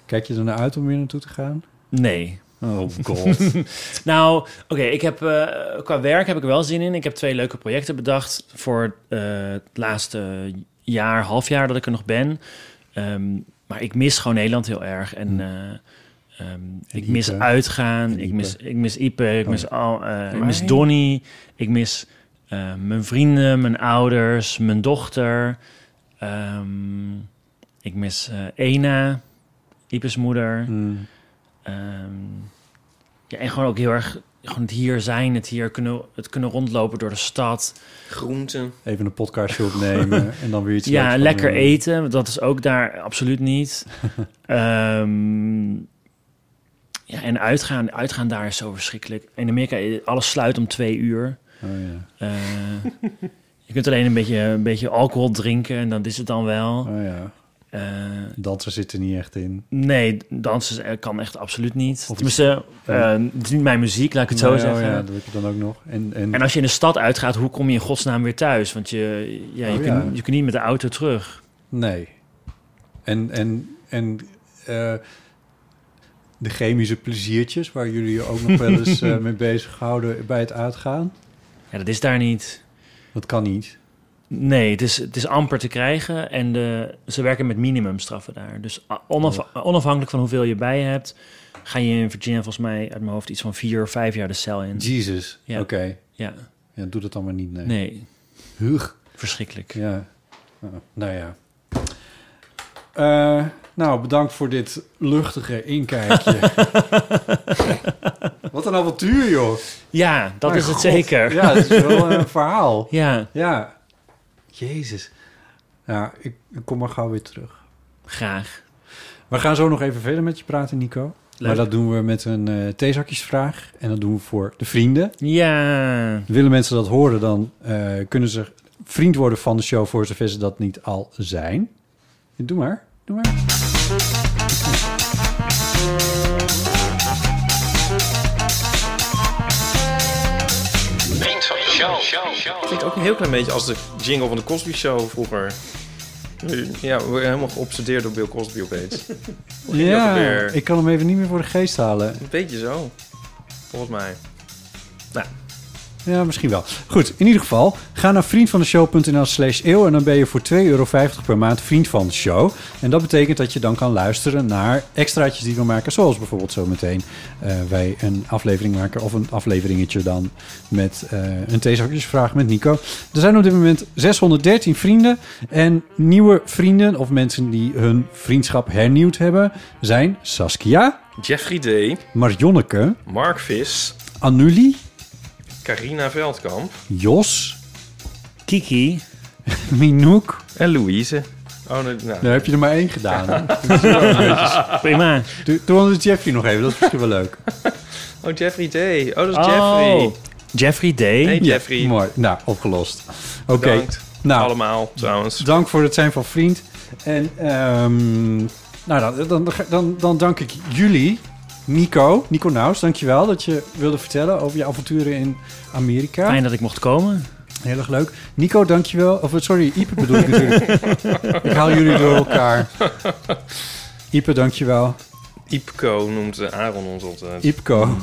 Speaker 2: Kijk je er naar uit om weer naartoe te gaan?
Speaker 3: Nee.
Speaker 2: Oh god.
Speaker 3: nou, oké, ik heb eh, qua werk heb ik er wel zin in. Ik heb twee leuke projecten bedacht voor eh, het laatste jaar, half jaar dat ik er nog ben. Ehm, maar ik mis gewoon Nederland heel erg. En, eh, ehm, ik mis
Speaker 2: Ipe.
Speaker 3: uitgaan. Ik mis, ik mis Ipe. Ik
Speaker 2: Oh.
Speaker 3: mis al. eh, ik
Speaker 2: Mij?
Speaker 3: mis Donny. Ik mis eh, mijn vrienden, mijn ouders, mijn dochter. Ehm, ik mis eh, Ena, Ipe's
Speaker 2: Hm.
Speaker 3: moeder.
Speaker 2: Hmm.
Speaker 3: Ehm, ja, en gewoon ook heel erg gewoon het hier zijn, het hier kunnen, het kunnen rondlopen door de stad.
Speaker 1: Groenten.
Speaker 2: Even een podcastje opnemen en dan weer iets leuks
Speaker 3: Ja,
Speaker 2: gaan
Speaker 3: lekker
Speaker 2: doen.
Speaker 3: eten, want dat is ook daar absoluut niet. Ehm, ja, en uitgaan, uitgaan daar is zo verschrikkelijk. In Amerika, eh, alles sluit om twee uur.
Speaker 2: Oh ja.
Speaker 3: Eh, je kunt alleen een beetje, een beetje alcohol drinken en dan is het dan wel. Eh,
Speaker 2: Oh ja. Dansen zitten niet echt in.
Speaker 3: Nee, dansen eh, kan echt absoluut niet. Tenminste, eh, het is niet mijn muziek, laat ik het
Speaker 2: Nee,
Speaker 3: zo
Speaker 2: oh
Speaker 3: zeggen.
Speaker 2: ja, dat heb ik dan ook nog. En, en,
Speaker 3: En als je in de stad uitgaat, hoe kom je in godsnaam weer thuis? Want je, ja, je,
Speaker 2: Oh,
Speaker 3: kunt,
Speaker 2: ja.
Speaker 3: je kunt niet met de auto terug.
Speaker 2: Nee. En, en, en eh, de chemische pleziertjes waar jullie je ook nog wel eens eh, mee bezighouden bij het uitgaan?
Speaker 3: Ja, dat is daar niet.
Speaker 2: Dat kan niet.
Speaker 3: Nee, het is, het is amper te krijgen. En de, ze werken met minimumstraffen daar. Dus a- onaf-
Speaker 2: Oh.
Speaker 3: onafhankelijk van hoeveel je bij je hebt... ga je in Virginia volgens mij uit mijn hoofd iets van vier of vijf jaar de cel in.
Speaker 2: Jezus,
Speaker 3: Ja.
Speaker 2: oké.
Speaker 3: Ja.
Speaker 2: Ja, doe dat dan maar niet, nee.
Speaker 3: Nee.
Speaker 2: Hug.
Speaker 3: Verschrikkelijk.
Speaker 2: Ja. Ah, nou ja. Eh, nou, bedankt voor dit luchtige inkijkje. Wat een avontuur, joh.
Speaker 3: Ja, dat
Speaker 2: Mijn
Speaker 3: is het
Speaker 2: god.
Speaker 3: zeker.
Speaker 2: Ja, het is wel een verhaal.
Speaker 3: Ja.
Speaker 2: Ja. Jezus. Ja, ik, ik kom maar gauw weer terug.
Speaker 3: Graag.
Speaker 2: We gaan zo nog even verder met je praten, Nico.
Speaker 3: Leuk.
Speaker 2: Maar dat doen we met een eh theezakjesvraag. En dat doen we voor de vrienden.
Speaker 3: Ja.
Speaker 2: Willen mensen dat horen, dan eh, kunnen ze vriend worden van de show... voor zover ze dat niet al zijn. Doe maar. Doe maar.
Speaker 1: Vriend van de show. Klinkt ook een heel klein beetje als de jingle van de Cosby Show vroeger. Ja, we worden helemaal geobsedeerd door Bill Cosby opeens. Hoe ging dat ook
Speaker 2: Ja,
Speaker 1: weer?
Speaker 2: ik kan hem even niet meer voor de geest halen.
Speaker 1: Een beetje zo, volgens mij. Nou,
Speaker 2: Ja, misschien wel. Goed, in ieder geval, ga naar vriendvandeshow.nl slash eeuw... en dan ben je voor 2,50 euro per maand vriend van de show. En dat betekent dat je dan kan luisteren naar extraatjes die we maken... zoals bijvoorbeeld zometeen eh, wij een aflevering maken... of een afleveringetje dan met eh, een theezakjesvraag met Nico. Er zijn op dit moment 613 vrienden... en nieuwe vrienden of mensen die hun vriendschap hernieuwd hebben... zijn Saskia,
Speaker 1: Jeffrey D.,
Speaker 2: Marjonneke,
Speaker 1: Mark Vis,
Speaker 2: Anuli,
Speaker 1: Carina Veldkamp
Speaker 2: Jos...
Speaker 3: Kiki.
Speaker 2: Minouk.
Speaker 1: en Louise. Oh, nee, nou.
Speaker 2: Daar heb je er maar één gedaan. Ah.
Speaker 3: Prima.
Speaker 2: Doe, doe anders Jeffrey nog even, dat is misschien wel leuk.
Speaker 1: Oh, Jeffrey D. Oh, dat is Jeffrey.
Speaker 3: Jeffrey D.
Speaker 1: Hey, Jeffrey.
Speaker 2: Ja, mooi, nou, opgelost. Oké,
Speaker 1: Bedankt.
Speaker 2: nou,
Speaker 1: Allemaal, trouwens.
Speaker 2: dank voor het zijn van vriend. En ehm, nou, dan, dan, dan, dan dank ik jullie, Nico, Nico Naus, dankjewel dat je wilde vertellen over je avonturen in Amerika.
Speaker 3: Fijn dat ik mocht komen.
Speaker 2: Heel erg leuk. Nico, dankjewel. Of sorry, Ipe bedoel ik natuurlijk. ik haal jullie door elkaar. Ipe, dankjewel.
Speaker 1: Ipco noemt eh, Aaron ons altijd.
Speaker 2: Ipco.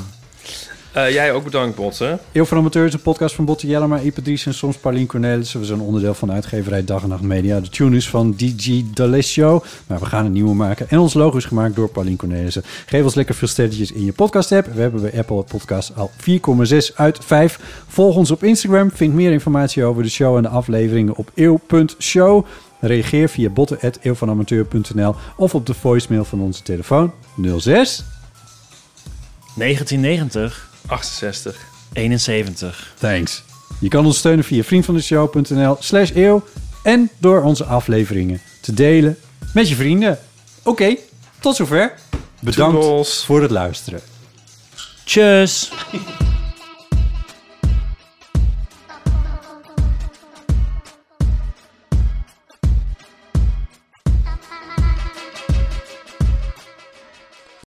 Speaker 1: Eh, jij ook bedankt, Botten.
Speaker 2: Eeuw van Amateur is een podcast van Botte Jellema, Ipe Dries en soms Paulien Cornelissen. We zijn onderdeel van de uitgeverij Dag en Nacht Media. De tune is van DJ D'Alessio, maar we gaan een nieuwe maken. En ons logo is gemaakt door Paulien Cornelissen. Geef ons lekker veel sterretjes in je podcast-app. We hebben bij Apple Podcast al 4,6 uit 5. Volg ons op Instagram. Vind meer informatie over de show en de afleveringen op eeuw.show. Reageer via botten.eeuwvanamateur.nl of op de voicemail van onze telefoon 06.
Speaker 3: 1990.
Speaker 1: 68.
Speaker 3: 71.
Speaker 2: Thanks. Je kan ons steunen via vriendvandeshow.nl slash eeuw en door onze afleveringen te delen met je vrienden. Oké, tot zover. Bedankt
Speaker 1: Toedels.
Speaker 2: voor het luisteren.
Speaker 3: Tjus.